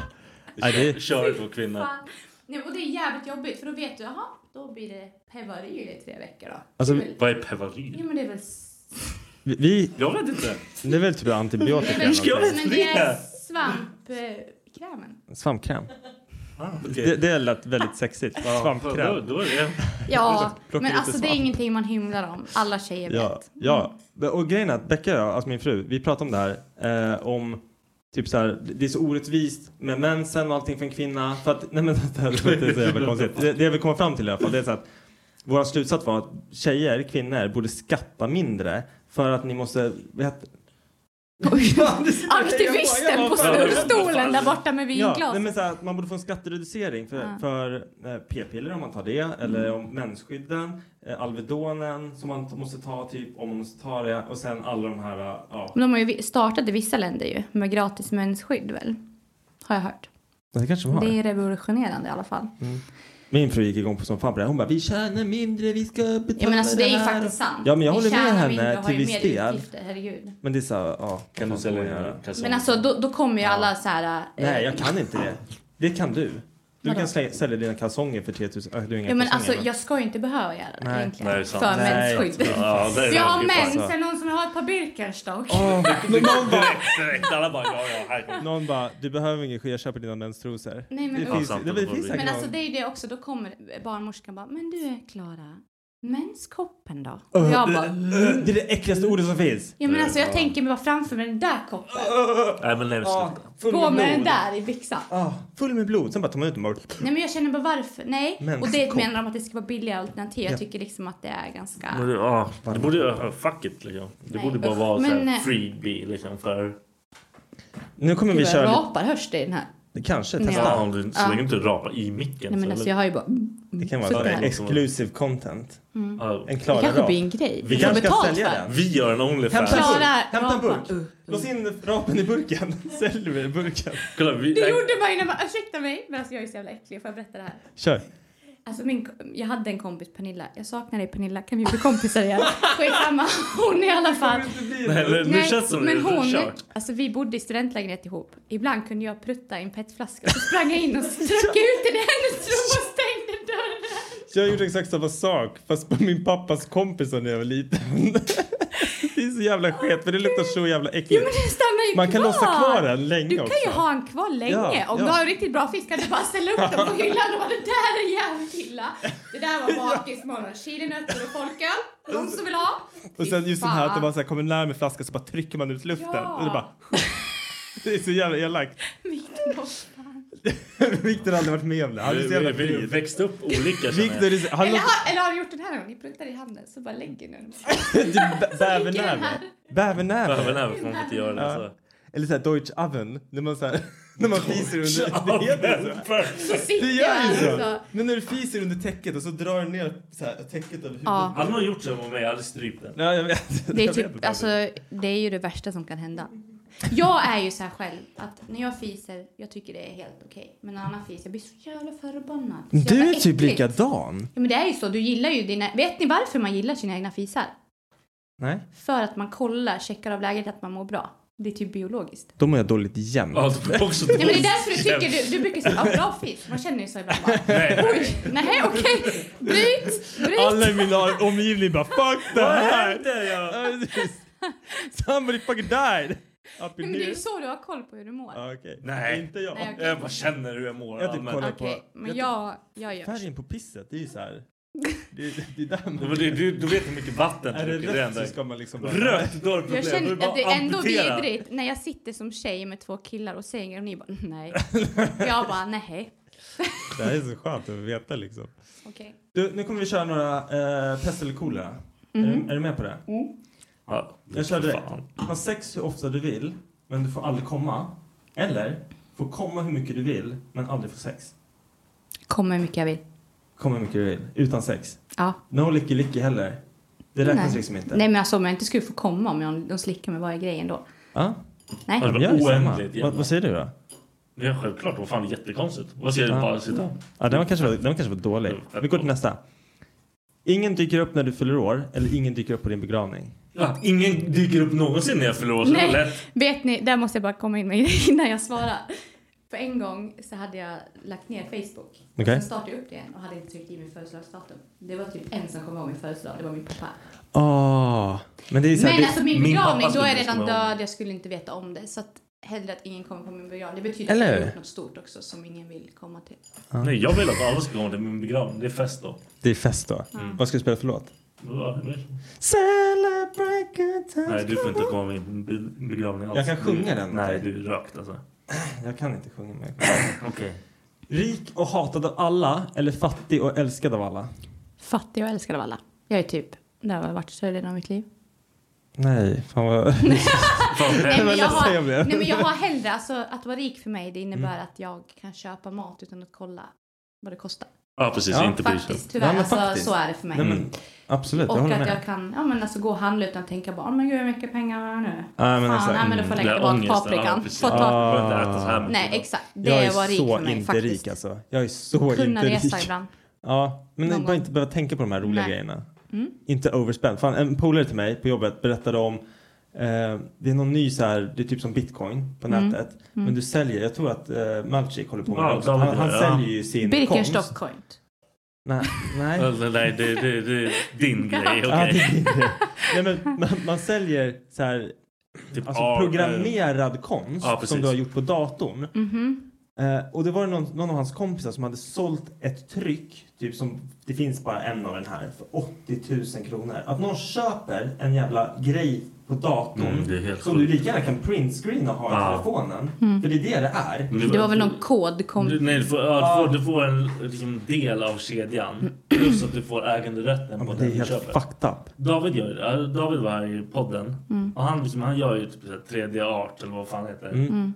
Speaker 9: Ja, det,
Speaker 1: Kör på kvinnor.
Speaker 3: Fan. Nej, och det är jävligt jobbigt för då vet du jaha, då blir det pevaryl i tre veckor då.
Speaker 9: Alltså,
Speaker 3: Det är väl-
Speaker 1: Vad är pevaryl?
Speaker 3: Ja men det är väl... s-
Speaker 9: vi, vi,
Speaker 1: Jag vet inte.
Speaker 9: det är väl typ
Speaker 3: Det är
Speaker 9: antibiotika.
Speaker 3: väl
Speaker 9: eller någonting.
Speaker 3: men det är
Speaker 1: det.
Speaker 3: svampkrämen.
Speaker 9: Svampkräm.
Speaker 1: Ah,
Speaker 9: Det, det lät väldigt sexigt.
Speaker 1: Då,
Speaker 9: Svampkräm.
Speaker 1: då är det.
Speaker 3: Ja,
Speaker 9: Plocka
Speaker 3: men
Speaker 9: lite
Speaker 3: alltså det är
Speaker 9: svamp.
Speaker 3: ingenting man hymlar om. Alla tjejer
Speaker 9: Ja,
Speaker 3: vet. Mm.
Speaker 9: ja. Och grejen är att Becka och jag, alltså min fru, vi pratar om det här. Eh, om typ så här, det är så orättvist med mensen och allting för en kvinna. För att, nej men det här låter så jävla konstigt. Det, det jag vill komma fram till i alla fall, det är så att vår slutsats var att tjejer, kvinnor, borde skatta mindre för att ni måste, vad heter-
Speaker 3: Aktivisten på snurrstolen där borta med
Speaker 9: Ja, nej,
Speaker 3: vinglaset.
Speaker 9: men så här, att man borde få en skattereducering för,
Speaker 3: Ja.
Speaker 9: för eh, p-piller om man tar det, eller om mensskydden, eh, Alvedonen som man t- måste ta typ om man måste ta det och sen alla de här, eh, ja.
Speaker 3: Men de har ju vi- startat i vissa länder ju med gratis mensskydd väl? Har jag hört.
Speaker 9: Det kanske de har. Mm.
Speaker 3: Det är revolutionerande i alla fall.
Speaker 9: Min fru gick igång på som fan på det. här. Hon bara vi tjänar mindre, vi ska betala
Speaker 3: Ja men alltså det är ju
Speaker 9: här."
Speaker 3: faktiskt sant.
Speaker 9: Ja men jag
Speaker 3: Vi
Speaker 9: håller med
Speaker 3: tjänar
Speaker 9: henne
Speaker 3: mindre och har
Speaker 9: till
Speaker 3: ju
Speaker 9: viss
Speaker 3: mer
Speaker 9: del.
Speaker 3: utgifter, herregud.
Speaker 9: Men det är så här, ja.
Speaker 1: Kan du
Speaker 9: vad fan
Speaker 1: sälja
Speaker 9: ska man göra?
Speaker 1: dina kalsonger?
Speaker 3: Men alltså då, då kommer ju alla så här... eh,
Speaker 9: Nej jag kan inte det. Det kan du. Du
Speaker 3: Vadå?
Speaker 9: kan slä- sälja dina kalsonger för 3000. Äh, du har inga
Speaker 3: Ja men
Speaker 9: kalsonger,
Speaker 3: alltså jag ska ju inte behöva göra det
Speaker 9: Nej.
Speaker 3: egentligen.
Speaker 1: Nej, det är sant.
Speaker 3: För
Speaker 9: Nej.
Speaker 3: mensskydd.
Speaker 1: Ja, det är
Speaker 3: Jag har
Speaker 1: det.
Speaker 3: mens,
Speaker 9: Alltså.
Speaker 3: är det någon som har ett par Birkenstock?
Speaker 9: Åh, men någon, bara,
Speaker 1: Direkt, alla bara ja, ja, här kommer
Speaker 9: någon bara, du behöver ingen sked, jag köper dina menstrosor.
Speaker 3: Nej, men-
Speaker 9: det
Speaker 3: Ja,
Speaker 9: finns,
Speaker 1: sant,
Speaker 9: det,
Speaker 1: det
Speaker 9: det
Speaker 1: var
Speaker 9: finns
Speaker 1: det.
Speaker 9: säkert
Speaker 3: Men alltså
Speaker 9: någon.
Speaker 3: det är ju det också, då kommer barnmorskan bara, men du Klara, menskoppen då? Och
Speaker 9: Öh,
Speaker 3: jag
Speaker 9: det-
Speaker 3: bara, mm.
Speaker 9: öh, Det är det äckligaste ordet som finns.
Speaker 3: ja men alltså jag tänker mig bara framför mig den där koppen.
Speaker 1: Nej men nej,
Speaker 9: Ah,
Speaker 1: sluta.
Speaker 9: full
Speaker 3: Gå med den
Speaker 9: blod.
Speaker 3: där i byxan.
Speaker 9: Ah, full med blod. Sen bara tar man ut dem och
Speaker 3: Nej men jag känner bara varför, nej. Och det
Speaker 9: Menskopp.
Speaker 3: menar de att det ska vara billiga alternativ.
Speaker 9: Ja.
Speaker 3: Jag tycker liksom att det är
Speaker 1: Men
Speaker 3: ganska...
Speaker 1: det, ah, det borde ju... ah, fuck it liksom. Det
Speaker 3: Nej,
Speaker 1: borde bara
Speaker 3: usch.
Speaker 1: vara
Speaker 3: Men,
Speaker 1: såhär
Speaker 3: eh,
Speaker 1: freebie liksom för...
Speaker 9: Nu kommer vi
Speaker 3: Gud vad jag
Speaker 9: köra lite.
Speaker 3: rapar, hörs det i den här?
Speaker 9: Kanske
Speaker 3: Nej.
Speaker 9: testa.
Speaker 1: Ja, om du så
Speaker 3: Ja.
Speaker 1: länge inte rapa i micken.
Speaker 3: Nej men
Speaker 1: så-
Speaker 3: alltså jag har ju bara...
Speaker 9: Det kan vara
Speaker 3: Suttit
Speaker 9: så här
Speaker 3: här. Mm.
Speaker 9: exclusive content.
Speaker 1: Ja.
Speaker 9: En
Speaker 3: Det
Speaker 9: Klara
Speaker 3: kanske
Speaker 9: rap.
Speaker 3: blir en grej.
Speaker 9: Vi kanske ska sälja den.
Speaker 1: Mm. Vi gör en Onlyfans.
Speaker 9: Hämta en burk.
Speaker 3: Klara "Uh,
Speaker 9: Hämta en
Speaker 3: rapa.
Speaker 9: burk. Lås in rapen i burken. Säljer vi i burken.
Speaker 1: Kolla, vi,
Speaker 3: Det gjorde man ju när man, ursäkta mig, men alltså jag är så jävla äcklig, får jag berätta det här?
Speaker 9: Kör.
Speaker 3: Alltså min, jag hade en kompis, Pernilla. Jag saknar dig Pernilla, kan vi bli kompisar igen? Skitsamma, hon i alla fall.
Speaker 1: Nej, men, nu
Speaker 3: Nej,
Speaker 1: känns det som
Speaker 3: men
Speaker 1: det är
Speaker 3: hon,
Speaker 1: kört.
Speaker 3: alltså vi bodde i studentlägenhet ihop. Ibland kunde jag prutta i en petflaska. Så sprang jag in och drack ut den i hennes rum och stängde dörren.
Speaker 9: Jag gjorde exakt samma sak fast på min pappas kompis när jag var liten. det är så jävla sket för det luktar så jävla
Speaker 3: Jo
Speaker 9: äckligt.
Speaker 3: men den stannar ju
Speaker 9: Man kan
Speaker 3: kvar.
Speaker 9: låsa kvar den länge
Speaker 3: Du kan ju
Speaker 9: också.
Speaker 3: ha en kvar länge.
Speaker 9: Ja,
Speaker 3: Om
Speaker 9: ja.
Speaker 3: du har en riktigt bra fisk kan du bara ställa upp den på hyllan och bara det där är jävligt illa. Det där var bakismorgon. Chilinötter och folköl. De som vill ha.
Speaker 9: Och sen just den här att
Speaker 3: Fan.
Speaker 9: de bara så här kommer närmare flaskan så bara trycker man ut luften.
Speaker 3: Ja.
Speaker 9: Och det bara... det är så jävla elakt. Viktor har aldrig varit med om det. Han är så
Speaker 1: Vi,
Speaker 9: jävla
Speaker 1: vi, vi
Speaker 9: fri.
Speaker 1: växte upp olika
Speaker 9: Viktor
Speaker 1: känner
Speaker 9: är så... Han
Speaker 3: Eller,
Speaker 9: låter...
Speaker 3: har- eller har du gjort den här gången? Ni pruttar i handen så bara lägger ni den.
Speaker 9: Bävernäve.
Speaker 3: här.
Speaker 1: jag.
Speaker 9: Bävernäve.
Speaker 1: Även här får man inte alltså. göra det. Så.
Speaker 9: Eller såhär Deutsch Oven. När man, så här, när man fiser under...
Speaker 5: Oven.
Speaker 9: Det heter så. Det gör ju så. Men när du fiser under täcket och så drar du ner så här, täcket över huvudet.
Speaker 3: Ja.
Speaker 1: Hade någon gjort så mot mig, jag hade strypt den.
Speaker 9: Ja, jag vet.
Speaker 3: Det är,
Speaker 9: Jag vet
Speaker 3: typ,
Speaker 9: inte.
Speaker 3: alltså, det är ju det värsta som kan hända. Jag är ju så här själv att när jag fiser, jag tycker det är helt okej. Men när annan fiser, jag blir så jävla förbannad. Så
Speaker 9: Du
Speaker 3: jävla
Speaker 9: är typ
Speaker 3: äckligt.
Speaker 9: likadan.
Speaker 3: Ja, men det är ju så, du gillar ju dina... Vet ni varför man gillar sina egna fisar?
Speaker 9: Nej.
Speaker 3: För att man kollar, checkar av läget att man mår bra. Det är typ biologiskt.
Speaker 9: Då mår jag dåligt jämt.
Speaker 1: Ja, då mår jag också
Speaker 3: Nej men det är därför du tycker, du, du brukar säga ja, bra fis. Man känner ju så ibland bara, oj, nej okej, bryt, bryt.
Speaker 9: Alla i min omgivning bara fuck det
Speaker 5: Vad
Speaker 9: här!
Speaker 5: händer, ja?
Speaker 9: Ja, precis. Somebody fucking died! Up
Speaker 3: Nej,
Speaker 9: in
Speaker 3: men det är
Speaker 9: here.
Speaker 3: ju så du har koll på hur du mår.
Speaker 9: Ja, Ah, okej.
Speaker 1: Nej.
Speaker 9: Inte jag. Ehm,
Speaker 3: Nej, okej. Jag bara
Speaker 1: känner hur jag mår.
Speaker 9: Jag typ
Speaker 1: allmänt.
Speaker 9: kollar
Speaker 3: Okej,
Speaker 9: på...
Speaker 3: men jag, jag gör
Speaker 9: Färgen på pisset, det är ju så här. Det, det, det är där
Speaker 1: Ja,
Speaker 9: man...
Speaker 1: men du, du, du vet hur mycket vatten
Speaker 9: Är det
Speaker 1: dricker,
Speaker 9: rött
Speaker 1: enda-
Speaker 9: så ska man liksom bara-
Speaker 1: Rött, då har du problem.
Speaker 3: Jag
Speaker 1: Då är
Speaker 3: känner
Speaker 1: det bara
Speaker 3: att det är ändå
Speaker 1: amputera.
Speaker 3: vidrigt när jag sitter som tjej med två killar och säger och ni bara nej. Jag bara nej.
Speaker 9: Det här är så skönt att veta liksom.
Speaker 3: Okej.
Speaker 9: Du, nu kommer vi köra några eh, pest eller kolera. Är,
Speaker 3: Mhm.
Speaker 9: du- är du med på det?
Speaker 3: Mm.
Speaker 1: Ja,
Speaker 9: Jag kör direkt. Du har sex hur ofta du vill, men du får aldrig komma. Eller, får komma hur mycket du vill, men aldrig få sex.
Speaker 3: Kommer hur mycket jag vill.
Speaker 9: Komma hur mycket du vill, utan sex.
Speaker 3: Ja.
Speaker 9: No licky licky heller. Det räknas
Speaker 3: nej.
Speaker 9: liksom inte.
Speaker 3: Nej men alltså om jag inte skulle få komma om jag, de slickar mig, vad är grejen då?
Speaker 9: Ja.
Speaker 3: Nej.
Speaker 1: Ja, det var
Speaker 9: Gör detsamma.
Speaker 1: oändligt jävla.
Speaker 9: Vad, vad säger du då?
Speaker 1: Ja, självklart. Vad fan, det är jättekonstigt. Vad säger du? Bara sitta.
Speaker 9: Ja, den, var kanske, den var kanske var dålig. Vi går till nästa. Ingen dyker upp när du fyller år eller ingen dyker upp på din begravning.
Speaker 1: Ja, ingen dyker upp någonsin när jag förlorar så det var
Speaker 3: Nej,
Speaker 1: lätt.
Speaker 3: vet ni, där måste jag bara komma in med en grej innan jag svarar. För en gång så hade jag lagt ner Facebook.
Speaker 9: Okej.
Speaker 3: Sen startade jag upp det igen och hade inte tryckt i min födelsedagsdatum. Det var typ en som kom ihåg min födelsedag, det var min pappa.
Speaker 9: Åh, Ah, men det är så här,
Speaker 3: Men
Speaker 9: det,
Speaker 3: alltså min begravning,
Speaker 9: pappa
Speaker 3: då
Speaker 9: skulle
Speaker 3: är jag redan
Speaker 9: komma ihåg.
Speaker 3: död, jag skulle inte veta om det. Så att hellre att ingen kommer på min begravning. Det betyder
Speaker 9: Eller
Speaker 3: att jag har
Speaker 9: hur?
Speaker 3: gjort något stort också som ingen vill komma till.
Speaker 1: Nej, jag vill att alla ska komma till min begravning. Det är fest då. Mm.
Speaker 9: Det är fest då. Vad ska du spela för låt?
Speaker 1: Ja, det är-
Speaker 9: Celebrate good times.
Speaker 1: Nej, du får inte komma till min be- begravning alls.
Speaker 9: Jag kan sjunga
Speaker 1: Du-
Speaker 9: den.
Speaker 1: Nej, du är rökt alltså.
Speaker 9: Jag kan inte sjunga mer.
Speaker 1: Okej.
Speaker 9: Rik och hatad av alla eller fattig och älskad av alla?
Speaker 3: Fattig och älskad av alla. Jag är typ, det har jag varit större delen av mitt liv.
Speaker 9: Nej, fan vad...
Speaker 3: Nej men, jag har,
Speaker 9: ledsen jag blev. Mm.
Speaker 3: nej men jag har hellre, alltså att vara rik för mig det innebär att jag kan köpa mat utan att kolla vad det kostar.
Speaker 1: Ja, precis. Inte bry sig.
Speaker 3: Faktiskt, tyvärr.
Speaker 1: Ja, men
Speaker 3: alltså,
Speaker 1: faktiskt.
Speaker 3: Så är det för mig.
Speaker 1: Nej, men
Speaker 9: absolut,
Speaker 3: och
Speaker 9: jag håller
Speaker 3: att
Speaker 9: med.
Speaker 3: jag kan ja, men alltså, gå och handla utan att tänka bara, oh, men gud hur mycket pengar har jag nu?
Speaker 9: Ja, men
Speaker 3: Fan,
Speaker 9: exakt.
Speaker 3: nej, men då får jag lägga
Speaker 9: Mm.
Speaker 3: tillbaka
Speaker 9: Den här ångesten,
Speaker 3: paprikan.
Speaker 9: ja, precis.
Speaker 3: Får ta-
Speaker 9: Ah.
Speaker 1: Jag behöver inte äta så här mycket.
Speaker 3: Nej exakt,
Speaker 9: jag
Speaker 3: det
Speaker 9: är
Speaker 3: var rik
Speaker 9: så
Speaker 3: för mig
Speaker 9: inte
Speaker 3: faktiskt.
Speaker 9: rik alltså. Jag är så
Speaker 3: Kunna
Speaker 9: inte
Speaker 3: resa
Speaker 9: rik.
Speaker 3: ibland.
Speaker 9: Ja, men
Speaker 3: Någon
Speaker 9: bara
Speaker 3: gång.
Speaker 9: inte behöva tänka på de här roliga
Speaker 3: Nej.
Speaker 9: grejerna.
Speaker 3: Mm.
Speaker 9: Inte overspend. Fan, en polare till mig på jobbet berättade om eh, det är någon ny så här, det är typ som bitcoin på
Speaker 3: Mm.
Speaker 9: nätet.
Speaker 3: Mm.
Speaker 9: Men du säljer, jag tror att eh, Malchik håller på med
Speaker 1: Ja,
Speaker 9: det också.
Speaker 1: David
Speaker 9: Han, han
Speaker 1: gör det,
Speaker 9: säljer ju sin konst.
Speaker 3: Birkenstock coin.
Speaker 9: Nej, nej.
Speaker 1: Eller, Alltså, nej, det, det, det är din grej. Okej.
Speaker 9: Ja, det är din grej. nej men man, man säljer så här, alltså
Speaker 1: art,
Speaker 9: programmerad konst
Speaker 1: eh, Ja, precis.
Speaker 9: som du har gjort på datorn.
Speaker 3: Mhm.
Speaker 9: Eh, och det var någon, någon av hans kompisar som hade sålt ett tryck, typ som det finns bara en av den här, för 80 000 kronor. Att någon köper en jävla grej på datorn
Speaker 1: Mm, det är helt
Speaker 9: som
Speaker 1: sjukt.
Speaker 9: du lika gärna kan printscreena och ha i
Speaker 1: Ja.
Speaker 9: telefonen.
Speaker 3: Mm.
Speaker 9: För det är det det är.
Speaker 3: Det var väl någon kod kom...
Speaker 1: Du, nej, du får, ja, du får, du får en liksom, del av kedjan. Plus att du får äganderätten på
Speaker 9: men det
Speaker 1: den
Speaker 9: är
Speaker 1: du
Speaker 9: helt
Speaker 1: köper.
Speaker 9: fucked up.
Speaker 1: David, gör, ju det. Ja, David var här i podden. Och han, liksom, han gör ju typ så här 3D-art eller vad fan det heter.
Speaker 9: Mm. Mm.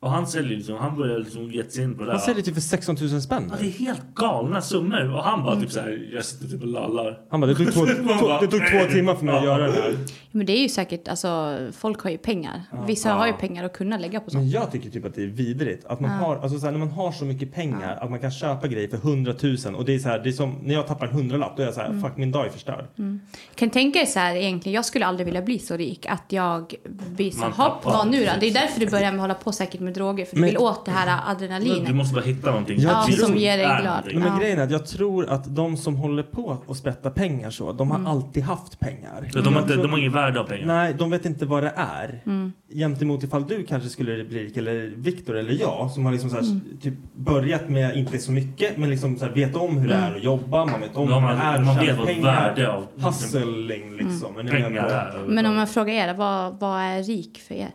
Speaker 1: Och han säljer liksom, han börjar liksom ge sig in på det
Speaker 9: Han
Speaker 1: här.
Speaker 9: säljer typ för 16 000 spänn.
Speaker 1: Ja, det är helt galna summor. Och han bara typ så här, jag sitter typ och lallar.
Speaker 9: Han bara, det tog två,
Speaker 1: Man
Speaker 9: två,
Speaker 1: bara,
Speaker 9: det tog två timmar för mig att göra det här.
Speaker 3: Men det är ju säkert, alltså folk har ju pengar. Vissa har ju pengar att kunna lägga på sånt.
Speaker 9: Men jag tycker typ att det är vidrigt. Att man
Speaker 3: Ja.
Speaker 9: har, alltså så här, när man har så mycket pengar att man kan köpa grejer för 100 000 och det är så här, det är som när jag tappar en hundralapp då är jag så här,
Speaker 3: Mm.
Speaker 9: fuck min dag är förstörd.
Speaker 3: Mm. Kan tänka er så här egentligen, jag skulle aldrig vilja bli så rik att jag blir så
Speaker 1: Man
Speaker 3: hopp,
Speaker 1: tappar.
Speaker 3: vad nu då? Det är därför du börjar med att hålla på säkert med droger, för du
Speaker 9: Men-
Speaker 3: vill åt det här
Speaker 1: Du
Speaker 3: adrenalinet.
Speaker 1: måste bara hitta någonting.
Speaker 3: Ja,
Speaker 1: till
Speaker 3: som ger dig
Speaker 1: är
Speaker 3: glad.
Speaker 1: någonting.
Speaker 9: Nej, men
Speaker 3: Ja.
Speaker 9: grejen är att jag tror att de som håller på att sprätta pengar så, de har
Speaker 3: Mm.
Speaker 9: alltid haft pengar.
Speaker 1: De har,
Speaker 9: Jag
Speaker 1: inte,
Speaker 9: tror-
Speaker 1: de har ingen värde av pengar.
Speaker 9: Nej, de vet inte vad det är.
Speaker 3: Mm.
Speaker 9: Jämt emot ifall du kanske skulle bli rik eller Viktor eller jag som har liksom så här,
Speaker 1: Mm.
Speaker 9: typ börjat med inte så mycket men liksom så här, vet om hur det
Speaker 3: Mm.
Speaker 9: är att jobba, man vet om
Speaker 1: Ja,
Speaker 9: hur
Speaker 1: man-
Speaker 9: det är
Speaker 1: man
Speaker 9: att
Speaker 1: vet
Speaker 9: tjäna
Speaker 1: vad värde av-
Speaker 9: Hustling liksom.
Speaker 1: Mm.
Speaker 9: Är ni med
Speaker 1: Pengar
Speaker 9: på-
Speaker 1: är-
Speaker 3: Men om jag frågar er, vad, vad är rik för er?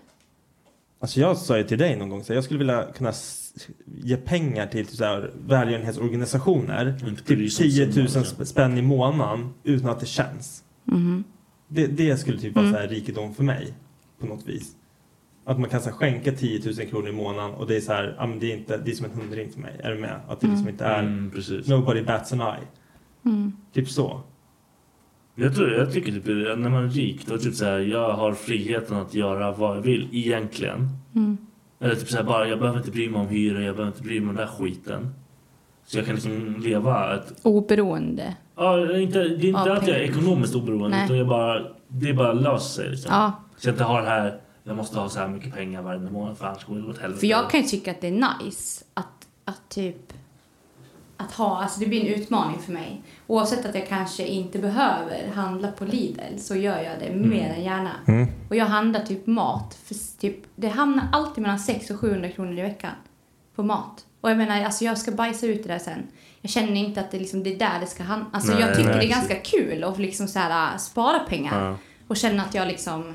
Speaker 9: Alltså jag sa ju till dig någon gång så här, jag skulle vilja kunna s- ge pengar till typ så här, välgörenhetsorganisationer.
Speaker 1: bry
Speaker 9: Typ
Speaker 1: sig om
Speaker 9: 10 000
Speaker 1: summan,
Speaker 9: sp- spänn i månaden utan att det känns.
Speaker 3: Mhm.
Speaker 9: Det, det skulle typ vara
Speaker 3: Mm.
Speaker 9: så här rikedom för mig på något vis. Att man kan så här, skänka 10 000 kronor i månaden och det är så här, ja, men det, är inte, det är som en hundring för mig. Är du med? Att det liksom
Speaker 3: Mm.
Speaker 9: inte är nobody bats an eye.
Speaker 3: Mm.
Speaker 9: Typ så.
Speaker 1: Jag, tror, jag tycker typ, när man är rik, då är det typ så här, jag har friheten att göra vad jag vill egentligen.
Speaker 3: Mm.
Speaker 1: Eller typ så här, bara, jag behöver inte bry mig om hyra, jag behöver inte bry mig om den där skiten. Så jag kan liksom leva ett...
Speaker 3: Oberoende.
Speaker 1: Ja, inte, det är inte
Speaker 3: Ja,
Speaker 1: att jag är
Speaker 3: pengar.
Speaker 1: ekonomiskt oberoende,
Speaker 3: Nej.
Speaker 1: utan jag bara, det bara löser sig. Liksom.
Speaker 3: Ja.
Speaker 1: Så jag inte har det här, jag måste ha så här mycket pengar varje månad för annars går det åt helvete.
Speaker 3: För jag kan ju tycka att det är nice att, att typ att ha, alltså det blir en utmaning för mig. Oavsett att jag kanske inte behöver handla på Lidl så gör jag det mer än gärna.
Speaker 5: Mm.
Speaker 3: Och jag handlar typ mat, för s- typ, det hamnar alltid mellan 600 och 700 kronor i veckan på mat. Och jag menar, alltså jag ska bajsa ut det där sen. Jag känner inte att det, liksom, det är där det ska handla. Alltså
Speaker 5: Nej,
Speaker 3: jag tycker
Speaker 5: nej,
Speaker 3: det är ganska
Speaker 5: precis.
Speaker 3: kul att liksom så här, äh, spara pengar.
Speaker 5: Ja.
Speaker 3: Och känna att jag liksom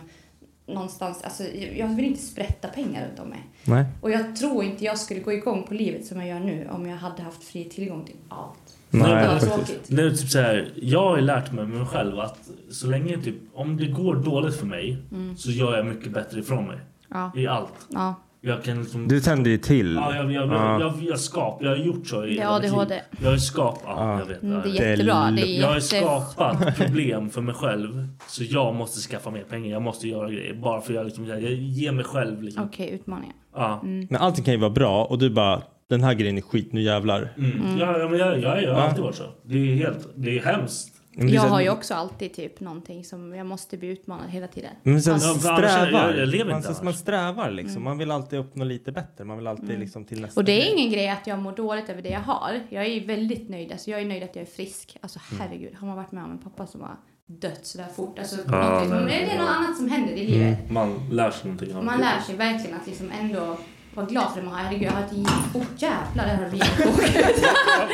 Speaker 3: någonstans, alltså jag jag vill inte sprätta pengar runt om mig.
Speaker 9: Nej.
Speaker 3: Och jag tror inte jag skulle gå igång på livet som jag gör nu om jag hade haft fri tillgång till allt.
Speaker 1: Nej,
Speaker 3: det var
Speaker 1: precis.
Speaker 3: tråkigt.
Speaker 1: Nu, typ så här, jag har ju lärt mig med mig själv att så länge typ, om det går dåligt för mig
Speaker 3: Mm.
Speaker 1: så gör jag mycket bättre ifrån mig.
Speaker 3: Ja.
Speaker 1: I allt.
Speaker 3: Ja.
Speaker 1: Jag kan liksom...
Speaker 9: Du tänder ju till.
Speaker 1: Ja, jag, jag,
Speaker 9: Ja.
Speaker 1: jag, jag, jag, skap, jag har gjort så i
Speaker 3: Det är
Speaker 1: hela mitt liv.
Speaker 3: ADHD.
Speaker 1: Jag har ju skapat, ja, jag vet.
Speaker 3: Mm, det är
Speaker 1: jag vet.
Speaker 3: jättebra, det är
Speaker 1: jag har
Speaker 3: jätte-
Speaker 1: skapat problem för mig själv. Så jag måste skaffa mer pengar, jag måste göra grejer. Bara för jag, liksom, jag jag ger mig själv liksom.
Speaker 3: Okej, utmaningar.
Speaker 1: Ja.
Speaker 3: Mm.
Speaker 9: Men allting kan ju vara bra och du bara, den här grejen är skit, nu jävlar.
Speaker 1: Mm. Ja, ja, men jag, jag, jag har
Speaker 9: Ja.
Speaker 1: alltid varit så. Det är helt, det är hemskt.
Speaker 3: Jag har ju också alltid typ någonting som jag måste bli utmanad hela tiden.
Speaker 9: Men sen
Speaker 1: Ja, för annars
Speaker 9: strävar.
Speaker 1: är- jag- jag lever
Speaker 9: man,
Speaker 1: inte
Speaker 9: så- man strävar liksom. Man vill alltid uppnå lite bättre. Man vill alltid
Speaker 3: Mm.
Speaker 9: liksom till nästa.
Speaker 3: Och det är ingen grej att jag mår dåligt över det jag har. Jag är ju väldigt nöjd. Alltså jag är nöjd att jag är frisk. Alltså
Speaker 1: Mm.
Speaker 3: herregud, har man varit med om en pappa som har dött sådär fort? Alltså,
Speaker 1: Ja,
Speaker 3: mycket, men
Speaker 1: nej. Mm.
Speaker 3: det är något annat som händer i livet.
Speaker 1: Man lär sig någonting. av
Speaker 3: Man
Speaker 1: det.
Speaker 3: lär sig verkligen att liksom ändå vara glad för det man har. Herregud, jag har ett gift. Åh jävlar, det här har rivit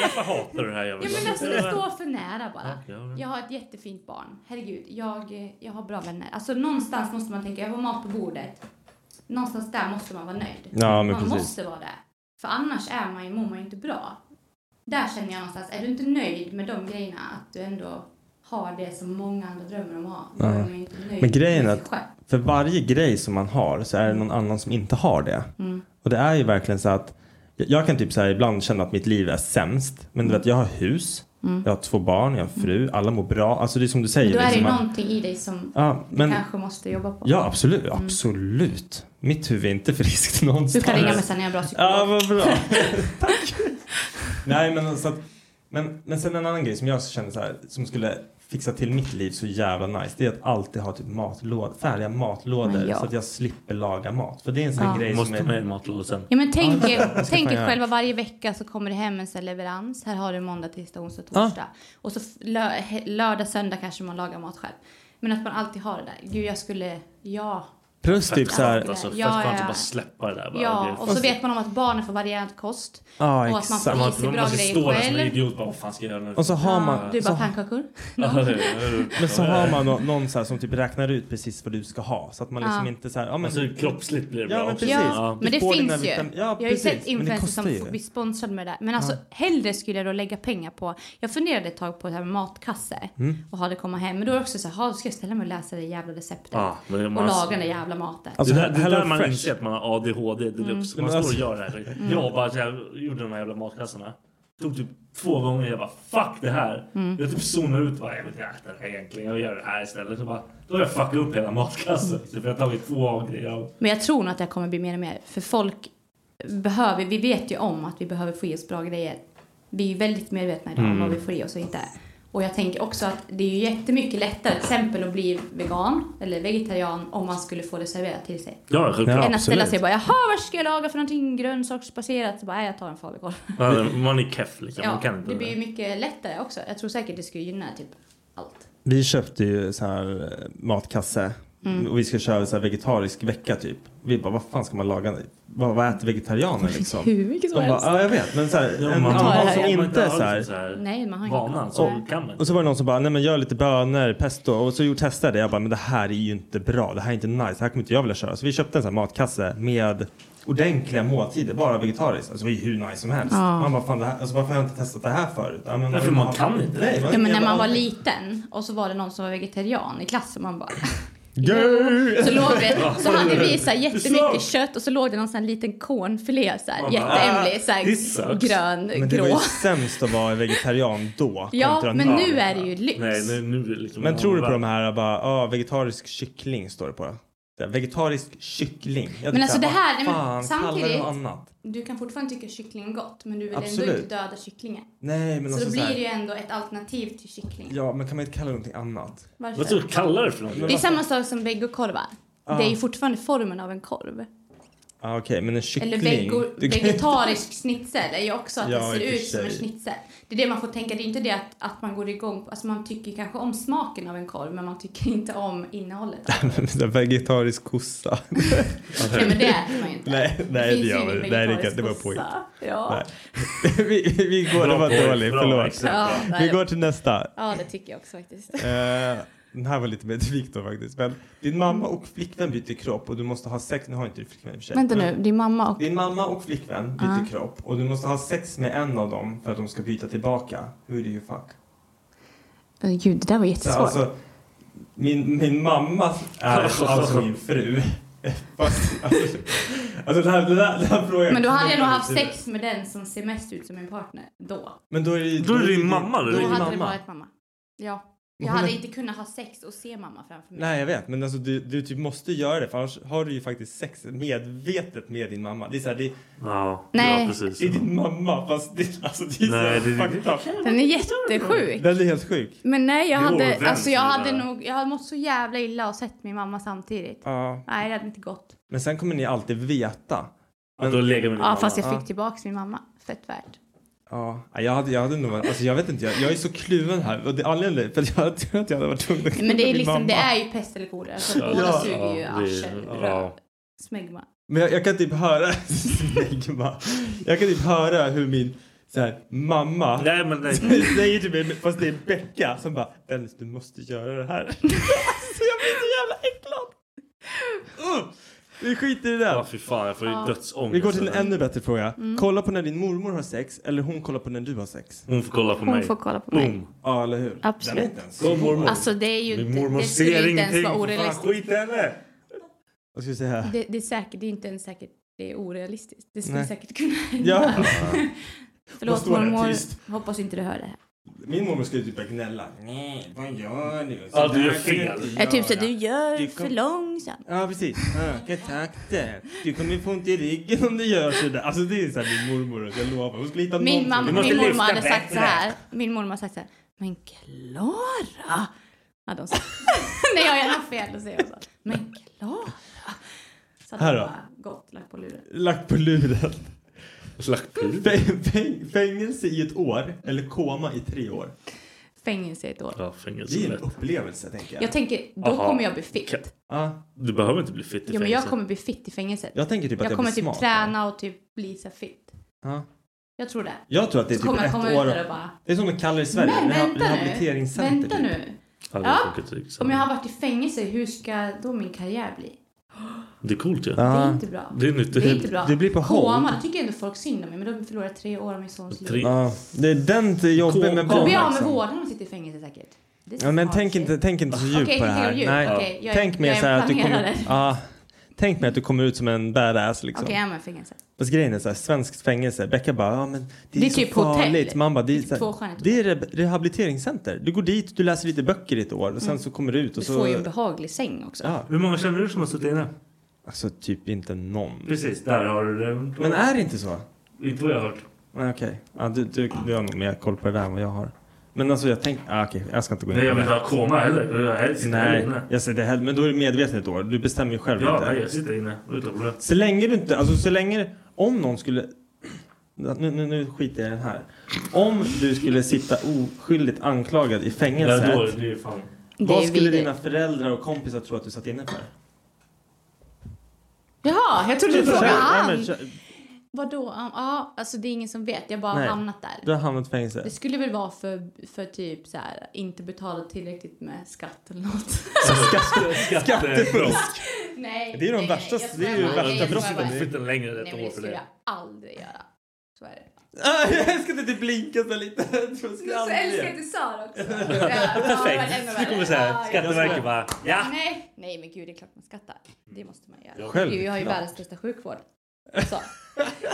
Speaker 1: Varför hatar du det här jävla
Speaker 3: Ja men alltså det står för nära bara.
Speaker 1: Ja, ja, ja.
Speaker 3: Jag har ett jättefint barn. Herregud, jag, eh, jag har bra vänner. Alltså någonstans måste man tänka, jag har mat på bordet. Någonstans där måste man vara nöjd.
Speaker 9: Ja, men
Speaker 3: man
Speaker 9: precis.
Speaker 3: måste vara det. För annars är man ju, mår man ju inte bra. Där känner jag någonstans, är du inte nöjd med de grejerna, att du ändå har det som många andra drömmer om att ha, då är man ju inte nöjd
Speaker 9: Men grejen är
Speaker 3: med sig
Speaker 9: att
Speaker 3: själv.
Speaker 9: för varje grej som man har så är det någon annan som inte har det.
Speaker 3: Mm.
Speaker 9: Och det är ju verkligen så att jag- jag kan typ så här ibland känna att mitt liv är sämst. Men du vet, jag har hus,
Speaker 3: Mm.
Speaker 9: jag har två barn, jag har en fru, alla mår bra. Alltså det är som du säger.
Speaker 3: Men då är det
Speaker 9: liksom,
Speaker 3: ju
Speaker 9: att-
Speaker 3: någonting i dig som
Speaker 9: Ja, men-
Speaker 3: du kanske måste jobba på.
Speaker 9: Ja, absolut.
Speaker 3: Mm.
Speaker 9: Absolut. Mitt huvud är inte friskt någonstans.
Speaker 3: Du kan ringa mig sen när jag är bra psykolog.
Speaker 9: Ja, vad bra. Tack. Nej, men så att, men, men sen en annan grej som jag känner så här, som skulle fixa till mitt liv så jävla nice, det är att alltid ha typ matlåd, färdiga matlådor
Speaker 3: Men ja.
Speaker 9: så att jag slipper laga mat. För det är en sån
Speaker 3: Ja.
Speaker 9: grej
Speaker 1: Måste
Speaker 9: som
Speaker 1: ta
Speaker 9: är...
Speaker 1: med matlådor sen.
Speaker 3: Ja men
Speaker 9: Ja,
Speaker 3: tänk,
Speaker 9: det-
Speaker 3: er,
Speaker 9: det ska
Speaker 3: tänk
Speaker 9: fan
Speaker 3: er
Speaker 9: göra.
Speaker 3: själva varje vecka så kommer det hem en sån här leverans. Här har du måndag, tisdag, onsdag,
Speaker 9: Ja.
Speaker 3: torsdag. Och så f- lö, he- lördag, söndag kanske man lagar mat själv. Men att man alltid har det där. Gud jag skulle, ja.
Speaker 9: Plus typ så här...
Speaker 1: Fett alltså, fett
Speaker 3: Ja,
Speaker 1: skönt
Speaker 3: ja.
Speaker 1: att bara släppa det där. Bara,
Speaker 3: Ja,
Speaker 1: det-
Speaker 3: och så vet man om att barnen får varierad kost.
Speaker 9: Ja,
Speaker 3: och att man
Speaker 9: exakt.
Speaker 3: får i sig
Speaker 1: Man
Speaker 3: bra
Speaker 1: måste stå
Speaker 3: grejer
Speaker 1: där som en
Speaker 3: själv.
Speaker 1: idiot bara, vad fan ska jag göra nu?
Speaker 9: Och så har man...
Speaker 3: Du
Speaker 9: så
Speaker 3: bara pannkakor.
Speaker 9: Men så har man nå- någon så här som typ räknar ut precis vad du ska ha så att man liksom
Speaker 3: Ja.
Speaker 9: inte så här, ja men
Speaker 1: Alltså, kroppsligt blir det
Speaker 9: ja,
Speaker 1: bra
Speaker 9: men
Speaker 1: också.
Speaker 9: precis.
Speaker 1: Ja.
Speaker 9: Du
Speaker 3: Men det
Speaker 9: får dina
Speaker 3: finns ju.
Speaker 9: vitam-
Speaker 3: jag
Speaker 9: Ja,
Speaker 3: har ju sett
Speaker 9: precis. Men det
Speaker 3: influencers som
Speaker 9: kostar ju.
Speaker 3: f- blir sponsrade med det där. Men alltså
Speaker 9: Ja.
Speaker 3: hellre skulle jag då lägga pengar på. Jag funderade ett tag på det här med matkasse
Speaker 9: Mm.
Speaker 3: och ha det komma hem. Men då är det också så här, "Ha, ska jag ställa mig och läsa det jävla receptet
Speaker 1: Ja, men det-
Speaker 3: och
Speaker 1: man-
Speaker 3: laga den där jävla maten.
Speaker 9: Alltså,
Speaker 1: det där, det är
Speaker 9: Hello
Speaker 1: där man
Speaker 9: Fresh.
Speaker 1: inser att man har ADHD deluxe.
Speaker 9: Mm.
Speaker 1: Man står och
Speaker 9: Mm.
Speaker 1: gör det här.
Speaker 9: Mm.
Speaker 1: Jag bara så här, gjorde de här jävla matkassarna. Tog typ två gånger jag bara fuck det här.
Speaker 3: Mm.
Speaker 1: Jag typ zonar ut bara jag vill inte äta det här egentligen. Jag gör det här istället. Så bara, då har jag fuckat upp hela matkassen. Så jag har tagit två grejer av
Speaker 3: Men jag tror nog att det här kommer bli mer och mer. För folk behöver, vi vet ju om att vi behöver få i oss bra grejer. Vi är ju väldigt medvetna idag om
Speaker 1: Mm.
Speaker 3: vad vi får i oss och inte. Och jag tänker också att det är ju jättemycket lättare till exempel att bli vegan eller vegetarian om man skulle få det serverat till sig.
Speaker 1: Ja, självklart.
Speaker 3: Än att ställa
Speaker 1: absolut.
Speaker 3: sig och bara jaha vad ska jag laga för någonting grönsaksbaserat? Så bara "Nej, jag tar en falukorv.
Speaker 1: Ja, Man är keff liksom.
Speaker 3: Ja,
Speaker 1: man kan inte
Speaker 3: det blir ju mycket lättare också. Jag tror säkert det skulle gynna typ allt.
Speaker 9: Vi köpte ju så här eh, matkasse
Speaker 3: Mm.
Speaker 9: och vi ska köra så här vegetarisk vecka typ. Vi bara, vad fan ska man laga? Vad, vad äter vegetarianer liksom?
Speaker 3: Hur mycket som
Speaker 9: De bara,
Speaker 3: helst.
Speaker 9: ja jag vet men så här,
Speaker 1: Ja,
Speaker 9: en
Speaker 1: man-
Speaker 9: annan
Speaker 1: man-
Speaker 9: som
Speaker 1: man-
Speaker 9: inte är
Speaker 1: man-
Speaker 9: så här.
Speaker 1: så här-
Speaker 3: Nej man har ingen
Speaker 1: Vanan
Speaker 3: koll.
Speaker 1: så kan man.
Speaker 9: Och så var det någon som bara, nej men gör lite bönor, pesto och så gjorde testade det. Jag bara, men det här är ju inte bra. Det här är inte nice. Det här kommer inte jag vilja köra. Så vi köpte en sån här matkasse med ordentliga måltider, bara vegetariskt. Alltså det var ju hur nice som helst.
Speaker 3: Ja.
Speaker 9: Man bara, fan det här, alltså varför har jag inte testat det här förut? Ja, men,
Speaker 1: Därför man kan inte.
Speaker 9: Nej,
Speaker 3: Ja, men när man var
Speaker 9: allting.
Speaker 3: liten och så var det någon som var vegetarian i klassen man bara
Speaker 9: Gay!
Speaker 3: Så, låg det, så hade vi så här jättemycket kött och så låg det någon sån här liten cornfilé så här,
Speaker 9: Man bara,
Speaker 3: jätteämlig, så
Speaker 9: "Ah, this sucks."
Speaker 3: här, grön,
Speaker 9: Men det var
Speaker 3: grå.
Speaker 9: ju sämst att vara vegetarian då. kontra
Speaker 3: Ja, men nu är det ju lyx.
Speaker 9: Men tror du på de här bara, ah, vegetarisk kyckling står det på. Det här, Vegetarisk kyckling. Jag
Speaker 3: Men
Speaker 9: tycker
Speaker 3: alltså det
Speaker 9: så
Speaker 3: här, nej,
Speaker 9: vad
Speaker 3: men
Speaker 9: fan, kalla det
Speaker 3: samtidigt,
Speaker 9: något annat.
Speaker 3: du kan fortfarande tycka kyckling är gott men du vill ändå
Speaker 9: Absolut.
Speaker 3: inte döda kycklingen.
Speaker 9: Nej, men
Speaker 3: så
Speaker 9: alltså
Speaker 3: då
Speaker 9: så
Speaker 3: blir
Speaker 9: här-
Speaker 3: det ju ändå ett alternativ till kyckling.
Speaker 9: Ja, men kan man inte kalla det någonting annat?
Speaker 3: Varför? Vad ska vi
Speaker 1: kalla det för någonting?
Speaker 9: Men
Speaker 3: Det är
Speaker 9: varför-
Speaker 3: samma sak som vegokorvar.
Speaker 9: Ja.
Speaker 3: Det är ju fortfarande formen av en korv.
Speaker 9: Ah, Okej, men en kyckling.
Speaker 3: Eller vego,
Speaker 9: Du kan-
Speaker 3: vegetarisk schnitzel är ju också att
Speaker 9: Ja,
Speaker 3: det
Speaker 9: i och
Speaker 3: ser
Speaker 9: för
Speaker 3: ut som en
Speaker 9: sig.
Speaker 3: schnitzel. Det är det man får tänka. Det är inte det att, att man går igång på. Alltså man tycker kanske om smaken av en korv men man tycker inte om innehållet.
Speaker 9: Så här, vegetarisk kossa.
Speaker 3: Nej men det äter man ju inte.
Speaker 9: Nej, nej det
Speaker 3: finns ju
Speaker 9: gör
Speaker 3: ingen
Speaker 9: vi inte. Nej, det kan-
Speaker 3: vegetarisk
Speaker 9: det var påhitt.
Speaker 3: kossa. Ja.
Speaker 9: Nej. vi, vi går, det
Speaker 1: Bra
Speaker 9: var
Speaker 1: påhitt,
Speaker 9: dåligt,
Speaker 1: bra
Speaker 9: förlåt.
Speaker 1: exempel.
Speaker 3: Ja,
Speaker 9: vi
Speaker 3: nej.
Speaker 9: går till nästa.
Speaker 3: ja det tycker jag också faktiskt.
Speaker 9: Eh, den här var lite mer till Viktor faktiskt. Men din mamma och flickvän byter kropp och du måste ha sex. Nu har inte du flickvän i och för sig.
Speaker 3: Vänta nu,
Speaker 9: Men
Speaker 3: din mamma och...
Speaker 9: Din mamma och flickvän byter
Speaker 3: Ja.
Speaker 9: kropp och du måste ha sex med en av dem för att de ska byta tillbaka. Who do you fuck?
Speaker 3: Eh, Gud, det där var jättesvårt.
Speaker 9: Så alltså, min, min mamma är alltså min fru. Fast, alltså, alltså den här, den här, den här frågan.
Speaker 3: men då hade jag nog haft sex med den som ser mest ut som min partner då.
Speaker 9: Men då är det,
Speaker 1: Då är det din mamma,
Speaker 9: Då
Speaker 1: eller?
Speaker 9: är
Speaker 3: Då
Speaker 9: det din
Speaker 3: hade det
Speaker 9: mamma.
Speaker 3: varit mamma. Ja.
Speaker 9: Men
Speaker 3: Jag
Speaker 9: hon
Speaker 3: hade
Speaker 9: är-
Speaker 3: inte kunnat ha sex och se mamma framför mig.
Speaker 9: Nej jag vet men alltså du, du typ måste göra det för annars har du ju faktiskt sex medvetet med din mamma. Det är såhär, det,
Speaker 1: Ja,
Speaker 3: Nej.
Speaker 1: ja precis.
Speaker 9: det är din mamma fast det, alltså, det är
Speaker 1: Nej,
Speaker 9: så
Speaker 1: det-
Speaker 9: fucked up.
Speaker 3: Den är jättesjuk.
Speaker 9: Den är helt sjuk.
Speaker 3: Men nej, jag
Speaker 9: Det är
Speaker 3: hade,
Speaker 9: årvänt,
Speaker 3: alltså jag
Speaker 9: det
Speaker 3: hade
Speaker 9: där.
Speaker 3: nog, jag hade mått så jävla illa och sett min mamma samtidigt.
Speaker 9: Ja.
Speaker 3: Nej, det hade inte gått.
Speaker 9: Men sen kommer ni alltid veta. Men,
Speaker 1: då lägger vi
Speaker 3: Ja, fast jag fick tillbaks min mamma. Fett värt.
Speaker 9: Ja, ja, jag hade, jag hade nog varit, alltså jag vet inte, jag, jag är så kluven här. Och det, anledningen för att jag tror att jag hade varit tvungen att
Speaker 3: Nej, Men det
Speaker 9: knulla
Speaker 3: är
Speaker 9: min
Speaker 3: liksom,
Speaker 9: mamma.
Speaker 3: det är ju pest eller kolera. Alltså,
Speaker 9: Ja.
Speaker 3: båda
Speaker 9: Ja.
Speaker 3: suger ju
Speaker 9: Ja,
Speaker 3: arsel,
Speaker 9: det-
Speaker 3: röv,
Speaker 9: ja.
Speaker 3: smegma.
Speaker 9: Men jag, jag kan typ höra, smegma. jag kan typ höra hur min så här, mamma
Speaker 1: nej, men nej.
Speaker 9: säger till mig, fast det är Becka som bara Dennis du måste göra det här. jag blir så jävla äcklad. Uh, vi skiter i det.
Speaker 1: Ja, fy fan, jag får ju
Speaker 9: Ja.
Speaker 1: dödsångest.
Speaker 9: Vi går till en ännu bättre fråga.
Speaker 1: Mm.
Speaker 9: Kolla på när din mormor har sex eller hon kollar på när du har sex?
Speaker 1: Hon får kolla på
Speaker 3: Hon mig. får kolla på mig.
Speaker 1: Boom.
Speaker 9: Ja, eller hur?
Speaker 3: Absolut.
Speaker 9: Den är inte ens
Speaker 1: Gå,
Speaker 9: svår.
Speaker 1: mormor.
Speaker 3: Alltså det är ju
Speaker 1: Min
Speaker 3: inte,
Speaker 1: mormor
Speaker 3: det
Speaker 1: ser
Speaker 3: skulle inte ens
Speaker 1: ingenting.
Speaker 3: vara
Speaker 1: För fan,
Speaker 3: orealistiskt.
Speaker 1: skit i henne.
Speaker 9: Vad ska vi säga?
Speaker 3: Det, det är säkert, det är inte ens säkert det är orealistiskt. Det skulle
Speaker 9: Nej.
Speaker 3: säkert kunna hända.
Speaker 9: Ja. Vad
Speaker 3: Förlåt
Speaker 9: står det?
Speaker 3: mormor,
Speaker 9: Tyst.
Speaker 3: hoppas inte du hör det här.
Speaker 9: Min mormor skulle typ börja gnälla. Nej, vad gör du?
Speaker 1: Ja, du
Speaker 9: där
Speaker 1: gör
Speaker 9: kan du
Speaker 1: fel.
Speaker 9: inte
Speaker 3: Jag typ så
Speaker 9: göra.
Speaker 3: du gör
Speaker 9: Du kom-
Speaker 3: för långsamt.
Speaker 9: Ja, precis. Öka takten. Du kommer få ont i ryggen om du gör sådär. Alltså det är såhär min mormor, jag lovar. Hon skulle hitta
Speaker 3: Min,
Speaker 9: någonting.
Speaker 3: mamma,
Speaker 9: Vi
Speaker 3: min
Speaker 9: måste
Speaker 3: mormor
Speaker 9: lyfta
Speaker 3: hade sagt
Speaker 9: bättre.
Speaker 3: så här. Min mormor hade sagt så här. Men Klara! Hade hon sagt. Nej jag gärna fel, då säger jag så. Men Klara! Så att
Speaker 9: Här
Speaker 3: hon
Speaker 9: då?
Speaker 3: bara gått, lagt på luren.
Speaker 9: Lagt på luren.
Speaker 1: Lagt på luren?
Speaker 9: Fäng- fäng- Fängelse i ett år eller koma i tre år.
Speaker 3: Fängelse i ett år.
Speaker 1: Ja, fängelse.
Speaker 9: Det är en upplevelse tänker jag.
Speaker 3: Jag tänker, då
Speaker 1: Aha.
Speaker 3: kommer jag bli fit.
Speaker 9: Ja.
Speaker 1: Du behöver inte bli fit i
Speaker 3: Jo men jag
Speaker 1: fängelse.
Speaker 3: kommer bli fit i fängelset.
Speaker 9: Jag tänker typ att jag
Speaker 3: kommer
Speaker 9: blir
Speaker 3: typ
Speaker 9: smart,
Speaker 3: träna och typ bli så här fit.
Speaker 9: Ja.
Speaker 3: Jag tror det.
Speaker 9: Jag tror att det är
Speaker 3: Så
Speaker 9: typ
Speaker 3: kommer jag
Speaker 9: ett
Speaker 3: komma
Speaker 9: år.
Speaker 3: ut där och bara-
Speaker 9: Det är som de kallar det i Sverige.
Speaker 3: Men
Speaker 9: reha-
Speaker 3: vänta nu.
Speaker 9: rehabiliteringscenter.
Speaker 3: Vänta
Speaker 9: typ.
Speaker 3: nu.
Speaker 1: Ja, det
Speaker 3: Ja.
Speaker 1: funkar inte
Speaker 3: Om jag har varit i fängelse, hur ska då min karriär bli?
Speaker 1: Det är coolt ju.
Speaker 9: Ja.
Speaker 3: Det är inte bra.
Speaker 1: Det är nytt.
Speaker 3: Det är inte bra.
Speaker 9: Det blir på
Speaker 3: Koma,
Speaker 9: hold.
Speaker 3: då tycker jag ändå folk synd om mig. Men då förlorar jag tre år av min sons liv.
Speaker 9: Ja, det är den till jobbet med
Speaker 3: Då
Speaker 9: barn.
Speaker 3: blir jag av med
Speaker 9: liksom.
Speaker 3: vården om jag sitter i fängelse säkert. Det är så
Speaker 9: Ja, men
Speaker 3: smart
Speaker 9: tänk
Speaker 3: shit.
Speaker 9: inte, tänk inte så
Speaker 3: Okej,
Speaker 9: djupt
Speaker 3: tänk
Speaker 9: på det
Speaker 3: inte
Speaker 9: här.
Speaker 3: så djupt.
Speaker 9: Nej.
Speaker 3: Okej, jag är-
Speaker 9: tänk mer
Speaker 3: jag är
Speaker 9: så här att du kommer...
Speaker 3: planerare.
Speaker 9: Ja, tänk mer att du kommer ut som en badass liksom.
Speaker 3: Okej, jag är med i fängelse.
Speaker 9: Fast grejen är så här, svenskt fängelse. Becka bara, ja men det är,
Speaker 3: Det är
Speaker 9: så
Speaker 3: typ hotell.
Speaker 9: farligt. Man bara, det är,
Speaker 3: Det är typ
Speaker 9: så här,
Speaker 3: tvåstjärnigt
Speaker 9: det är re- rehabiliteringscenter. Du går dit, du läser lite böcker i ett år och sen
Speaker 3: Mm.
Speaker 9: så kommer du ut och
Speaker 3: Du
Speaker 9: så...
Speaker 3: får ju en behaglig säng också.
Speaker 9: Ja.
Speaker 1: Hur många känner du som har suttit inne?
Speaker 9: Alltså typ inte någon.
Speaker 1: Precis, där har du det.
Speaker 9: Men är det inte så?
Speaker 1: Inte vad jag har hört.
Speaker 9: Nej okej. Ja, du, du, du har nog mer koll på det där än vad jag har. Men alltså jag tänkte, ah, okej jag ska inte gå in
Speaker 1: Nej, jag
Speaker 9: på
Speaker 1: vill
Speaker 9: det.
Speaker 1: inte ha koma heller. Jag helst inte
Speaker 9: Nej,
Speaker 1: inne.
Speaker 9: jag säger det heller. Men då är du medveten ett år. Du bestämmer ju själv
Speaker 1: Ja,
Speaker 9: inte.
Speaker 1: nej, jag sitter inne. Utan problem.
Speaker 9: Så länge du inte, alltså så länge, om någon skulle, nu, nu, nu skiter jag i den här. Om du skulle sitta oskyldigt anklagad i fängelset.
Speaker 1: Ja, då är det ju fan.
Speaker 9: Vad
Speaker 3: Det är
Speaker 9: skulle
Speaker 3: vidrigt.
Speaker 9: dina föräldrar och kompisar tro att du satt inne för?
Speaker 3: Jaha, jag trodde du frågade
Speaker 9: Ja, men
Speaker 3: han.
Speaker 9: kör-
Speaker 3: Vadå? Ja, ah, alltså det är ingen som vet. Jag bara har
Speaker 9: Nej.
Speaker 3: hamnat där.
Speaker 9: Du har hamnat i
Speaker 3: Det
Speaker 9: fängelse.
Speaker 3: skulle väl vara för, för typ så här, inte betala tillräckligt med skatt eller något.
Speaker 9: Skattefusk!
Speaker 3: nej,
Speaker 9: Det är de
Speaker 3: nej,
Speaker 9: värsta-
Speaker 3: nej, jag
Speaker 9: det är ju
Speaker 3: skojar
Speaker 9: värsta
Speaker 3: bara. Nej, jag skojar
Speaker 9: brotten.
Speaker 3: bara.
Speaker 1: Flytten längre än
Speaker 3: Nej,
Speaker 1: ett
Speaker 3: men
Speaker 1: år
Speaker 3: det
Speaker 1: för
Speaker 3: skulle
Speaker 1: det.
Speaker 3: jag aldrig göra. Vad är det?
Speaker 9: Ah, jag älskar att du blinkade så lite. Jag tror jag
Speaker 3: Du så
Speaker 9: aldrig-
Speaker 3: älskar att du sa det också.
Speaker 1: Perfekt. Nu kommer så här, Skatteverket bara, ja.
Speaker 3: Nej, nej men gud det är klart man skattar. Det måste man göra.
Speaker 9: Ja,
Speaker 3: Gud, vi har ju
Speaker 9: självklart.
Speaker 3: världens bästa sjukvård. Så.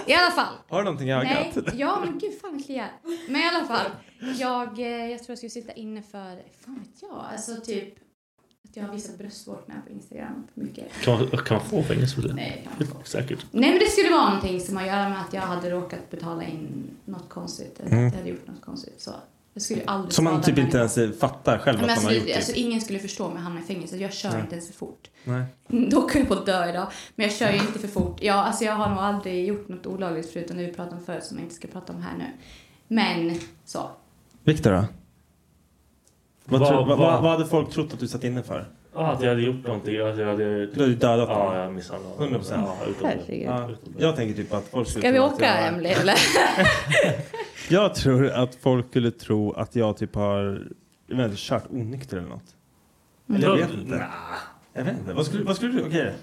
Speaker 3: I alla fall.
Speaker 9: Har du någonting i
Speaker 3: Nej,
Speaker 9: ögat?
Speaker 3: ja men gud fan vad kliar. Men i alla fall. Jag, eh, jag tror jag skulle sitta inne för, fan vet jag, alltså typ att jag har visat bröstvårtorna på Instagram för mycket.
Speaker 1: Kan man, kan man få fängelse för det?
Speaker 3: Nej, kan man
Speaker 1: Säkert.
Speaker 3: Nej men det skulle vara någonting som har att göra med att jag hade råkat betala in något konstigt. Eller
Speaker 9: Mm.
Speaker 3: att jag hade gjort något konstigt. Så jag skulle aldrig
Speaker 9: Som man
Speaker 3: skada
Speaker 9: typ
Speaker 3: en
Speaker 9: inte
Speaker 3: människa.
Speaker 9: ens fattar själv
Speaker 3: Men
Speaker 9: att man har gjort.
Speaker 3: alltså,
Speaker 9: det.
Speaker 3: alltså, ingen skulle förstå om jag hamnar i fängelse. Jag kör
Speaker 9: Nej.
Speaker 3: inte ens för fort.
Speaker 9: Nej.
Speaker 3: Då kan jag på att dö idag. Men jag kör ju inte för fort. Jag, alltså, jag har nog aldrig gjort något olagligt förutom det vi pratade om förut som jag inte ska prata om här nu. Men så.
Speaker 9: Viktor då? Vad,
Speaker 1: Vad-
Speaker 9: tro, vad, vad,
Speaker 1: vad-
Speaker 9: vad hade folk trott att du satt inne för?
Speaker 1: Ja, att jag hade gjort någonting. Att jag hade... Du
Speaker 9: hade dödat
Speaker 1: Ja,
Speaker 9: någon.
Speaker 1: jag misshandlade
Speaker 9: 100 procent.
Speaker 1: Ja, utom det.
Speaker 3: Herregud.
Speaker 1: Ja.
Speaker 9: Jag tänker typ att folk skulle
Speaker 3: Ska vi
Speaker 9: tro att
Speaker 3: åka
Speaker 9: jag-
Speaker 3: Emelie eller?
Speaker 9: Jag tror att folk skulle tro att jag typ har jag vet inte, kört onykter eller något. Eller jag
Speaker 1: Mm.
Speaker 9: vet inte.
Speaker 1: Nja.
Speaker 9: Jag vet inte. Vad skulle, vad skulle du... Okej.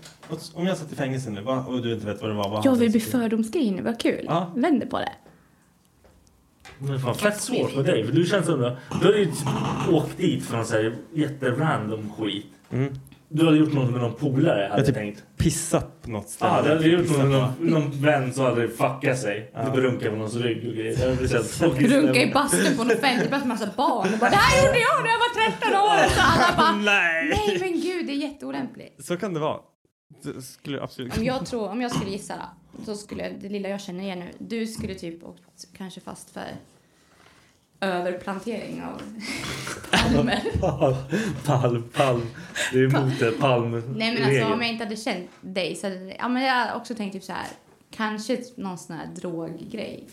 Speaker 9: Om jag satt i fängelse nu va? och du inte vet vad det var. Vad
Speaker 3: Jag
Speaker 9: hade
Speaker 3: vill bli
Speaker 9: suttit i?
Speaker 3: fördomsgrej nu, vad kul.
Speaker 9: Ja.
Speaker 3: Vänder på det.
Speaker 1: Men fan, fett svårt med dig. För du känns som... Du har ju typ åkt dit från så här jätterandom skit.
Speaker 9: Mm.
Speaker 1: Du hade gjort något med någon polare, hade
Speaker 9: Jag
Speaker 1: jag
Speaker 9: typ
Speaker 1: tänkt.
Speaker 9: pissat på något ställe.
Speaker 1: Ja, du Ah, hade gjort något med
Speaker 9: Pissat på-
Speaker 1: någon, någon vän som hade fuckat sig.
Speaker 9: Ja.
Speaker 1: Du runkade på någons rygg och grejer. Det hade blivit så här tråkigt.
Speaker 3: Runka i bastun på en offentlig plats med massa barn och bara det här gjorde jag när jag var 13 år. Så alla bara
Speaker 9: Nej.
Speaker 3: nej men gud det är jätteolämpligt.
Speaker 9: Så kan det vara. Det skulle absolut...
Speaker 3: Om jag, tror, om jag skulle gissa då, så skulle det lilla jag känner igen nu, du skulle typ åkt kanske fast för överplantering av palmer.
Speaker 1: Palm, palm. Det är emot det. Palm.
Speaker 3: Nej men alltså om jag inte hade känt dig så hade ja, men jag hade också tänkt typ så här, kanske någon sån här droggrej.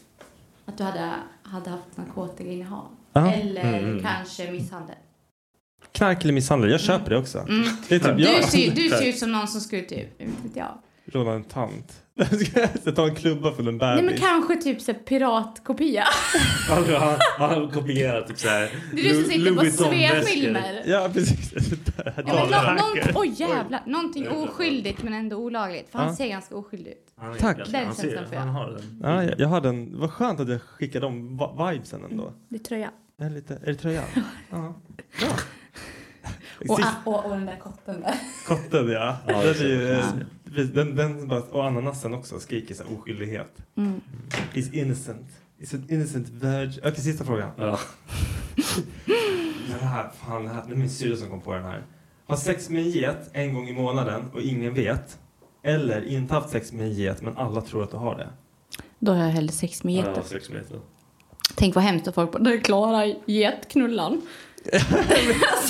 Speaker 3: Att du hade, hade haft narkotikainnehav.
Speaker 9: Ja.
Speaker 3: Eller
Speaker 9: Mm.
Speaker 3: kanske misshandel.
Speaker 9: Knark eller misshandel. Jag köper det också.
Speaker 3: Mm.
Speaker 9: Det är typ
Speaker 3: Du,
Speaker 9: jag.
Speaker 3: ser, du ser ut som någon som skulle typ, inte vet jag.
Speaker 9: Råna en tant. Jag tar en klubba från en bebis.
Speaker 3: Nej men kanske typ så här, piratkopia.
Speaker 1: Alltså, han, han kopierar typ såhär...
Speaker 3: Det är du som sitter på Svea-filmer.
Speaker 9: Ja, precis.
Speaker 3: Ja, men
Speaker 1: Ja,
Speaker 3: nå-
Speaker 1: tack.
Speaker 3: någon, oh, jävlar, någonting
Speaker 1: Jävlar.
Speaker 3: oskyldigt men ändå olagligt. För
Speaker 9: Ja.
Speaker 3: han ser ganska oskyldig ut.
Speaker 1: Han är
Speaker 9: Tack.
Speaker 1: ganska-
Speaker 3: Den
Speaker 1: han ser-
Speaker 3: känslan får jag.
Speaker 1: Han har den.
Speaker 9: Ja, jag, jag har den. Vad skönt att jag skickade de va- vibesen ändå.
Speaker 3: Det är tröja.
Speaker 9: Är, det lite, är det tröjan? ja.
Speaker 3: Och,
Speaker 9: Sist
Speaker 3: och, och den där kotten där.
Speaker 9: kotten ja.
Speaker 1: Ja,
Speaker 9: den, är
Speaker 1: det
Speaker 9: ju,
Speaker 1: ser jag.
Speaker 9: eh, precis, den, den bara, och ananasen också skriker så här, oskyldighet.
Speaker 3: Mm.
Speaker 9: Is innocent. Is an innocent virgin. Okej, sista frågan.
Speaker 1: Ja.
Speaker 9: Den här, fan, den här, det är min syrra som kom på den här. Ha sex med en get en gång i månaden och ingen vet. Eller inte haft sex med en get men alla tror att du har det.
Speaker 3: Då har jag hellre sex med
Speaker 1: Ja,
Speaker 3: geten.
Speaker 1: sex meter.
Speaker 3: Tänk vad hemskt att folk bara, där klarar getknullan.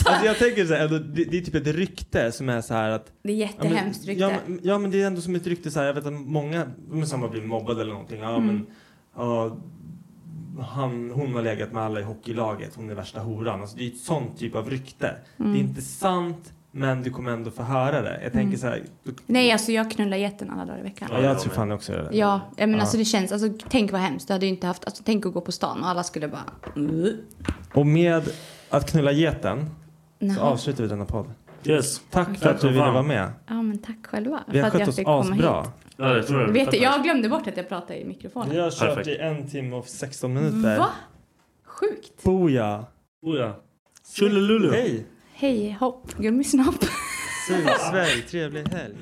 Speaker 9: Alltså jag tänker så här, ändå, det, det är typ ett rykte som är så här att
Speaker 3: Det är
Speaker 9: Ja, men-
Speaker 3: jättehemskt rykte.
Speaker 9: Ja men, ja men det är ändå som ett rykte så här, jag vet att många men, som har blivit mobbade eller någonting. Ja
Speaker 3: Mm.
Speaker 9: men ja, han, hon har legat med alla i hockeylaget, hon är värsta horan. Alltså, det är ett sånt typ av rykte.
Speaker 3: Mm.
Speaker 9: Det är inte sant men du kommer ändå få höra det. Jag tänker
Speaker 3: Mm.
Speaker 9: så här. Du,
Speaker 3: Nej alltså jag knullar geten alla dagar i veckan.
Speaker 9: ja, jag tror fan också det.
Speaker 3: Ja, ja, men
Speaker 9: Ja.
Speaker 3: alltså det känns, alltså tänk vad hemskt. Du hade ju inte haft, alltså tänk att gå på stan och alla skulle bara...
Speaker 9: Och med att knulla geten
Speaker 3: Nej.
Speaker 9: så avslutar vi denna podd.
Speaker 1: Yes.
Speaker 9: Tack för att du ville vara med.
Speaker 3: Ja men tack själva.
Speaker 9: Vi har
Speaker 3: för
Speaker 9: skött
Speaker 3: att jag
Speaker 9: oss
Speaker 3: fick komma hit.
Speaker 9: asbra.
Speaker 1: Ja, det tror jag.
Speaker 3: Vet du, jag glömde bort att jag pratade i mikrofonen.
Speaker 9: Vi har kört
Speaker 1: Perfekt.
Speaker 9: i en timme och 16 minuter.
Speaker 3: Va? Sjukt.
Speaker 9: Boja!
Speaker 1: Oh, ja. Tjolilulu.
Speaker 9: Hej!
Speaker 3: Hej hopp, gummisnopp.
Speaker 9: Sugsvälj, trevlig helg.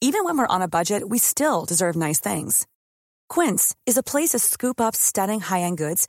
Speaker 8: Even when we're on a budget, we still deserve nice things. Quince is a place to scoop up stunning high end goods